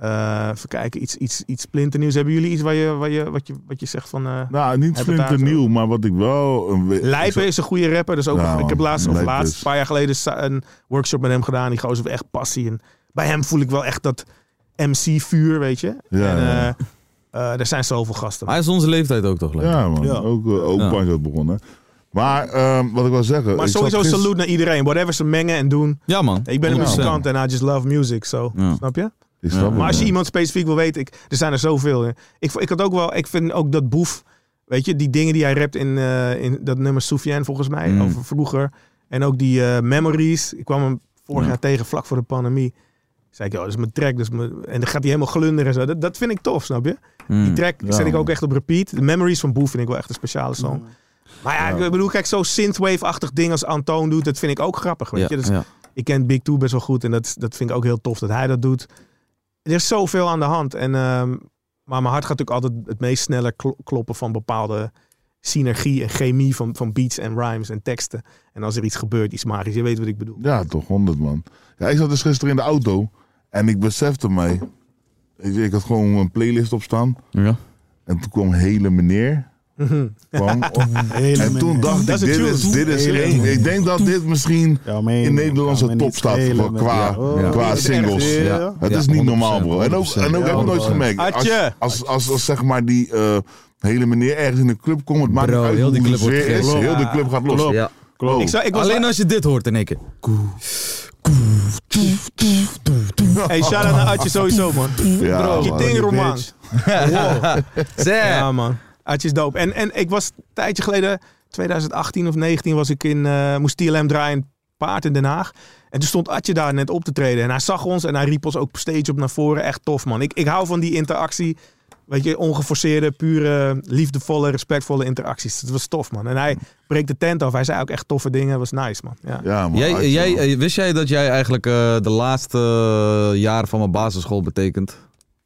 [SPEAKER 8] Eh, even kijken, iets, iets, iets splinternieuws. Hebben jullie iets waar je, waar je, wat, je, wat je zegt van... eh,
[SPEAKER 6] Nou, niet
[SPEAKER 8] Heb het daar
[SPEAKER 6] splinternieuw, maar wat ik wel... Een we-
[SPEAKER 8] Lijpen is een goede rapper. Dus ook,
[SPEAKER 6] Ja,
[SPEAKER 8] ik heb
[SPEAKER 6] man.
[SPEAKER 8] laatst, of
[SPEAKER 6] Lijpen
[SPEAKER 8] laatst,
[SPEAKER 6] Nou, is-
[SPEAKER 8] een paar jaar geleden, sa- een workshop met hem gedaan. Die gozer heeft echt passie. En bij hem voel ik wel echt dat MC-vuur, weet je.
[SPEAKER 6] Ja,
[SPEAKER 8] en,
[SPEAKER 6] ja.
[SPEAKER 8] eh, eh, er zijn zoveel gasten.
[SPEAKER 5] Hij is onze leeftijd ook, toch? Leuk?
[SPEAKER 6] Ja, man.
[SPEAKER 4] Ja.
[SPEAKER 6] Ook, eh, ook
[SPEAKER 5] Ja.
[SPEAKER 6] Punch-Out begonnen. Maar ehm, wat ik wil zeggen...
[SPEAKER 8] maar
[SPEAKER 6] ik zat
[SPEAKER 8] sowieso
[SPEAKER 6] gisteren-
[SPEAKER 8] salute naar iedereen. Whatever ze mengen en doen.
[SPEAKER 5] Ja, man.
[SPEAKER 8] Ik ben een
[SPEAKER 5] 100%.
[SPEAKER 8] muzikant en I just love music. So,
[SPEAKER 5] Ja.
[SPEAKER 8] Snap je?
[SPEAKER 6] Ik snap het,
[SPEAKER 8] Maar als je
[SPEAKER 6] man.
[SPEAKER 8] iemand specifiek wil weten, ik, er zijn er zoveel. hè. Ik, vo- ik had ook wel, ik vind ook dat boef, weet je, die dingen die hij rapt in, eh, in dat nummer Soufiane volgens mij,
[SPEAKER 5] Mm.
[SPEAKER 8] over vroeger. En ook die eh, memories. Ik kwam hem vorig
[SPEAKER 5] Ja.
[SPEAKER 8] jaar tegen, vlak voor de pandemie. Zei ik, oh, dat is mijn track. Dus mijn... En dan gaat hij helemaal glunderen en zo. Dat, dat vind ik tof, snap je? Die
[SPEAKER 5] Mm.
[SPEAKER 8] track
[SPEAKER 6] Ja,
[SPEAKER 8] zet ik ook
[SPEAKER 6] man.
[SPEAKER 8] echt op repeat. De memories van Boef vind ik wel echt een speciale song. Maar ja, ik bedoel, kijk, zo'n synthwave-achtig ding als Antoon doet, dat vind ik ook grappig, weet
[SPEAKER 5] Ja,
[SPEAKER 8] je? dus- Dat is-
[SPEAKER 5] ja.
[SPEAKER 8] ik ken Big Two best wel goed en dat, is- dat vind ik ook heel tof dat hij dat doet. Er is zoveel aan de hand. En, ehm, maar mijn hart gaat natuurlijk altijd het meest sneller klo- kloppen van bepaalde synergie en chemie van, van beats en rhymes en teksten. En als er iets gebeurt, iets magisch, je weet wat ik bedoel.
[SPEAKER 6] Ja, toch, 100 man. Ja, ik zat dus gisteren in de auto en ik besefte mij. Ik, ik had gewoon een playlist op staan.
[SPEAKER 5] Ja.
[SPEAKER 6] En toen kwam hele meneer. Kwam op. en toen dacht ik,
[SPEAKER 8] Dat is
[SPEAKER 6] dit
[SPEAKER 8] een
[SPEAKER 6] is,
[SPEAKER 8] tune.
[SPEAKER 6] dit is geen. Ik denk dat dit misschien
[SPEAKER 4] Ja, man.
[SPEAKER 6] in Nederland
[SPEAKER 4] Ja,
[SPEAKER 6] zijn
[SPEAKER 4] man,
[SPEAKER 6] top
[SPEAKER 4] niet
[SPEAKER 6] staat
[SPEAKER 4] spelen
[SPEAKER 6] qua,
[SPEAKER 4] met-
[SPEAKER 6] qua,
[SPEAKER 4] Ja. Oh.
[SPEAKER 6] qua
[SPEAKER 8] Dit is echt-
[SPEAKER 6] singles.
[SPEAKER 4] Ja.
[SPEAKER 6] Het is
[SPEAKER 5] Ja,
[SPEAKER 6] niet
[SPEAKER 5] 100%,
[SPEAKER 6] normaal, bro. En ook, en ook
[SPEAKER 4] Ja,
[SPEAKER 6] heb ik nooit
[SPEAKER 4] bro.
[SPEAKER 6] gemerkt. Als,
[SPEAKER 8] Atje.
[SPEAKER 6] als, als, als, zeg maar die eh, hele meneer ergens in de club komt, het maakt
[SPEAKER 5] Bro,
[SPEAKER 6] niet uit
[SPEAKER 5] heel
[SPEAKER 6] hoe
[SPEAKER 5] die
[SPEAKER 6] de
[SPEAKER 5] club wordt
[SPEAKER 6] sfeer is.
[SPEAKER 5] gek.
[SPEAKER 6] Heel de club gaat los.
[SPEAKER 5] Ja.
[SPEAKER 6] Klopt.
[SPEAKER 8] Ik, zou, ik was
[SPEAKER 5] Alleen als je dit hoort in één keer.
[SPEAKER 8] Hey, shout-out naar Adje sowieso, man.
[SPEAKER 6] Ja,
[SPEAKER 8] Bro, je
[SPEAKER 6] man.
[SPEAKER 8] ding,
[SPEAKER 6] Oh, Die
[SPEAKER 8] Roman.
[SPEAKER 6] bitch.
[SPEAKER 8] Wow.
[SPEAKER 5] Zeg.
[SPEAKER 8] Ja, man. Adje is dope. En, en ik was een tijdje geleden, 2018 of 19, was ik in, eh, moest TLM draaien, in paard in Den Haag. En toen stond Adje daar net op te treden. En hij zag ons en hij riep ons ook stage op naar voren. Echt tof, man. Ik, ik hou van die interactie. Weet je, ongeforceerde, pure, liefdevolle, respectvolle interacties. Het was tof, man. En hij breekt de tent af. Hij zei ook echt toffe dingen. Het was nice, man. Ja.
[SPEAKER 6] Ja, man.
[SPEAKER 5] Jij,
[SPEAKER 6] Artje,
[SPEAKER 5] jij,
[SPEAKER 6] man.
[SPEAKER 5] eh, wist jij dat jij eigenlijk eh, de laatste eh, jaar van mijn basisschool betekent?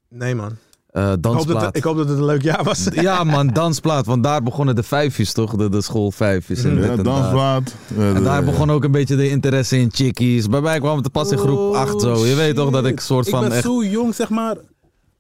[SPEAKER 8] Nee, man.
[SPEAKER 5] Eh,
[SPEAKER 8] Ik hoop, dat,
[SPEAKER 5] dansplaat.
[SPEAKER 8] ik hoop dat het een leuk jaar was.
[SPEAKER 5] Ja man, dansplaat. Want daar begonnen de vijfjes toch? De, de school vijfjes. En, dit
[SPEAKER 6] Ja,
[SPEAKER 5] en, dat.
[SPEAKER 6] dansplaat. Ja,
[SPEAKER 5] en
[SPEAKER 6] Eh, de-
[SPEAKER 4] Eh.
[SPEAKER 5] daar begon ook een beetje de interesse in chickies. Bij mij kwam het te pas in groep 8 zo. Je weet toch dat ik soort
[SPEAKER 4] Oh, Ik
[SPEAKER 5] van
[SPEAKER 4] ben
[SPEAKER 5] echt...
[SPEAKER 4] zo jong, zeg maar.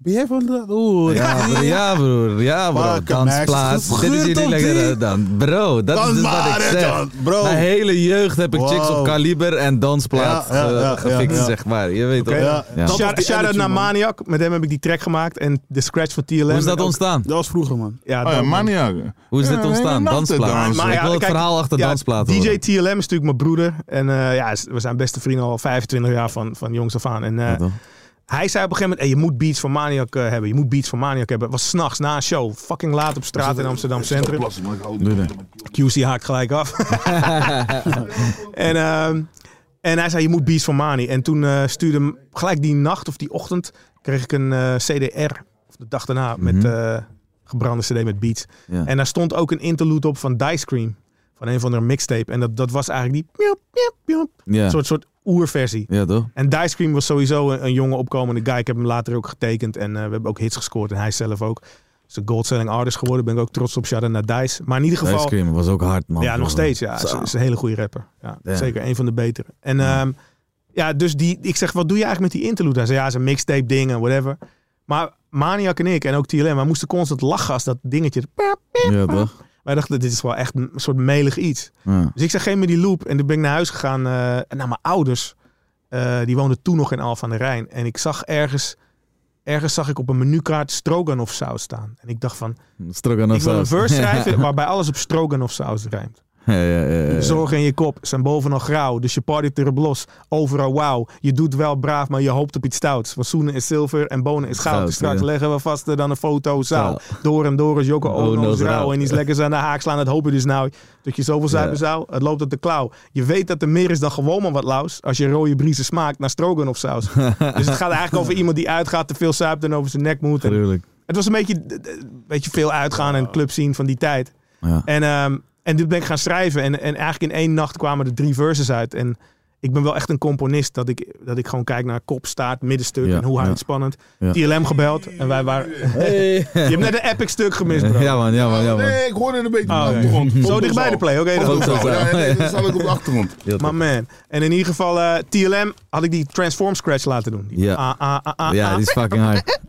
[SPEAKER 4] Ben jij van dat? Oeh,
[SPEAKER 5] Ja, broer, ja, broer. Ja, broer.
[SPEAKER 4] Fuck, meisjes,
[SPEAKER 5] Dansplaat.
[SPEAKER 4] het
[SPEAKER 5] Dit is
[SPEAKER 4] geurt
[SPEAKER 5] jullie
[SPEAKER 4] op
[SPEAKER 5] lekker
[SPEAKER 4] die.
[SPEAKER 5] dan. Bro, dat is dus wat ik
[SPEAKER 4] maar, hè,
[SPEAKER 5] zeg.
[SPEAKER 4] John, bro.
[SPEAKER 5] Mijn hele jeugd heb ik chicks op
[SPEAKER 4] Wow.
[SPEAKER 5] kaliber en dansplaat
[SPEAKER 4] Ja, ja,
[SPEAKER 5] ge-
[SPEAKER 4] ja, ja,
[SPEAKER 5] gefixt,
[SPEAKER 4] ja.
[SPEAKER 5] zeg maar. Je weet toch?
[SPEAKER 4] Ja,
[SPEAKER 5] Ja.
[SPEAKER 4] dat was
[SPEAKER 8] Shout-
[SPEAKER 4] die
[SPEAKER 8] Shout-out
[SPEAKER 4] attitude,
[SPEAKER 8] naar
[SPEAKER 4] man.
[SPEAKER 8] Maniac. Met hem heb ik die track gemaakt. En de scratch van TLM.
[SPEAKER 5] Hoe is
[SPEAKER 8] En
[SPEAKER 5] dat
[SPEAKER 8] ook-
[SPEAKER 5] ontstaan?
[SPEAKER 4] Dat was vroeger, man.
[SPEAKER 8] Ja,
[SPEAKER 6] Oh ja,
[SPEAKER 8] dat-
[SPEAKER 6] maniac.
[SPEAKER 5] Hoe is
[SPEAKER 6] Ja,
[SPEAKER 5] dit
[SPEAKER 6] de
[SPEAKER 5] ontstaan?
[SPEAKER 6] hele nacht te
[SPEAKER 5] Dansplaat.
[SPEAKER 6] dansen.
[SPEAKER 5] Ik wil het
[SPEAKER 8] kijk,
[SPEAKER 5] verhaal achter
[SPEAKER 8] ja,
[SPEAKER 5] dansplaat
[SPEAKER 8] DJ
[SPEAKER 5] horen.
[SPEAKER 8] TLM is natuurlijk mijn broeder. En eh, ja, we zijn beste vrienden al 25 jaar van, van jongs af aan. En eh,
[SPEAKER 5] toch?
[SPEAKER 8] hij zei op een gegeven moment, hey, je moet beats van Maniac eh, hebben. Je moet beats van Maniac hebben. Het was s'nachts na een show. Fucking laat op straat in Amsterdam Centrum.
[SPEAKER 6] Plassen, maar ik hou niet van-
[SPEAKER 8] QC haakt gelijk af. en, ehm, en hij zei, je moet Beats van Mani. En toen eh, stuurde hem gelijk die nacht of die ochtend... kreeg ik een eh, CDR, of de dag daarna,
[SPEAKER 5] Mhm.
[SPEAKER 8] met eh, gebrande CD met Beats.
[SPEAKER 5] Ja.
[SPEAKER 8] En daar stond ook een interlude op van Dice Cream. Van een van de mixtape. En dat, dat was eigenlijk die... miauw, miauw, miauw,
[SPEAKER 5] Ja.
[SPEAKER 8] soort, soort oerversie.
[SPEAKER 5] ja, toch?
[SPEAKER 8] En Dice Cream was sowieso een, een jonge opkomende guy. Ik heb hem later ook getekend en eh, we hebben ook hits gescoord. En hij zelf ook. Is een gold-selling artist geworden. Ben ik ook trots op. Shout-out naar Dice. Maar in ieder
[SPEAKER 5] Ice
[SPEAKER 8] geval...
[SPEAKER 5] Cream was ook hard, man.
[SPEAKER 8] Ja, nog steeds. Ja,
[SPEAKER 5] Zo.
[SPEAKER 8] is, is een hele goede rapper. Ja,
[SPEAKER 5] Ja.
[SPEAKER 8] Zeker een van de betere. En ja, ja dus die, ik zeg, wat doe je eigenlijk met die interlude? Hij zei, ja, zijn mixtape dingen, whatever. Maar Maniac en ik en ook TLM, wij moesten constant lachen als dat dingetje.
[SPEAKER 5] Ja, toch?
[SPEAKER 8] Wij dachten, dit is wel echt een soort melig iets.
[SPEAKER 5] Ja.
[SPEAKER 8] Dus ik zeg, geef me die loop. En toen ben ik naar huis gegaan eh, en naar mijn ouders. Eh, die woonden toen nog in Alphen aan de Rijn. En ik zag ergens, ergens zag ik op een menukaart stroganoff saus staan. En ik dacht van,
[SPEAKER 5] Stroganoff
[SPEAKER 8] ik wil een
[SPEAKER 5] saus.
[SPEAKER 8] verse schrijven waarbij alles op stroganoff saus rijmt.
[SPEAKER 5] Ja, ja, ja, ja.
[SPEAKER 8] De Zorgen in je kop zijn bovenal grauw, dus je partyt erop los. Overal wauw, je doet wel braaf, maar je hoopt op iets stouts. Want zoenen is zilver en bonen is goud.
[SPEAKER 5] Goud,
[SPEAKER 8] Dus straks
[SPEAKER 5] ja.
[SPEAKER 8] leggen we vaster dan een foto zou.
[SPEAKER 5] Zou.
[SPEAKER 8] Door en door is Joko
[SPEAKER 5] Oh,
[SPEAKER 8] Ono
[SPEAKER 5] no,
[SPEAKER 8] is rauw.
[SPEAKER 5] rauw.
[SPEAKER 8] En iets lekkers aan de haak slaan, dat hoop je dus nou. Dat je zoveel zuipen zou, het loopt op de klauw. Je weet dat er meer is dan gewoon maar wat laus. Als je rode briezen smaakt naar stroganoff saus. dus het gaat eigenlijk over iemand die uitgaat, te veel zuipt en over zijn nek moet. En
[SPEAKER 5] Gruwelijk.
[SPEAKER 8] het was een beetje, d- d- weet je, veel uitgaan en club zien van die tijd.
[SPEAKER 5] Ja.
[SPEAKER 8] En, ehm, en dit ben ik gaan schrijven. En, en eigenlijk in één nacht kwamen er drie verses uit. En ik ben wel echt een componist. Dat ik, dat ik gewoon kijk naar kop, staart, middenstuk.
[SPEAKER 5] Ja,
[SPEAKER 8] en hoe houdt
[SPEAKER 5] ja.
[SPEAKER 8] het spannend.
[SPEAKER 5] Ja.
[SPEAKER 8] TLM gebeld. En wij waren... Je hebt net een epic stuk gemist, bro.
[SPEAKER 5] Ja, man, ja, man, ja, man.
[SPEAKER 6] Nee, ik hoorde het een beetje
[SPEAKER 8] Ah,
[SPEAKER 6] op de
[SPEAKER 8] oké.
[SPEAKER 6] achtergrond.
[SPEAKER 8] Zo dichtbij de play, oké, dan.
[SPEAKER 6] dat
[SPEAKER 5] Vond het zo.
[SPEAKER 6] Ja, nee, dat staat ook op de achtergrond.
[SPEAKER 8] Maar man. En in ieder geval, eh, TLM had ik die Transform Scratch laten doen. Die
[SPEAKER 5] Ja.
[SPEAKER 8] ah, ah, ah, ah,
[SPEAKER 5] Ja,
[SPEAKER 8] ah.
[SPEAKER 5] die is fucking hard.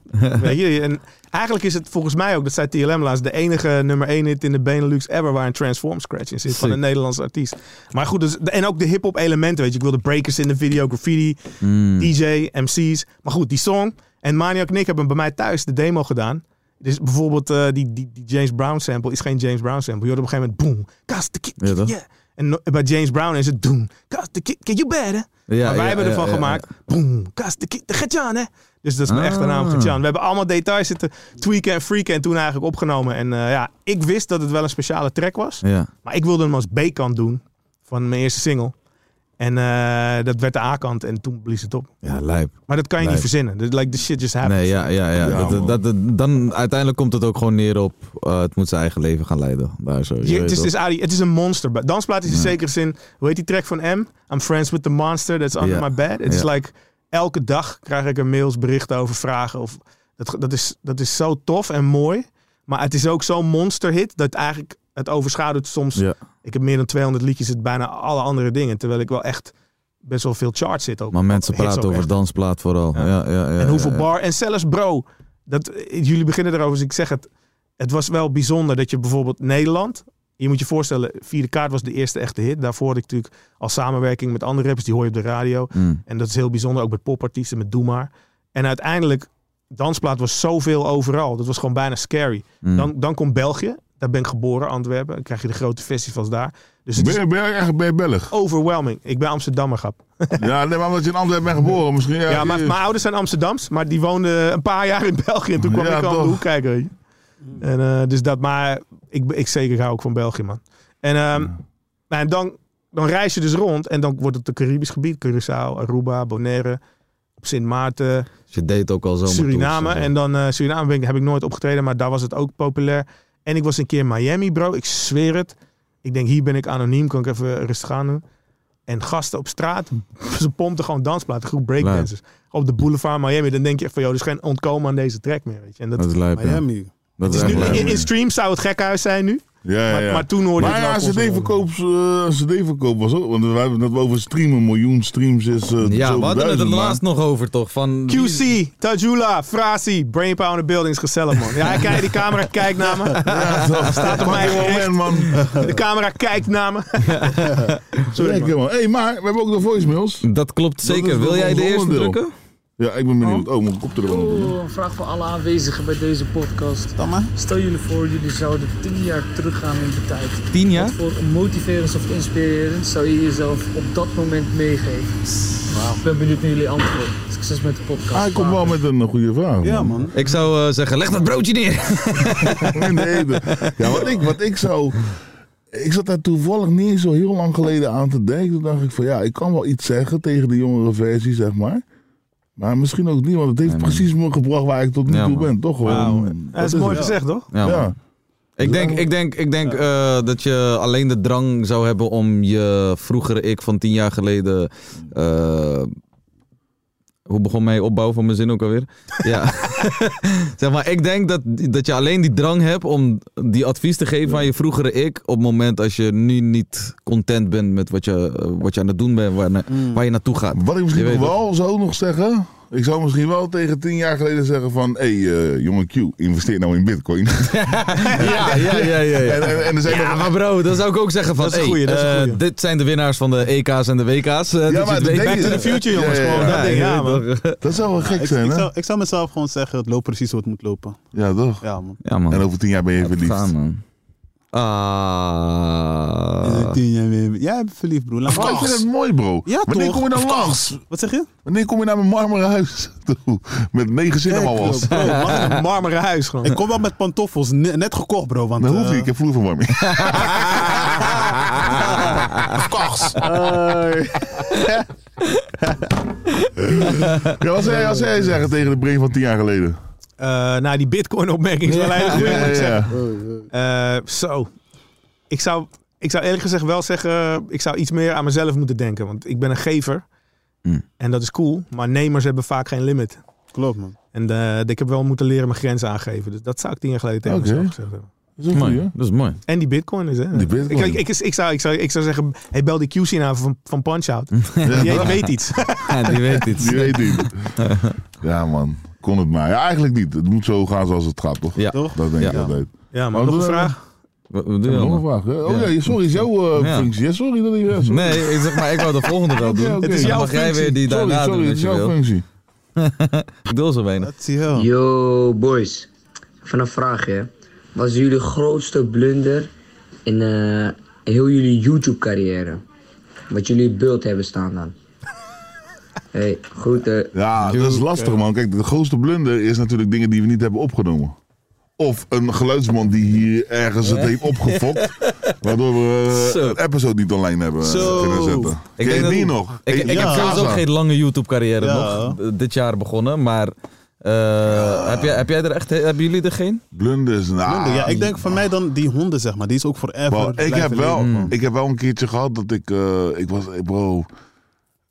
[SPEAKER 8] Weet je, en eigenlijk is het volgens mij ook, dat zei TLM laatst, de enige nummer 1 hit in de Benelux ever waar een Transform Scratch in zit van
[SPEAKER 5] Sick.
[SPEAKER 8] een Nederlandse artiest. Maar goed, dus, en ook de hip-hop elementen, weet je. Ik wilde breakers in de video, graffiti,
[SPEAKER 5] Hmm.
[SPEAKER 8] DJ, MC's. Maar goed, die song en Maniac en ik hebben bij mij thuis de demo gedaan. Dus bijvoorbeeld eh, die, die, die James Brown sample is geen James Brown sample. Je hoort op een gegeven moment boom, cast the kick,
[SPEAKER 5] Ja, toch?
[SPEAKER 8] yeah. En no- bij James Brown is het doom, cast the kick, can you better?
[SPEAKER 5] Ja,
[SPEAKER 8] maar wij
[SPEAKER 5] ja,
[SPEAKER 8] hebben
[SPEAKER 5] ja,
[SPEAKER 8] ervan
[SPEAKER 5] ja,
[SPEAKER 8] gemaakt, boom, cast the kick, de Gertjan, hè? Dus dat is mijn echte naam,
[SPEAKER 5] Ah.
[SPEAKER 8] Gertjan. We hebben allemaal details zitten tweaken en freaken en toen eigenlijk opgenomen. En eh, ja, ik wist dat het wel een speciale track was.
[SPEAKER 5] Ja.
[SPEAKER 8] Maar ik wilde hem als B-kant doen van mijn eerste single. En eh, dat werd de A-kant en toen blies het op.
[SPEAKER 5] Ja, lijp.
[SPEAKER 8] Maar dat kan je
[SPEAKER 5] Nee.
[SPEAKER 8] niet verzinnen. Dus, Like, the shit just happened.
[SPEAKER 5] Nee, ja, ja, ja.
[SPEAKER 6] Ja,
[SPEAKER 5] dat,
[SPEAKER 6] man.
[SPEAKER 5] dat, dat- dan uiteindelijk komt het ook gewoon neer op... eh, het moet zijn eigen leven gaan leiden. Daar zo. je
[SPEAKER 8] Je-
[SPEAKER 5] weet
[SPEAKER 8] het, is,
[SPEAKER 5] toch?
[SPEAKER 8] het is Adi, het is een monster. Bij Dansplaat is in zekere zin, hoe heet die track van M? I'm friends with the monster that's under
[SPEAKER 5] Ja.
[SPEAKER 8] my bed. Het is
[SPEAKER 5] Ja.
[SPEAKER 8] like, elke dag krijg ik een mails, berichten over vragen. Of, dat, dat, is, dat is zo tof en mooi. Maar het is ook zo'n monsterhit dat eigenlijk het overschaduwt soms.
[SPEAKER 5] Ja.
[SPEAKER 8] Ik heb meer dan 200 liedjes, het bijna alle andere dingen. Terwijl ik wel echt best wel veel charts zit ook.
[SPEAKER 5] Maar mensen
[SPEAKER 8] Hits
[SPEAKER 5] praten
[SPEAKER 8] ook
[SPEAKER 5] over
[SPEAKER 8] echt.
[SPEAKER 5] dansplaat vooral. Ja. Ja, ja,
[SPEAKER 3] Eh,
[SPEAKER 8] En hoeveel
[SPEAKER 5] ja, ja.
[SPEAKER 8] bar. En zelfs bro, dat, eh, jullie beginnen erover, dus ik zeg het. Het was wel bijzonder dat je bijvoorbeeld Nederland. Je moet je voorstellen, Vierde Kaart was de eerste echte hit. Daarvoor had ik natuurlijk al samenwerking met andere rappers, die hoor je op de radio.
[SPEAKER 5] Mm.
[SPEAKER 8] En dat is heel bijzonder, ook met popartiesten, met Doe Maar. En uiteindelijk, Dansplaat was zoveel overal. Dat was gewoon bijna scary.
[SPEAKER 5] Mm.
[SPEAKER 8] Dan, dan komt België. Daar ben ik geboren, Antwerpen. Dan krijg je de grote festivals daar. Dus het
[SPEAKER 6] Ben,
[SPEAKER 8] is
[SPEAKER 6] je- ben jij echt ben je Belg?
[SPEAKER 8] overwhelming. Ik ben Amsterdammer, grap.
[SPEAKER 6] Ja, nee, maar omdat je in Antwerpen bent geboren misschien. Ja,
[SPEAKER 8] Ja, maar
[SPEAKER 6] je-
[SPEAKER 8] mijn ouders zijn Amsterdams, maar die woonden een paar jaar in België. En toen kwam
[SPEAKER 6] Ja,
[SPEAKER 8] ik al om
[SPEAKER 6] toch.
[SPEAKER 8] de hoek kijken. weet je. En, eh, dus dat, maar ik, ik zeker hou ook van België, man. En, ehm, nou, en dan, dan reis je dus rond en dan wordt het een Caribisch gebied. Curaçao, Aruba, Bonaire, op Sint Maarten,
[SPEAKER 5] Dus je deed ook al zomaar
[SPEAKER 8] Suriname. En dan eh, Suriname ben ik, heb ik nooit opgetreden, maar daar was het ook populair. En ik was een keer in Miami, bro. Ik zweer het. Ik denk, hier ben ik anoniem, kan ik even rustig aan doen. En gasten op straat, ze pompten gewoon dansplaten, groep breakdancers. Op de boulevard Miami, dan denk je echt van, joh, er is geen ontkomen aan deze track meer. Weet je. En dat,
[SPEAKER 5] Dat is lijp, ja.
[SPEAKER 4] Miami.
[SPEAKER 5] Dat
[SPEAKER 8] is
[SPEAKER 5] is echt
[SPEAKER 8] nu,
[SPEAKER 5] lijp.
[SPEAKER 8] in, in streams zou het gekhuis zijn nu,
[SPEAKER 6] ja, ja,
[SPEAKER 8] maar,
[SPEAKER 6] ja.
[SPEAKER 8] maar toen hoorde
[SPEAKER 6] Maar
[SPEAKER 8] ik
[SPEAKER 6] ja,
[SPEAKER 8] wel constant.
[SPEAKER 6] CD-verkoop eh, CD was ook. Want we hebben het net over streamen. Een miljoen streams is. eh
[SPEAKER 9] Ja, we
[SPEAKER 6] zoveel
[SPEAKER 9] hadden het er
[SPEAKER 6] duizend, maar-
[SPEAKER 9] laatst nog over, toch? Van
[SPEAKER 8] QC, Tajula, Frasi, Brain Power in the Building is gezellig, man. Ja, hij kijkt, die camera kijkt naar me.
[SPEAKER 6] Ja, dat staat
[SPEAKER 8] op mijn gerecht.
[SPEAKER 6] moment, Oh, man.
[SPEAKER 8] De camera kijkt naar me. Sorry,
[SPEAKER 6] Zeker,
[SPEAKER 8] man.
[SPEAKER 6] man. hey, maar we hebben ook de voicemails.
[SPEAKER 9] Dat klopt
[SPEAKER 6] Dat is
[SPEAKER 9] zeker.
[SPEAKER 6] wel
[SPEAKER 9] Wil jij
[SPEAKER 6] ons
[SPEAKER 9] de eerste
[SPEAKER 6] onderdeel.
[SPEAKER 9] drukken?
[SPEAKER 6] Ja, ik ben benieuwd. Oh, mijn kop er wel op doen.
[SPEAKER 10] Een vraag voor alle aanwezigen bij deze podcast. Stel jullie voor, jullie zouden 10 jaar teruggaan in de tijd.
[SPEAKER 9] Tien jaar?
[SPEAKER 10] Voor motiverend of inspirerend zou je jezelf op dat moment meegeven? Ik ben benieuwd naar jullie antwoord. Succes met de podcast.
[SPEAKER 6] Hij komt wel met een eh, goede vraag.
[SPEAKER 4] Ja, man.
[SPEAKER 9] Ik zou eh, zeggen, leg dat broodje neer.
[SPEAKER 6] In de eten. Ja, wat ik, wat ik zou. Ik zat daar toevallig niet eens zo heel lang geleden aan te denken. Toen dacht ik van ja, ik kan wel iets zeggen tegen de jongere versie, zeg maar. Maar misschien ook niet, want het heeft precies me gebracht waar ik tot nu
[SPEAKER 5] Ja,
[SPEAKER 6] toe
[SPEAKER 5] man.
[SPEAKER 6] ben. Toch gewoon.
[SPEAKER 8] Dat is mooi gezegd, toch?
[SPEAKER 5] Ja, man.
[SPEAKER 6] Ja.
[SPEAKER 9] Ik denk, ik denk, ik denk eh, dat je alleen de drang zou hebben om je vroegere ik van tien jaar geleden. eh, hoe begon mij opbouw van mijn zin ook alweer? Ja. zeg maar, ik denk dat, dat je alleen die drang hebt om die advies te geven aan je vroegere ik. op het moment als je nu niet content bent met wat je, eh, wat je aan het doen bent, waar, na-
[SPEAKER 8] Mm.
[SPEAKER 9] waar je naartoe gaat.
[SPEAKER 6] Wat ik misschien
[SPEAKER 9] Je
[SPEAKER 6] nog
[SPEAKER 9] weet
[SPEAKER 6] wel zou nog zeggen. Ik zou misschien wel tegen tien jaar geleden zeggen van... Hé, hey, eh, jonge Q, investeer nou in bitcoin.
[SPEAKER 9] Ja, ja, ja, ja. ja.
[SPEAKER 6] en, en, en er zijn nog-
[SPEAKER 9] Ja, maar bro, dan zou ik ook zeggen van,
[SPEAKER 8] Dat is een
[SPEAKER 9] hey,
[SPEAKER 8] goeie, dat is een
[SPEAKER 9] eh,
[SPEAKER 8] goeie.
[SPEAKER 9] dit zijn de winnaars van de EK's en de WK's. eh, dat je het
[SPEAKER 6] dat
[SPEAKER 9] weet.
[SPEAKER 6] denk je.
[SPEAKER 8] to the future, jongens,
[SPEAKER 6] Ja, ja,
[SPEAKER 8] gewoon.
[SPEAKER 6] ja.
[SPEAKER 8] Dat ding,
[SPEAKER 9] je
[SPEAKER 8] ja,
[SPEAKER 9] weet
[SPEAKER 8] man.
[SPEAKER 9] toch.
[SPEAKER 6] Dat zou wel gek
[SPEAKER 4] Ik,
[SPEAKER 6] zijn,
[SPEAKER 4] ik,
[SPEAKER 6] hè?
[SPEAKER 4] zou, ik zou mezelf gewoon zeggen, het loopt precies hoe het moet lopen.
[SPEAKER 6] Ja, toch?
[SPEAKER 4] Ja, man.
[SPEAKER 9] Ja,
[SPEAKER 3] Oh.
[SPEAKER 9] man.
[SPEAKER 6] En over tien jaar ben je verliefd.
[SPEAKER 9] Gaan, man. Ah.
[SPEAKER 4] Tien jaar weer- Jij bent verliefd, broer. Laat
[SPEAKER 6] Maar ik
[SPEAKER 4] maar.
[SPEAKER 6] vind het mooi, bro.
[SPEAKER 4] Ja,
[SPEAKER 6] Wanneer
[SPEAKER 4] toch?
[SPEAKER 6] kom je dan langs?
[SPEAKER 4] Wat zeg je?
[SPEAKER 6] Wanneer kom je naar mijn marmeren huis toe? Met negen zinnen al was.
[SPEAKER 4] Bro, mag ik-
[SPEAKER 8] Een marmeren huis, gewoon.
[SPEAKER 4] Ik kom wel met pantoffels, ne- net gekocht, bro. Want,
[SPEAKER 6] Dat hoeft
[SPEAKER 4] eh,
[SPEAKER 6] niet, ik heb vloerverwarming. Ja, wat zou jij, wat zou jij zeggen tegen de Brain van tien jaar geleden?
[SPEAKER 8] Eh, nou, die bitcoin-opmerking is wel eigenlijk goed, moet ik zeggen. Eh, zo. Ik zou, ik zou eerlijk gezegd wel zeggen, ik zou iets meer aan mezelf moeten denken. Want ik ben een gever.
[SPEAKER 6] Mm.
[SPEAKER 8] En dat is cool. Maar nemers hebben vaak geen limit.
[SPEAKER 4] Klopt, man.
[SPEAKER 8] En eh, ik heb wel moeten leren mijn grenzen aangeven. Dus dat zou ik tien jaar geleden tegen
[SPEAKER 6] Oké.
[SPEAKER 8] mezelf gezegd hebben.
[SPEAKER 6] Dat is een goeie, hè?
[SPEAKER 9] Mooi, dat is mooi.
[SPEAKER 8] En die bitcoin is, hè?
[SPEAKER 6] Die bitcoin.
[SPEAKER 8] Ik, ik, ik, ik zou, ik, zou, ik zou zeggen, hey, bel die QC aan van, van Punch-Out. Die
[SPEAKER 6] Ja,
[SPEAKER 8] weet iets.
[SPEAKER 9] Ja, die weet dit.
[SPEAKER 6] Die weet niet. Ja, man. Kon het maar. Ja, eigenlijk niet. Het moet zo gaan zoals het gaat, toch?
[SPEAKER 9] Ja.
[SPEAKER 6] Dat denk ik
[SPEAKER 9] Ja.
[SPEAKER 6] altijd.
[SPEAKER 8] Ja, maar
[SPEAKER 6] Wat
[SPEAKER 8] nog
[SPEAKER 6] doen
[SPEAKER 8] een
[SPEAKER 6] we?
[SPEAKER 8] vraag.
[SPEAKER 9] Wat, wat doe je
[SPEAKER 6] Nog een
[SPEAKER 9] allemaal?
[SPEAKER 6] vraag. hè? Oh
[SPEAKER 9] Ja.
[SPEAKER 6] ja, sorry, is jouw eh,
[SPEAKER 9] Ja.
[SPEAKER 6] functie. Ja, sorry dat ik... ja, sorry.
[SPEAKER 9] Nee, ik zeg maar, ik wou de volgende wel doen.
[SPEAKER 6] Oké, oké.
[SPEAKER 9] Het is jouw mag jij weer die
[SPEAKER 6] Sorry,
[SPEAKER 9] daarna
[SPEAKER 6] sorry,
[SPEAKER 9] doen
[SPEAKER 6] het is
[SPEAKER 9] als je
[SPEAKER 6] jouw
[SPEAKER 9] wil.
[SPEAKER 6] functie.
[SPEAKER 9] Ik doe zo weinig.
[SPEAKER 4] Dat zie je wel.
[SPEAKER 10] Yo, boys. Even een vraagje. Wat is jullie grootste blunder in eh, heel jullie YouTube-carrière? Wat jullie in beeld hebben staan dan? Hey, groeten.
[SPEAKER 6] Ja, dat is
[SPEAKER 9] eh,
[SPEAKER 6] lastig, man. Kijk, de grootste blunder is natuurlijk dingen die we niet hebben opgenomen. Of een geluidsman die hier ergens het heeft opgefokt. Waardoor we eh,
[SPEAKER 9] Zo.
[SPEAKER 6] een episode niet online hebben eh,
[SPEAKER 4] Zo.
[SPEAKER 6] kunnen zetten. Ik
[SPEAKER 9] denk
[SPEAKER 6] denk
[SPEAKER 9] dat-
[SPEAKER 6] die nog.
[SPEAKER 9] Ik, ik
[SPEAKER 4] Ja.
[SPEAKER 9] heb sowieso ook geen lange YouTube-carrière
[SPEAKER 4] Ja.
[SPEAKER 9] nog. D- Dit jaar begonnen, maar... eh, heb, jij, heb jij er echt... Hebben jullie er geen?
[SPEAKER 6] Blunders, nou.
[SPEAKER 4] Honden, Ah. Ja, ik denk voor mij dan die honden, zeg maar. Die is ook forever.
[SPEAKER 6] Bro, ik,
[SPEAKER 4] blijven
[SPEAKER 6] heb wel,
[SPEAKER 9] Hmm.
[SPEAKER 4] leven.
[SPEAKER 6] ik heb wel een keertje gehad dat ik. eh, ik was. eh, Bro.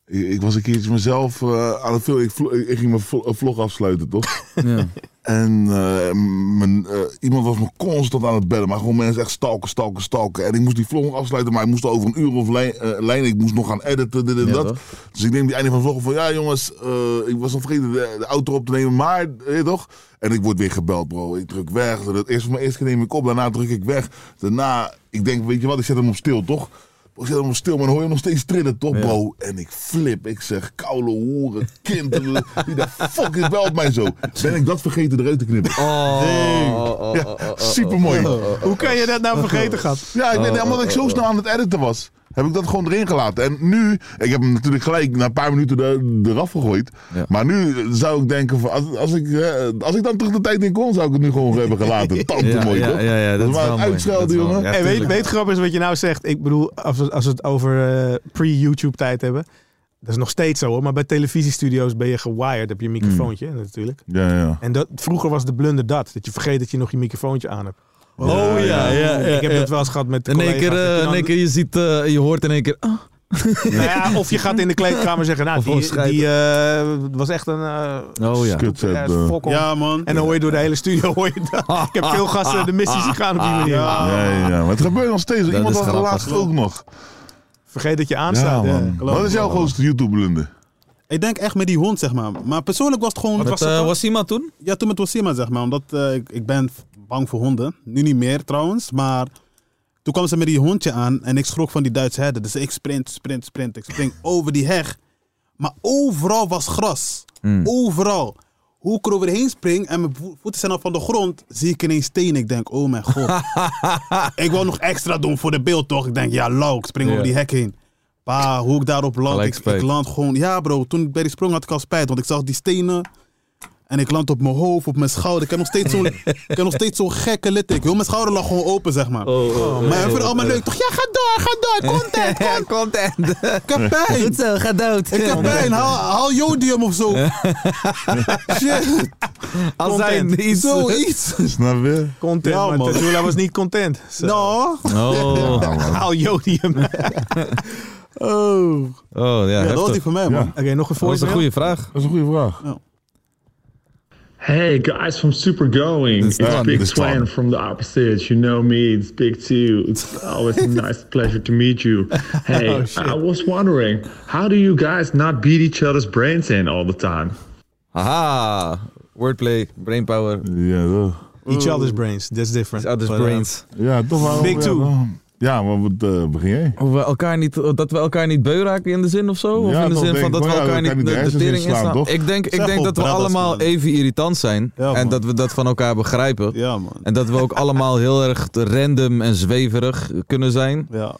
[SPEAKER 6] Ik, ik was een keertje mezelf eh, aan het filmen. Ik, vlo- ik ging mijn vlo- eh, vlog afsluiten, toch?
[SPEAKER 9] Ja.
[SPEAKER 6] En eh, mijn, eh, iemand was me constant aan het bellen. Maar gewoon mensen echt stalken, stalken, stalken. En ik moest die vlog afsluiten, maar ik moest over een uur of lijn. eh, lijn ik moest nog gaan editen, dit en
[SPEAKER 9] Ja,
[SPEAKER 6] dat.
[SPEAKER 9] toch?
[SPEAKER 6] Dus ik neem die einde van de vlog op van... Ja jongens, eh, ik was al vergeten de, de auto op te nemen, maar... Weet je toch? En ik word weer gebeld, bro. Ik druk weg. Dat eerst voor mijn eerste keer neem ik op, daarna druk ik weg. Daarna, ik denk, weet je wat, ik zet hem op stil, toch? Bro, Ik zit helemaal stil, maar dan hoor je hem nog steeds trillen, toch, bro? En ik flip. Ik zeg, koude hoeren, kind. Wie de fuck is belt mij zo? Ben ik dat vergeten eruit te knippen? Oh, supermooi.
[SPEAKER 8] Hoe kan je dat nou vergeten, gat?
[SPEAKER 6] Ja, ik ben, ja, omdat ik zo snel aan het editen was, heb ik dat gewoon erin gelaten. En nu, ik heb hem natuurlijk gelijk na een paar minuten er- eraf gegooid.
[SPEAKER 9] Ja.
[SPEAKER 6] Maar nu zou ik denken, van, als, als, ik, eh, als ik dan terug de tijd in kon, zou ik het nu gewoon hebben gelaten. Tante
[SPEAKER 9] Ja,
[SPEAKER 6] mooi,
[SPEAKER 9] ja,
[SPEAKER 6] toch?
[SPEAKER 9] ja, ja, dat is
[SPEAKER 6] maar
[SPEAKER 9] wel
[SPEAKER 6] een
[SPEAKER 9] mooi.
[SPEAKER 6] uitschelden,
[SPEAKER 9] Dat is wel-
[SPEAKER 6] jongen.
[SPEAKER 9] ja,
[SPEAKER 8] Hey, weet,
[SPEAKER 9] tuurlijk.
[SPEAKER 8] weet grappig is wat je nou zegt. Ik bedoel, als we, als we het over eh, pre-YouTube tijd hebben. Dat is nog steeds zo hoor. Maar bij televisiestudio's ben je gewired. Heb je
[SPEAKER 9] Hmm.
[SPEAKER 8] een microfoontje natuurlijk.
[SPEAKER 6] Ja, ja.
[SPEAKER 8] En dat, vroeger was de blunder dat. Dat je vergeet dat je nog je microfoontje aan hebt.
[SPEAKER 9] Oh ja, ja, ja,
[SPEAKER 8] ik heb
[SPEAKER 9] ja.
[SPEAKER 8] dat wel eens gehad met de
[SPEAKER 9] In één keer, eh, in één keer je ziet, eh, je hoort in één keer. ah,
[SPEAKER 8] Nou ja, Of je gaat in de kleedkamer zeggen, nou,
[SPEAKER 9] Of gewoon
[SPEAKER 8] die, die eh, was echt een... eh,
[SPEAKER 9] Oh ja.
[SPEAKER 6] Kut,
[SPEAKER 8] ja,
[SPEAKER 6] zet, eh,
[SPEAKER 8] fok om.
[SPEAKER 4] Ja, man.
[SPEAKER 8] En dan hoor je door de hele studio, hoor je dat. Ik heb veel gasten de missies gegaan op die manier.
[SPEAKER 6] Ja, ja, ja. Maar het gebeurt nog steeds. Iemand
[SPEAKER 9] is
[SPEAKER 6] had er
[SPEAKER 9] grappig.
[SPEAKER 6] laatst ook nog.
[SPEAKER 8] Vergeet dat je
[SPEAKER 6] Ja,
[SPEAKER 8] aanstaat. Ja,
[SPEAKER 6] man. Wat is jouw grootste YouTube-blunder?
[SPEAKER 4] Ik denk echt met die hond, zeg maar. Maar persoonlijk was het gewoon...
[SPEAKER 9] Met eh, Wasima toen?
[SPEAKER 4] Ja, toen met Wasima, zeg maar. Omdat eh, ik, ik ben bang voor honden. Nu niet meer, trouwens. Maar toen kwam ze met die hondje aan en ik schrok van die Duitse herder. Dus ik sprint, sprint, sprint. Ik spring over die heg. Maar overal was gras.
[SPEAKER 6] Mm.
[SPEAKER 4] Overal. Hoe ik er overheen spring en mijn vo- voeten zijn al van de grond, zie ik ineens steen. Ik denk, oh mijn god. ik wil nog extra doen voor de beeld, toch? Ik denk, ja, lauw, ik spring over die hek heen. Pa, hoe ik daarop land,
[SPEAKER 9] Gelijk
[SPEAKER 4] ik, ik
[SPEAKER 9] spijt.
[SPEAKER 4] land gewoon... Ja bro, toen ik bij die sprong had ik al spijt, want ik zag die stenen... En ik land op mijn hoofd, op mijn schouder. Ik heb nog steeds zo'n, ik heb nog steeds zo'n gekke litteken. Heel mijn schouder lag gewoon open, zeg maar. maar ik vind het allemaal leuk. Toch, ja, ga door, ga door. Content, content.
[SPEAKER 9] Content.
[SPEAKER 4] Ik heb pijn.
[SPEAKER 9] zo, ga dood.
[SPEAKER 4] Ik heb pijn. Haal, haal jodium of zo. Shit.
[SPEAKER 9] Als zijn iets.
[SPEAKER 4] Zoiets.
[SPEAKER 6] Snap je?
[SPEAKER 8] Content,
[SPEAKER 4] Ja,
[SPEAKER 8] maar
[SPEAKER 4] man.
[SPEAKER 8] Tadula was niet content. Zo.
[SPEAKER 4] Nou.
[SPEAKER 9] Oh,
[SPEAKER 8] Haal jodium. Oké,
[SPEAKER 4] Oh.
[SPEAKER 9] oh ja,
[SPEAKER 4] Ja, dat was
[SPEAKER 9] heftig.
[SPEAKER 4] die voor mij, man.
[SPEAKER 8] nog een
[SPEAKER 9] dat is een
[SPEAKER 8] voorbeeld.
[SPEAKER 9] goede vraag.
[SPEAKER 6] Dat is een goede vraag.
[SPEAKER 11] Hey guys from Super Going,
[SPEAKER 9] This
[SPEAKER 11] it's
[SPEAKER 9] time,
[SPEAKER 11] Big
[SPEAKER 6] this time.
[SPEAKER 11] Twan from the opposite. You know me, it's Big Two. It's always a nice pleasure to meet you. Hey,
[SPEAKER 8] Oh,
[SPEAKER 11] I was wondering, how do you guys not beat each other's brains in all the time?
[SPEAKER 9] Haha. Wordplay, brainpower.
[SPEAKER 6] Ja, toch?
[SPEAKER 8] Each other's brains, that's different.
[SPEAKER 9] Others
[SPEAKER 8] But, uh,
[SPEAKER 9] brains.
[SPEAKER 6] Ja, toch wel.
[SPEAKER 8] Big
[SPEAKER 6] ja,
[SPEAKER 8] two.
[SPEAKER 6] toch. Ja, maar wat eh, begin jij?
[SPEAKER 9] Hoe we elkaar niet, dat we elkaar niet beu raken in de zin of zo? Of
[SPEAKER 6] Ja,
[SPEAKER 9] in de
[SPEAKER 6] toch
[SPEAKER 9] zin
[SPEAKER 6] denk
[SPEAKER 9] van
[SPEAKER 6] ik
[SPEAKER 9] dat we
[SPEAKER 6] wel, ja,
[SPEAKER 9] elkaar
[SPEAKER 6] we kunnen
[SPEAKER 9] niet de,
[SPEAKER 6] de
[SPEAKER 9] de
[SPEAKER 6] hersens
[SPEAKER 9] tering
[SPEAKER 6] inslaan,
[SPEAKER 9] inslaan?
[SPEAKER 6] toch?
[SPEAKER 9] Ik denk,
[SPEAKER 4] Zeg
[SPEAKER 9] ik denk
[SPEAKER 4] op,
[SPEAKER 9] dat we
[SPEAKER 4] Bradas,
[SPEAKER 9] allemaal
[SPEAKER 4] man.
[SPEAKER 9] even irritant zijn.
[SPEAKER 4] Ja,
[SPEAKER 9] en
[SPEAKER 4] man.
[SPEAKER 9] dat we dat van elkaar begrijpen.
[SPEAKER 4] Ja, man.
[SPEAKER 9] En dat we ook allemaal heel erg random en zweverig kunnen zijn.
[SPEAKER 4] Ja.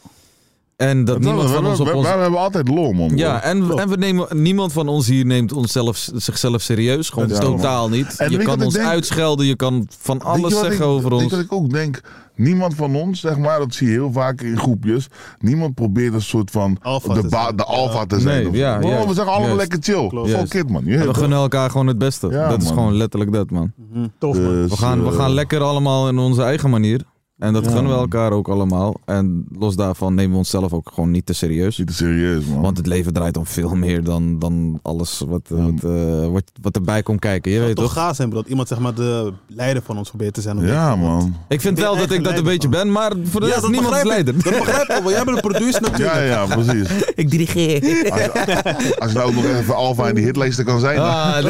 [SPEAKER 9] En dat
[SPEAKER 6] we,
[SPEAKER 9] niemand van ons op
[SPEAKER 6] we-
[SPEAKER 9] ons...
[SPEAKER 6] we hebben altijd lol, man.
[SPEAKER 9] Ja,
[SPEAKER 6] Ja,
[SPEAKER 9] en, en we nemen, niemand van ons hier neemt onszelf, zichzelf serieus. Gewoon
[SPEAKER 6] Ja,
[SPEAKER 9] totaal niet.
[SPEAKER 6] En
[SPEAKER 9] je
[SPEAKER 6] weet je
[SPEAKER 9] kan
[SPEAKER 6] wat
[SPEAKER 9] ons
[SPEAKER 6] ik denk?
[SPEAKER 9] uitschelden, je kan van alles zeggen over ons.
[SPEAKER 6] Weet je wat ik ook denk? Niemand van ons, zeg maar, dat zie je heel vaak in groepjes. Niemand probeert een soort van
[SPEAKER 4] Alpha
[SPEAKER 6] de,
[SPEAKER 4] te
[SPEAKER 6] ba-
[SPEAKER 4] zijn.
[SPEAKER 6] de alfa te zijn.
[SPEAKER 9] Nee,
[SPEAKER 6] of-
[SPEAKER 9] ja,
[SPEAKER 6] Waarom?
[SPEAKER 9] juist,
[SPEAKER 6] we zeggen allemaal
[SPEAKER 9] juist.
[SPEAKER 6] lekker chill.
[SPEAKER 9] Juist.
[SPEAKER 6] Fuck it, man. Je weet
[SPEAKER 9] En we
[SPEAKER 6] toch?
[SPEAKER 9] gunnen elkaar gewoon het beste.
[SPEAKER 6] Ja,
[SPEAKER 9] dat is
[SPEAKER 6] man.
[SPEAKER 9] gewoon letterlijk dat, man.
[SPEAKER 8] Tof, man.
[SPEAKER 6] Dus,
[SPEAKER 9] We gaan, we
[SPEAKER 6] eh,
[SPEAKER 9] gaan lekker allemaal in onze eigen manier. En dat gunnen we elkaar ook allemaal. En los daarvan nemen we onszelf ook gewoon niet te serieus.
[SPEAKER 6] Niet te serieus, man.
[SPEAKER 9] Want het leven draait om veel meer dan, dan alles wat, eh, wat, eh, wat, wat erbij komt kijken. Je weet
[SPEAKER 4] Toch
[SPEAKER 9] toch?
[SPEAKER 4] gaaf zijn, bro. Dat iemand zeg maar de leider van ons probeert te zijn. Of
[SPEAKER 6] ja, man.
[SPEAKER 9] Ik vind wel dat ik dat een beetje ben, maar voor de
[SPEAKER 4] Ja,
[SPEAKER 9] rest
[SPEAKER 4] dat
[SPEAKER 9] niemand is
[SPEAKER 4] begrijp ik.
[SPEAKER 9] leider.
[SPEAKER 4] Dat begrijp ik, wel, want jij bent een producer natuurlijk.
[SPEAKER 6] Ja, ja, precies.
[SPEAKER 9] Ik dirigeer.
[SPEAKER 6] Als je, als je nou ook nog even alfa in die hitlijsten kan zijn. dan-
[SPEAKER 9] Ah, nee.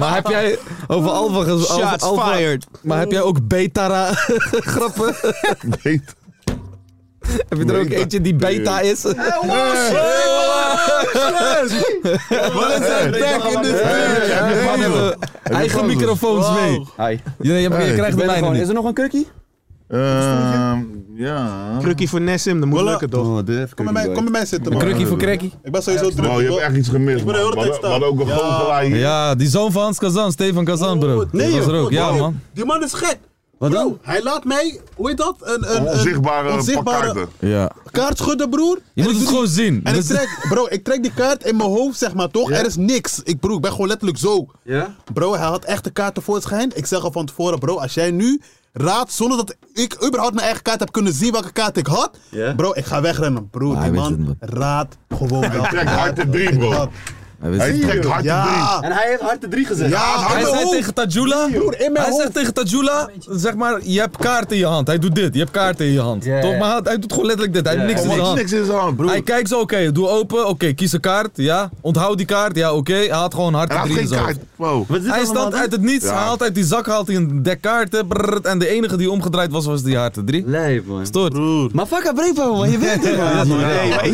[SPEAKER 9] maar heb jij over Alfa ges- over
[SPEAKER 8] Shots
[SPEAKER 9] Alfa-
[SPEAKER 8] fired.
[SPEAKER 9] Maar heb jij ook Betara grappen?
[SPEAKER 6] Weet-
[SPEAKER 9] heb je er ook
[SPEAKER 6] Beta.
[SPEAKER 9] eentje die Beta is?
[SPEAKER 4] Oh, Wat is dat? Back in the
[SPEAKER 6] Hey, heb je
[SPEAKER 9] Hey,
[SPEAKER 6] van,
[SPEAKER 9] we-
[SPEAKER 6] joh?
[SPEAKER 9] Eigen
[SPEAKER 6] pauze?
[SPEAKER 9] microfoons mee.
[SPEAKER 3] Hi.
[SPEAKER 9] Je, je, je krijgt de mijne niet.
[SPEAKER 3] er nog een kurkie?
[SPEAKER 6] Ehm, ja.
[SPEAKER 8] Krukkie voor Nessim, dat moet lukken toch?
[SPEAKER 3] Oh, dit
[SPEAKER 4] Kom bij mij, kom bij mij zitten, man.
[SPEAKER 9] Krukkie voor Krekkie.
[SPEAKER 4] Ik ben sowieso druk.
[SPEAKER 6] Nou, je hebt
[SPEAKER 4] bro.
[SPEAKER 6] echt iets gemist.
[SPEAKER 4] Ik ben de
[SPEAKER 6] man.
[SPEAKER 4] hele
[SPEAKER 6] We
[SPEAKER 4] tijd
[SPEAKER 6] hadden- we hadden
[SPEAKER 4] staan.
[SPEAKER 6] ook een
[SPEAKER 4] Ja.
[SPEAKER 6] goochelaar hier.
[SPEAKER 9] Ja, die zoon van Hans Kazan, Stefan Kazan, bro.
[SPEAKER 4] Oh, Nee,
[SPEAKER 9] dat was er
[SPEAKER 4] joh,
[SPEAKER 9] ook, ja,
[SPEAKER 4] bro.
[SPEAKER 9] man.
[SPEAKER 4] Die man is gek.
[SPEAKER 9] Wat
[SPEAKER 4] Bro,
[SPEAKER 9] dan?
[SPEAKER 4] Hij laat mij, hoe heet dat? Een, een, een
[SPEAKER 6] Onzichtbare
[SPEAKER 4] onzichtbare
[SPEAKER 6] pakkaarten.
[SPEAKER 9] Ja.
[SPEAKER 4] kaart schudden, broer.
[SPEAKER 9] Je moet het gewoon zien. Dat
[SPEAKER 4] En ik
[SPEAKER 9] is-
[SPEAKER 4] trek, bro, ik trek die kaart in mijn hoofd, zeg maar, toch? Er is niks. Ik, broer, ik ben gewoon letterlijk zo.
[SPEAKER 3] Ja?
[SPEAKER 4] Bro, hij had echt de kaart tevoorschijn. Ik zeg al van tevoren, bro, als jij nu raadt zonder dat ik überhaupt mijn eigen kaart heb kunnen zien welke kaart ik had.
[SPEAKER 3] Ja.
[SPEAKER 4] Bro, ik ga wegrennen. Bro,
[SPEAKER 9] Ah,
[SPEAKER 4] die
[SPEAKER 9] hij weet het,
[SPEAKER 4] man
[SPEAKER 9] man.
[SPEAKER 4] raadt gewoon wel.
[SPEAKER 6] trekt hard de drie, bro. Hij trekt hard
[SPEAKER 4] Ja.
[SPEAKER 6] drie.
[SPEAKER 12] En hij heeft harte 3 gezegd.
[SPEAKER 4] Ja, harte
[SPEAKER 9] Hij zei
[SPEAKER 4] hoek.
[SPEAKER 9] tegen Tajula, hij zegt tegen Tajula, zeg maar, je hebt kaart in je hand. Hij doet dit, je hebt kaart in je hand.
[SPEAKER 12] Ja,
[SPEAKER 9] Toch?
[SPEAKER 12] ja.
[SPEAKER 9] Maar hij- hij doet gewoon letterlijk dit, hij heeft
[SPEAKER 12] Ja,
[SPEAKER 9] niks
[SPEAKER 12] ja.
[SPEAKER 9] in zijn
[SPEAKER 12] Niks,
[SPEAKER 9] hand.
[SPEAKER 6] Niks in zijn hand, broer.
[SPEAKER 9] Hij kijkt zo, oké, doe open, oké, kies een kaart, ja. Onthoud die kaart, ja, oké. Hij had gewoon hard
[SPEAKER 6] Hij had
[SPEAKER 9] drie in
[SPEAKER 6] geen
[SPEAKER 9] zijn
[SPEAKER 6] kaart.
[SPEAKER 9] hoofd.
[SPEAKER 6] Wow.
[SPEAKER 12] Wat is dit
[SPEAKER 9] Hij
[SPEAKER 12] allemaal,
[SPEAKER 9] stond
[SPEAKER 12] hè?
[SPEAKER 9] uit het niets,
[SPEAKER 6] Ja.
[SPEAKER 9] hij haalt uit die zak, haalt hij een dek kaarten. brrrt, en de enige die omgedraaid was, was die harte drie.
[SPEAKER 12] Nee, man.
[SPEAKER 9] Stoort.
[SPEAKER 3] Maar fuck up, Repo, man. Je weet het, man.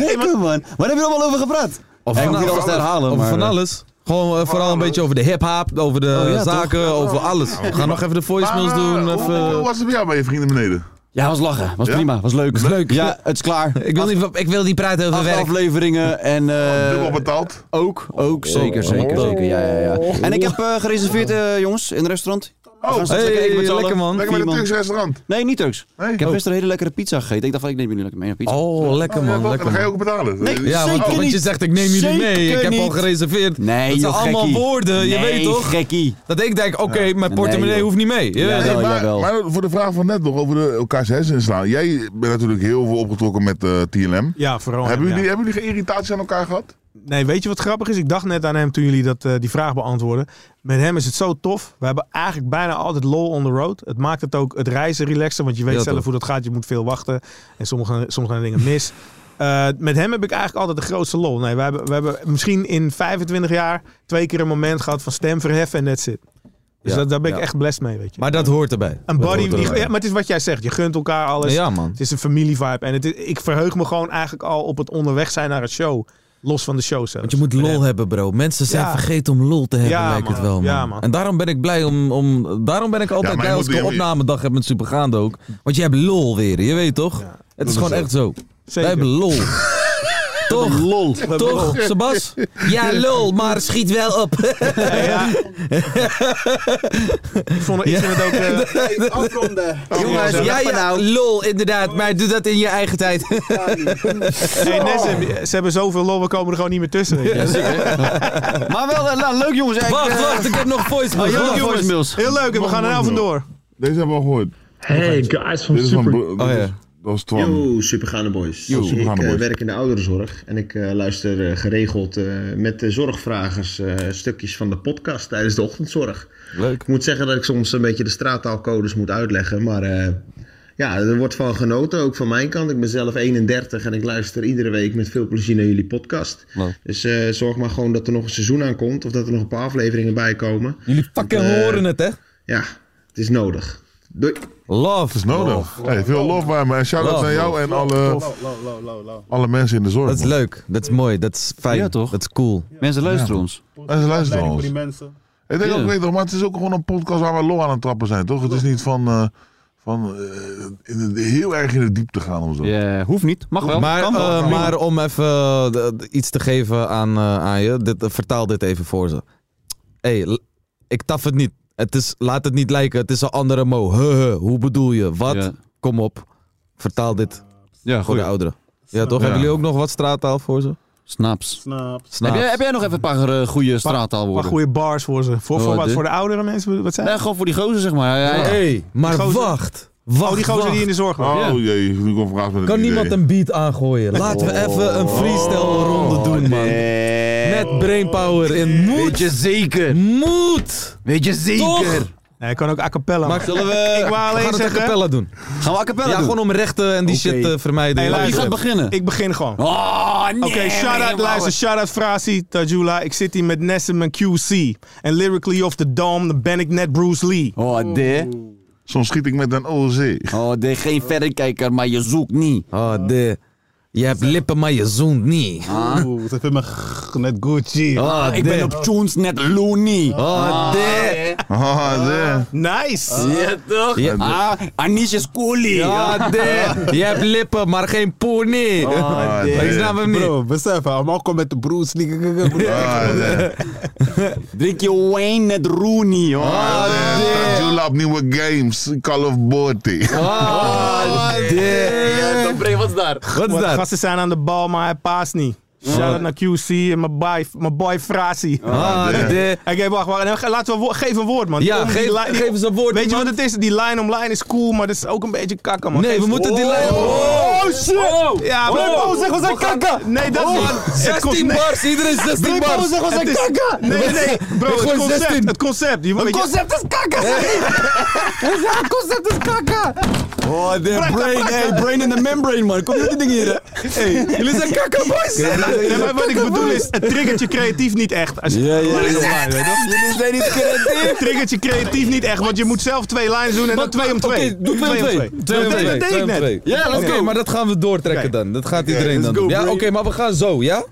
[SPEAKER 3] Lekker, man. Waar heb je allemaal over gepraat?
[SPEAKER 9] Of
[SPEAKER 3] Hij hoeft niet alles te herhalen,
[SPEAKER 9] Over
[SPEAKER 3] maar...
[SPEAKER 9] van alles. Gewoon eh, vooral een beetje over de hip-hop, over de
[SPEAKER 3] Oh, ja, toch?
[SPEAKER 9] zaken, over alles. We gaan nog even de voicemails
[SPEAKER 6] Maar,
[SPEAKER 9] doen.
[SPEAKER 6] eh,
[SPEAKER 9] Even...
[SPEAKER 6] Hoe hoe was het bij jou bij je vrienden beneden?
[SPEAKER 3] Ja, was lachen. Was
[SPEAKER 6] Ja?
[SPEAKER 3] prima. Was leuk.
[SPEAKER 6] Was leuk.
[SPEAKER 3] Ja, het is klaar.
[SPEAKER 9] Ik wil, niet, ik wil niet praten over
[SPEAKER 3] Acht
[SPEAKER 9] werk.
[SPEAKER 3] afleveringen en... eh,
[SPEAKER 6] Dubbel betaald?
[SPEAKER 3] Ook, ook,
[SPEAKER 9] Oh.
[SPEAKER 3] zeker, zeker, zeker. Ja, ja, ja. En ik heb eh, gereserveerd, eh, jongens, in een restaurant.
[SPEAKER 6] Oh,
[SPEAKER 3] Gaan straks
[SPEAKER 9] hey,
[SPEAKER 3] eten met z'n allen.
[SPEAKER 9] lekker, man.
[SPEAKER 6] Lekker bij
[SPEAKER 3] Vier
[SPEAKER 6] een
[SPEAKER 3] man.
[SPEAKER 6] Turks restaurant.
[SPEAKER 3] Nee, niet Turks.
[SPEAKER 6] Nee?
[SPEAKER 3] Ik heb
[SPEAKER 6] Oh.
[SPEAKER 3] gisteren een hele lekkere pizza gegeten. Ik dacht van, ik neem jullie lekker mee naar pizza.
[SPEAKER 9] Oh, lekker man,
[SPEAKER 6] En dan
[SPEAKER 9] lekker
[SPEAKER 6] ga je
[SPEAKER 9] man.
[SPEAKER 6] ook betalen.
[SPEAKER 3] Nee.
[SPEAKER 9] Ja, want,
[SPEAKER 3] Zeker
[SPEAKER 9] want je
[SPEAKER 3] niet.
[SPEAKER 9] zegt ik neem jullie mee.
[SPEAKER 3] Zeker
[SPEAKER 9] Ik heb al
[SPEAKER 3] niet.
[SPEAKER 9] gereserveerd.
[SPEAKER 3] Nee,
[SPEAKER 9] dat zijn
[SPEAKER 3] joh,
[SPEAKER 9] allemaal
[SPEAKER 3] gekkie.
[SPEAKER 9] woorden, je
[SPEAKER 3] Nee,
[SPEAKER 9] weet toch?
[SPEAKER 3] gekkie.
[SPEAKER 9] Dat ik denk, oké, mijn
[SPEAKER 3] Nee,
[SPEAKER 9] portemonnee
[SPEAKER 3] joh.
[SPEAKER 9] hoeft niet mee. Je
[SPEAKER 3] Ja,
[SPEAKER 9] weet
[SPEAKER 3] dat-
[SPEAKER 9] toch?
[SPEAKER 3] Jawel,
[SPEAKER 6] Eh, maar,
[SPEAKER 3] jawel.
[SPEAKER 6] maar voor de vraag van net nog over de, elkaars hersenen slaan. Jij bent natuurlijk heel veel opgetrokken met eh, TLM.
[SPEAKER 8] Ja, vooral.
[SPEAKER 6] hebben,
[SPEAKER 8] hem, ja.
[SPEAKER 6] jullie, hebben jullie geen irritatie aan elkaar gehad?
[SPEAKER 8] Nee, weet je wat grappig is? Ik dacht net aan hem toen jullie dat, eh, die vraag beantwoorden. Met hem is het zo tof. We hebben eigenlijk bijna altijd lol on the road. Het maakt het ook het reizen relaxer, want je weet
[SPEAKER 9] Ja,
[SPEAKER 8] zelf
[SPEAKER 9] toch.
[SPEAKER 8] hoe dat gaat. Je moet veel wachten en sommige, soms gaan er dingen mis. Eh, met hem heb ik eigenlijk altijd de grootste lol. Nee, we hebben, we hebben misschien in 25 jaar twee keer een moment gehad van stem verheffen en that's it. Dus
[SPEAKER 9] Ja,
[SPEAKER 8] dat, daar ben ik
[SPEAKER 9] ja.
[SPEAKER 8] echt blessed mee, weet je.
[SPEAKER 9] Maar dat hoort erbij.
[SPEAKER 8] Een buddy,
[SPEAKER 9] Dat hoort
[SPEAKER 8] die,
[SPEAKER 9] erbij.
[SPEAKER 8] ja, maar het is wat jij zegt. Je gunt elkaar alles.
[SPEAKER 9] Ja, man.
[SPEAKER 8] Het is een familievibe. En het is- ik verheug me gewoon eigenlijk al op het onderweg zijn naar het show. Los van de show zelf.
[SPEAKER 9] Want je moet lol hebben, bro. Mensen zijn
[SPEAKER 8] Ja.
[SPEAKER 9] vergeten om lol te hebben,
[SPEAKER 8] Ja,
[SPEAKER 9] lijkt het
[SPEAKER 8] man.
[SPEAKER 9] wel, man.
[SPEAKER 8] Ja, man.
[SPEAKER 9] En daarom ben ik blij om... om daarom ben ik altijd
[SPEAKER 6] maar je
[SPEAKER 9] blij als
[SPEAKER 6] moet-
[SPEAKER 9] ik een
[SPEAKER 6] je-
[SPEAKER 9] opnamedag heb met Supergaande ook. Want je hebt lol weer, je weet toch? het is gewoon echt zo. Wij hebben lol. toch? Lol. Toch, Sebas? Ja, lol, maar schiet wel op.
[SPEAKER 8] Ja, ja. ik vond ik vind het ook... eh,
[SPEAKER 12] Afronden.
[SPEAKER 9] Jongens, ja, ja, lol, inderdaad. Maar doe dat in je eigen tijd.
[SPEAKER 8] hey, nee, ze, hebben- ze hebben zoveel lol, we komen er gewoon niet meer tussen. weet je.
[SPEAKER 3] Maar wel, eh, nou, leuk jongens. Ik,
[SPEAKER 9] wacht,
[SPEAKER 3] eh,
[SPEAKER 9] wacht, ik heb nog voicemails.
[SPEAKER 3] Oh,
[SPEAKER 9] Wacht.
[SPEAKER 3] jongen,
[SPEAKER 8] jongens.
[SPEAKER 3] voicemails.
[SPEAKER 8] Heel leuk, en we gaan er nou vandoor.
[SPEAKER 6] Deze hebben we al gehoord.
[SPEAKER 11] Hey guys from
[SPEAKER 6] Dit is van...
[SPEAKER 11] Super.
[SPEAKER 6] Bro- dit
[SPEAKER 9] Oh, ja.
[SPEAKER 6] is- Dat was Twan.
[SPEAKER 12] Yo, supergaande boys.
[SPEAKER 6] Yo, supergaande
[SPEAKER 12] ik eh,
[SPEAKER 6] boys.
[SPEAKER 12] werk in de ouderenzorg en ik eh, luister eh, geregeld eh, met de zorgvragers eh, stukjes van de podcast tijdens de ochtendzorg.
[SPEAKER 9] Leuk.
[SPEAKER 12] Ik moet zeggen dat ik soms een beetje de straattaalcodes moet uitleggen, maar eh, ja, er wordt van genoten, ook van mijn kant. Ik ben zelf 31 en ik luister iedere week met veel plezier naar jullie podcast.
[SPEAKER 9] Wow.
[SPEAKER 12] Dus eh, zorg maar gewoon dat er nog een seizoen aan komt of dat er nog een paar afleveringen bij komen.
[SPEAKER 9] Jullie fucking
[SPEAKER 12] Eh,
[SPEAKER 9] horen het, hè?
[SPEAKER 12] Ja, het is nodig. Doei.
[SPEAKER 9] Love.
[SPEAKER 6] is nodig. Hey, veel lof bij me. En shout-out
[SPEAKER 9] Love,
[SPEAKER 6] aan jou en alle, alle mensen in de zorg.
[SPEAKER 9] Dat is
[SPEAKER 6] man.
[SPEAKER 9] leuk, dat is mooi, dat is fijn.
[SPEAKER 3] Ja, toch?
[SPEAKER 9] Dat is cool.
[SPEAKER 3] Mensen luisteren ons.
[SPEAKER 6] Mensen luisteren ons.
[SPEAKER 4] mensen.
[SPEAKER 6] Ik denk
[SPEAKER 3] Ja.
[SPEAKER 6] ook, weet toch, maar het is ook gewoon een podcast waar we lol aan het trappen zijn, toch? Het is niet van, eh, van eh, in de- heel erg in de diepte gaan of zo.
[SPEAKER 3] Ja, hoeft niet. Mag wel.
[SPEAKER 9] Maar,
[SPEAKER 3] kan wel.
[SPEAKER 9] eh,
[SPEAKER 3] Prima.
[SPEAKER 9] maar om even eh, d- d- iets te geven aan, eh, aan je, dit, eh, vertaal dit even voor ze. hey, l- ik taf het niet. Het is, laat het niet lijken, het is een andere mo. Huh, huh, hoe bedoel je? Wat?
[SPEAKER 3] Ja.
[SPEAKER 9] Kom op, vertaal dit
[SPEAKER 3] ja,
[SPEAKER 9] voor de
[SPEAKER 3] goed.
[SPEAKER 9] ouderen. Ja, toch?
[SPEAKER 6] Ja.
[SPEAKER 9] Hebben jullie ook nog wat straattaal voor ze?
[SPEAKER 3] Snaps.
[SPEAKER 4] Snap.
[SPEAKER 3] Heb
[SPEAKER 9] Snaap.
[SPEAKER 3] jij, heb jij nog even een paar eh, goede
[SPEAKER 8] Een
[SPEAKER 3] straattaalwoorden?
[SPEAKER 8] paar goede bars voor ze. Voor, voor,
[SPEAKER 3] Oh,
[SPEAKER 8] wat,
[SPEAKER 3] dit.
[SPEAKER 8] voor de oudere mensen, wat zijn
[SPEAKER 3] Nee,
[SPEAKER 8] dat?
[SPEAKER 3] gewoon voor die gozer, zeg maar. Ja, ja.
[SPEAKER 9] hey, maar
[SPEAKER 8] Die gozer-
[SPEAKER 9] wacht. Wacht,
[SPEAKER 8] Oh, die gozer
[SPEAKER 9] wacht.
[SPEAKER 8] die in de zorg was.
[SPEAKER 6] Oh
[SPEAKER 3] Ja.
[SPEAKER 6] jee, nu komt vraag met een
[SPEAKER 9] Kan
[SPEAKER 6] idee.
[SPEAKER 9] niemand een beat aangooien? Laten we even
[SPEAKER 3] Oh.
[SPEAKER 9] een freestyle ronde doen, man. Met brainpower in moed.
[SPEAKER 12] je zeker?
[SPEAKER 9] Moed!
[SPEAKER 12] Weet je zeker?
[SPEAKER 9] Toch?
[SPEAKER 8] Nee, hij kan ook a cappella.
[SPEAKER 9] Maar zullen we...
[SPEAKER 8] Ik wou
[SPEAKER 9] we
[SPEAKER 8] alleen
[SPEAKER 9] gaan het a
[SPEAKER 8] zeggen...
[SPEAKER 9] cappella doen.
[SPEAKER 3] Gaan we a cappella
[SPEAKER 9] Ja,
[SPEAKER 3] doen?
[SPEAKER 9] gewoon om rechten en die shit te vermijden.
[SPEAKER 8] Hey,
[SPEAKER 9] Ja,
[SPEAKER 3] Je
[SPEAKER 8] luister.
[SPEAKER 3] gaat beginnen.
[SPEAKER 8] Ik begin gewoon.
[SPEAKER 3] Oh, nee.
[SPEAKER 8] Oké, shout-out, luister, shout-out Frasi, Tajula. Ik zit hier met Nessim en QC. En lyrically off the dome, dan ben ik net Bruce Lee.
[SPEAKER 3] Oh, de.
[SPEAKER 6] Soms schiet ik met een OC.
[SPEAKER 3] Oh, de. Geen verrekijker, maar je zoekt niet.
[SPEAKER 9] Oh, de... Je hebt lippen, maar je zoent niet.
[SPEAKER 4] Oeh, ze vindt me g- net Gucci.
[SPEAKER 9] Oh,
[SPEAKER 3] Ik
[SPEAKER 9] de.
[SPEAKER 3] ben op tunes net loony.
[SPEAKER 9] Oh, de.
[SPEAKER 6] Ah, de.
[SPEAKER 8] Nice!
[SPEAKER 3] Ja, toch?
[SPEAKER 9] Ja.
[SPEAKER 3] Ah, Anish is coolie.
[SPEAKER 9] Ja, de. Je hebt lippen, maar geen pony.
[SPEAKER 6] Ah,
[SPEAKER 9] Ik
[SPEAKER 6] de.
[SPEAKER 9] snap hem nou niet.
[SPEAKER 4] Bro, besef, hij mag komen met de Bruce Lee.
[SPEAKER 6] Ah, de.
[SPEAKER 3] Drink je wijn net Rooney. hoor.
[SPEAKER 6] Ah, de. Tajula op nieuwe games. Call of Duty.
[SPEAKER 9] Oh, de.
[SPEAKER 3] Ja, dan breng- Wat is daar?
[SPEAKER 9] Wat is dat? Oh.
[SPEAKER 8] Gasten zijn aan de bal, maar hij paast niet. Shout out naar QC en mijn boy, mijn boy Frasi.
[SPEAKER 9] Ah,
[SPEAKER 8] Oké,
[SPEAKER 9] de-
[SPEAKER 8] wacht, wacht. En dan ge- Laten we wo- geef een woord, man.
[SPEAKER 9] Ja,
[SPEAKER 8] Kom, die
[SPEAKER 9] geef-
[SPEAKER 8] lijn-
[SPEAKER 9] geef eens een woord,
[SPEAKER 8] Weet je
[SPEAKER 9] man.
[SPEAKER 8] wat het is? Die line om line is cool, maar dat is ook een beetje kakken, man.
[SPEAKER 9] Nee,
[SPEAKER 8] Geef-
[SPEAKER 9] we moeten die lijn-
[SPEAKER 8] Oh, shit! Ja,
[SPEAKER 9] Oh.
[SPEAKER 8] Brebo, zeg we zijn
[SPEAKER 9] We gaan-
[SPEAKER 8] kakken! Nee, dat
[SPEAKER 9] Oh.
[SPEAKER 8] niet. Het
[SPEAKER 9] 16
[SPEAKER 8] concept-
[SPEAKER 9] bars, iedereen 16
[SPEAKER 8] Brebo,
[SPEAKER 9] bars.
[SPEAKER 8] zeg we zijn
[SPEAKER 9] Het is-
[SPEAKER 8] kakken! Nee, nee, nee. Bro,
[SPEAKER 9] Ik
[SPEAKER 8] het
[SPEAKER 9] gooi 16.
[SPEAKER 8] concept, het concept. Je-
[SPEAKER 9] Het
[SPEAKER 8] je-
[SPEAKER 9] concept is kakken, zeg
[SPEAKER 8] Het concept is kakken!
[SPEAKER 9] Oh, de brain, hey, brain in the membrane, man. Kom met die dingen hier. Hey, jullie zijn kakken, boys.
[SPEAKER 8] Nee, maar wat ik bedoel is, het triggert je creatief niet echt. Als je
[SPEAKER 9] Ja, ja.
[SPEAKER 8] line op line, weet je wel.
[SPEAKER 9] Jullie zijn niet creatief.
[SPEAKER 8] Het triggert je creatief niet echt, want je moet zelf twee lines doen en dan twee om twee.
[SPEAKER 9] Oké, doe 2 Oh, om 2.
[SPEAKER 8] Twee om twee. Dat deed ik net.
[SPEAKER 9] Ja, let's
[SPEAKER 8] Oké,
[SPEAKER 9] go. Maar dat gaan we doortrekken
[SPEAKER 8] Oké.
[SPEAKER 9] dan. Dat gaat iedereen
[SPEAKER 8] let's
[SPEAKER 9] dan
[SPEAKER 8] go,
[SPEAKER 9] doen. Ja, oké,
[SPEAKER 8] Brain.
[SPEAKER 9] maar we gaan zo, ja?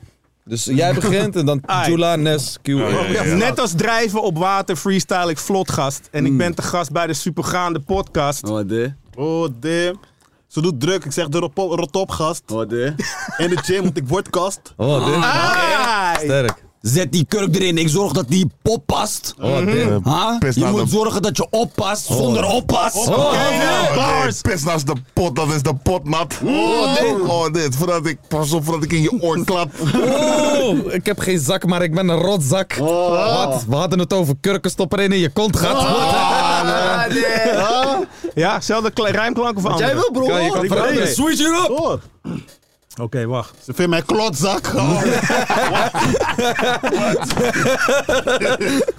[SPEAKER 9] Dus jij begint en dan
[SPEAKER 8] Ai. Oh,
[SPEAKER 9] Jula, Nes, Q.
[SPEAKER 8] Ja, Net als drijven op water freestyle ik vlotgast. En ik ben te gast bij de supergaande podcast.
[SPEAKER 3] Oh, de.
[SPEAKER 4] Oh, damn. Ze doet druk. Ik zeg de rotop- rotopgast.
[SPEAKER 3] Oh, de.
[SPEAKER 4] En de gym, want ik word kast.
[SPEAKER 9] Oh, dit.
[SPEAKER 8] Ai.
[SPEAKER 9] Sterk.
[SPEAKER 3] Zet die kurk erin. Ik zorg dat die pop past.
[SPEAKER 9] Oh, dit.
[SPEAKER 3] Ha?
[SPEAKER 6] Pest
[SPEAKER 3] Je
[SPEAKER 6] aan
[SPEAKER 3] moet
[SPEAKER 6] de-
[SPEAKER 3] zorgen dat je oppast zonder oppas.
[SPEAKER 6] Oh, bars. Pis naast de pot, dat is de pot nat. Oh, dit. Oh, dit. Voordat ik, pas op voordat ik in je oor klap.
[SPEAKER 9] Oh, ik heb geen zak, maar ik ben een rotzak.
[SPEAKER 8] Oh.
[SPEAKER 9] Wat? We hadden het over kurkenstopper in je kont gaat.
[SPEAKER 8] Oh. Ja, zelfde kle- rijmklank of anders?
[SPEAKER 9] bro. Kan, je kan
[SPEAKER 8] Ik
[SPEAKER 9] veranderen.
[SPEAKER 8] weet het.
[SPEAKER 9] Switch it up.
[SPEAKER 4] Hoor.
[SPEAKER 8] Oké, wacht.
[SPEAKER 4] Ze vindt mij klotzak. Oh.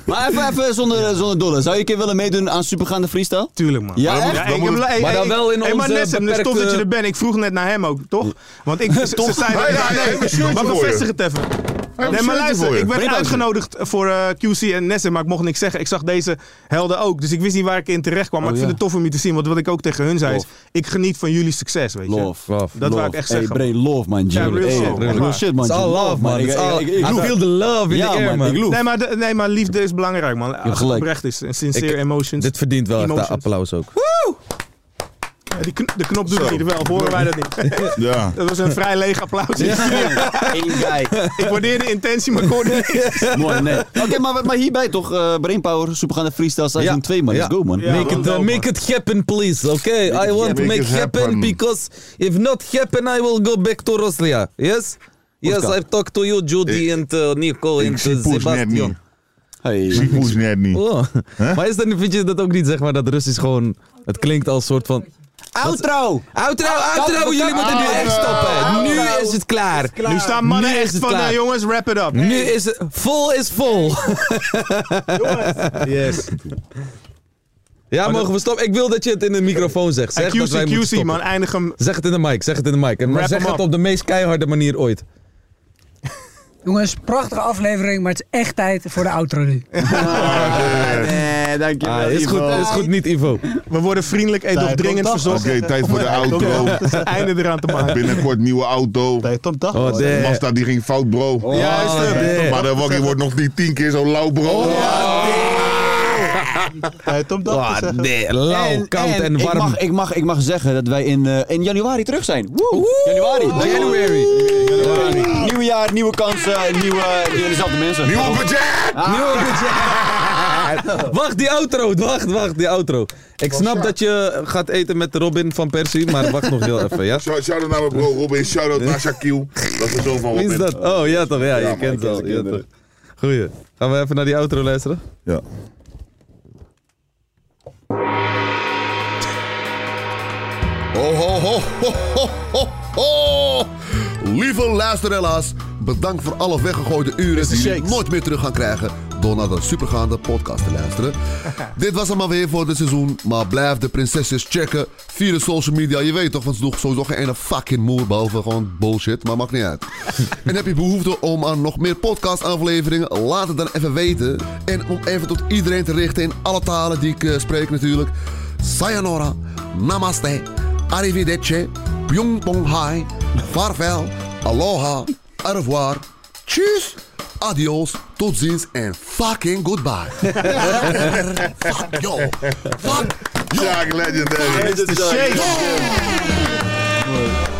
[SPEAKER 3] Maar even, even zonder, eh, zonder dolle. Zou je een keer willen meedoen aan supergaande freestyle?
[SPEAKER 8] Tuurlijk, man.
[SPEAKER 3] Ja, echt?
[SPEAKER 8] ik heb- hey,
[SPEAKER 9] maar dan
[SPEAKER 8] hey,
[SPEAKER 9] wel in
[SPEAKER 8] hey, maar
[SPEAKER 9] onze
[SPEAKER 8] Nessem, het is tof
[SPEAKER 9] beperkte-
[SPEAKER 8] dat je er bent. Ik vroeg net naar hem ook, toch? Want ik... ze- Ze zei...
[SPEAKER 6] Hey, hey, hey, een shirtje
[SPEAKER 8] maar
[SPEAKER 6] voor je.
[SPEAKER 8] bevestig het even. Nee, maar luister, ik werd uitgenodigd voor eh, QC en Nessen, maar ik mocht niks zeggen. Ik zag deze helden ook, dus ik wist niet waar ik in terecht kwam. Maar ik vind het tof om je te zien, want wat ik ook tegen hun zei is,
[SPEAKER 3] Tof.
[SPEAKER 8] ik geniet van jullie succes, weet je.
[SPEAKER 3] Love.
[SPEAKER 9] Love.
[SPEAKER 8] Dat wou ik echt zeggen.
[SPEAKER 3] Hey, Bray, love, man. G.
[SPEAKER 8] Ja, real
[SPEAKER 3] Hey,
[SPEAKER 8] shit, man.
[SPEAKER 3] Real shit, man.
[SPEAKER 9] It's all
[SPEAKER 3] G.
[SPEAKER 9] love, man.
[SPEAKER 3] Ik-
[SPEAKER 9] It's all,
[SPEAKER 3] ik- ik- ik
[SPEAKER 9] I
[SPEAKER 3] loef.
[SPEAKER 9] feel the love in
[SPEAKER 3] Ja,
[SPEAKER 9] the air,
[SPEAKER 3] man. Ik
[SPEAKER 9] man.
[SPEAKER 3] loef.
[SPEAKER 8] Nee maar, de- nee, maar liefde is belangrijk, man. Als het
[SPEAKER 3] gelijk.
[SPEAKER 8] oprecht is en sincere
[SPEAKER 9] Ik-
[SPEAKER 8] emotions.
[SPEAKER 9] Dit verdient wel echt
[SPEAKER 8] Emotions.
[SPEAKER 9] applaus ook.
[SPEAKER 8] Ja, die kn- de knop doet het niet, wel, of horen wij dat niet.
[SPEAKER 6] Ja.
[SPEAKER 8] Dat was een vrij leeg applaus.
[SPEAKER 3] Eén guy.
[SPEAKER 8] Ik waardeer de intentie, maar ik hoorde niks.
[SPEAKER 3] Mooi, nee. Oké, maar, maar hierbij toch, eh, Brainpower, supergaande freestyle seizoen
[SPEAKER 9] Ja.
[SPEAKER 3] 2, man. Let's
[SPEAKER 9] Ja.
[SPEAKER 3] go, man.
[SPEAKER 8] Ja.
[SPEAKER 9] Make it, uh,
[SPEAKER 8] wel,
[SPEAKER 9] make it happen, please. Okay, I want to
[SPEAKER 6] happen.
[SPEAKER 9] make
[SPEAKER 6] Make it
[SPEAKER 9] happen
[SPEAKER 6] happen.
[SPEAKER 9] because if not happen, I will go back to Russia. Yes? Yes,
[SPEAKER 3] Oscar.
[SPEAKER 9] I've talked to you, Judy,
[SPEAKER 6] Ik-
[SPEAKER 9] and uh, Nico,
[SPEAKER 6] Ik
[SPEAKER 9] and
[SPEAKER 6] zie
[SPEAKER 9] uh,
[SPEAKER 6] poes net niet.
[SPEAKER 9] Sebastian.
[SPEAKER 3] Hey.
[SPEAKER 6] Ik moest net niet.
[SPEAKER 9] Oh. Maar is dan, vind je dat ook niet, zeg maar, dat Russisch gewoon... Het klinkt als soort van...
[SPEAKER 3] Outro!
[SPEAKER 9] Outro, outro, jullie moeten nu echt stoppen. Nu Ah, is het klaar.
[SPEAKER 8] Nu staan mannen
[SPEAKER 9] Nu is
[SPEAKER 8] echt
[SPEAKER 9] het
[SPEAKER 8] van,
[SPEAKER 9] klaar.
[SPEAKER 8] nou jongens, wrap it up.
[SPEAKER 9] Nu is het... Vol is vol.
[SPEAKER 8] Yes.
[SPEAKER 9] Ja, mogen we stoppen? Ik wil dat je het in de microfoon zegt.
[SPEAKER 8] En
[SPEAKER 9] Zeg dat wij
[SPEAKER 8] QC,
[SPEAKER 9] moeten
[SPEAKER 8] QC,
[SPEAKER 9] stoppen.
[SPEAKER 8] man, eindig hem.
[SPEAKER 9] Zeg het in de mic, zeg het in de mic. En maar
[SPEAKER 8] Wrap
[SPEAKER 9] zeg
[SPEAKER 8] hem
[SPEAKER 9] het
[SPEAKER 8] up.
[SPEAKER 9] op de meest keiharde manier ooit.
[SPEAKER 13] Jongens, prachtige aflevering, maar het is echt tijd voor de outro nu.
[SPEAKER 6] Ah,
[SPEAKER 3] Nee, dankjewel.
[SPEAKER 9] Ah, is, goed, is goed niet, Ivo.
[SPEAKER 8] We worden vriendelijk en
[SPEAKER 4] Tijd
[SPEAKER 8] nog dringend
[SPEAKER 4] om dag.
[SPEAKER 8] verzocht.
[SPEAKER 6] Oké, tijd voor de
[SPEAKER 8] om
[SPEAKER 6] auto.
[SPEAKER 8] het einde eraan te maken.
[SPEAKER 6] Binnenkort nieuwe auto.
[SPEAKER 4] Tijd om dag.
[SPEAKER 9] Oh,
[SPEAKER 6] De
[SPEAKER 9] damn.
[SPEAKER 6] Mazda die ging fout, bro.
[SPEAKER 8] Juist, hè.
[SPEAKER 9] damn.
[SPEAKER 6] Maar de wakkie wordt nog niet tien keer zo lauw, bro.
[SPEAKER 9] Oh,
[SPEAKER 4] Tijd om dag te zeggen.
[SPEAKER 9] damn. Eh, Lauw, koud en,
[SPEAKER 3] Ik
[SPEAKER 9] warm.
[SPEAKER 3] mag, ik, mag, ik mag zeggen dat wij in, eh, in januari terug zijn. Woe! Januari.
[SPEAKER 9] January.
[SPEAKER 3] Nieuw jaar, nieuwe kansen, nieuwe, nieuwe dezelfde mensen.
[SPEAKER 6] Nieuwe budget!
[SPEAKER 9] Nieuwe budget. wacht, die outro. Wacht, wacht, die outro. Ik snap dat je gaat eten met Robin van Persie, maar wacht nog heel even, ja?
[SPEAKER 6] Shout- Shout-out naar mijn bro Robin. Shout-out naar Shaquille. Dat is de zoon van
[SPEAKER 9] Wie is
[SPEAKER 6] Robin.
[SPEAKER 9] dat? Oh, ja toch, ja, je
[SPEAKER 6] man,
[SPEAKER 9] kent
[SPEAKER 6] ik ken
[SPEAKER 9] het al.
[SPEAKER 6] ze
[SPEAKER 9] Ja, toch.
[SPEAKER 6] kinderen.
[SPEAKER 9] Goeie. Gaan we even naar die outro luisteren?
[SPEAKER 6] Ja.
[SPEAKER 2] Ho, ho, ho, ho, ho, ho, ho. Lieve luisterelaars, bedankt voor alle weggegooide uren die jullie nooit meer terug gaan krijgen door naar de supergaande podcast te luisteren. Dit was hem alweer voor dit seizoen, maar blijf de prinsesjes checken via de social media. Je weet toch, want ze doen sowieso geen ene fucking moer behalve gewoon bullshit, maar maakt niet uit. en heb je behoefte om aan nog meer podcast afleveringen, laat het dan even weten. En om even tot iedereen te richten in alle talen die ik eh, spreek natuurlijk. Sayonara, namaste. Arrivederci, Byung Pong Hai, Farvel, Aloha, Au revoir, Tjus, Adios, tot ziens en fucking goodbye. Fuck yo, fuck
[SPEAKER 6] Shaq Legendary.
[SPEAKER 8] Shake.
[SPEAKER 2] yo.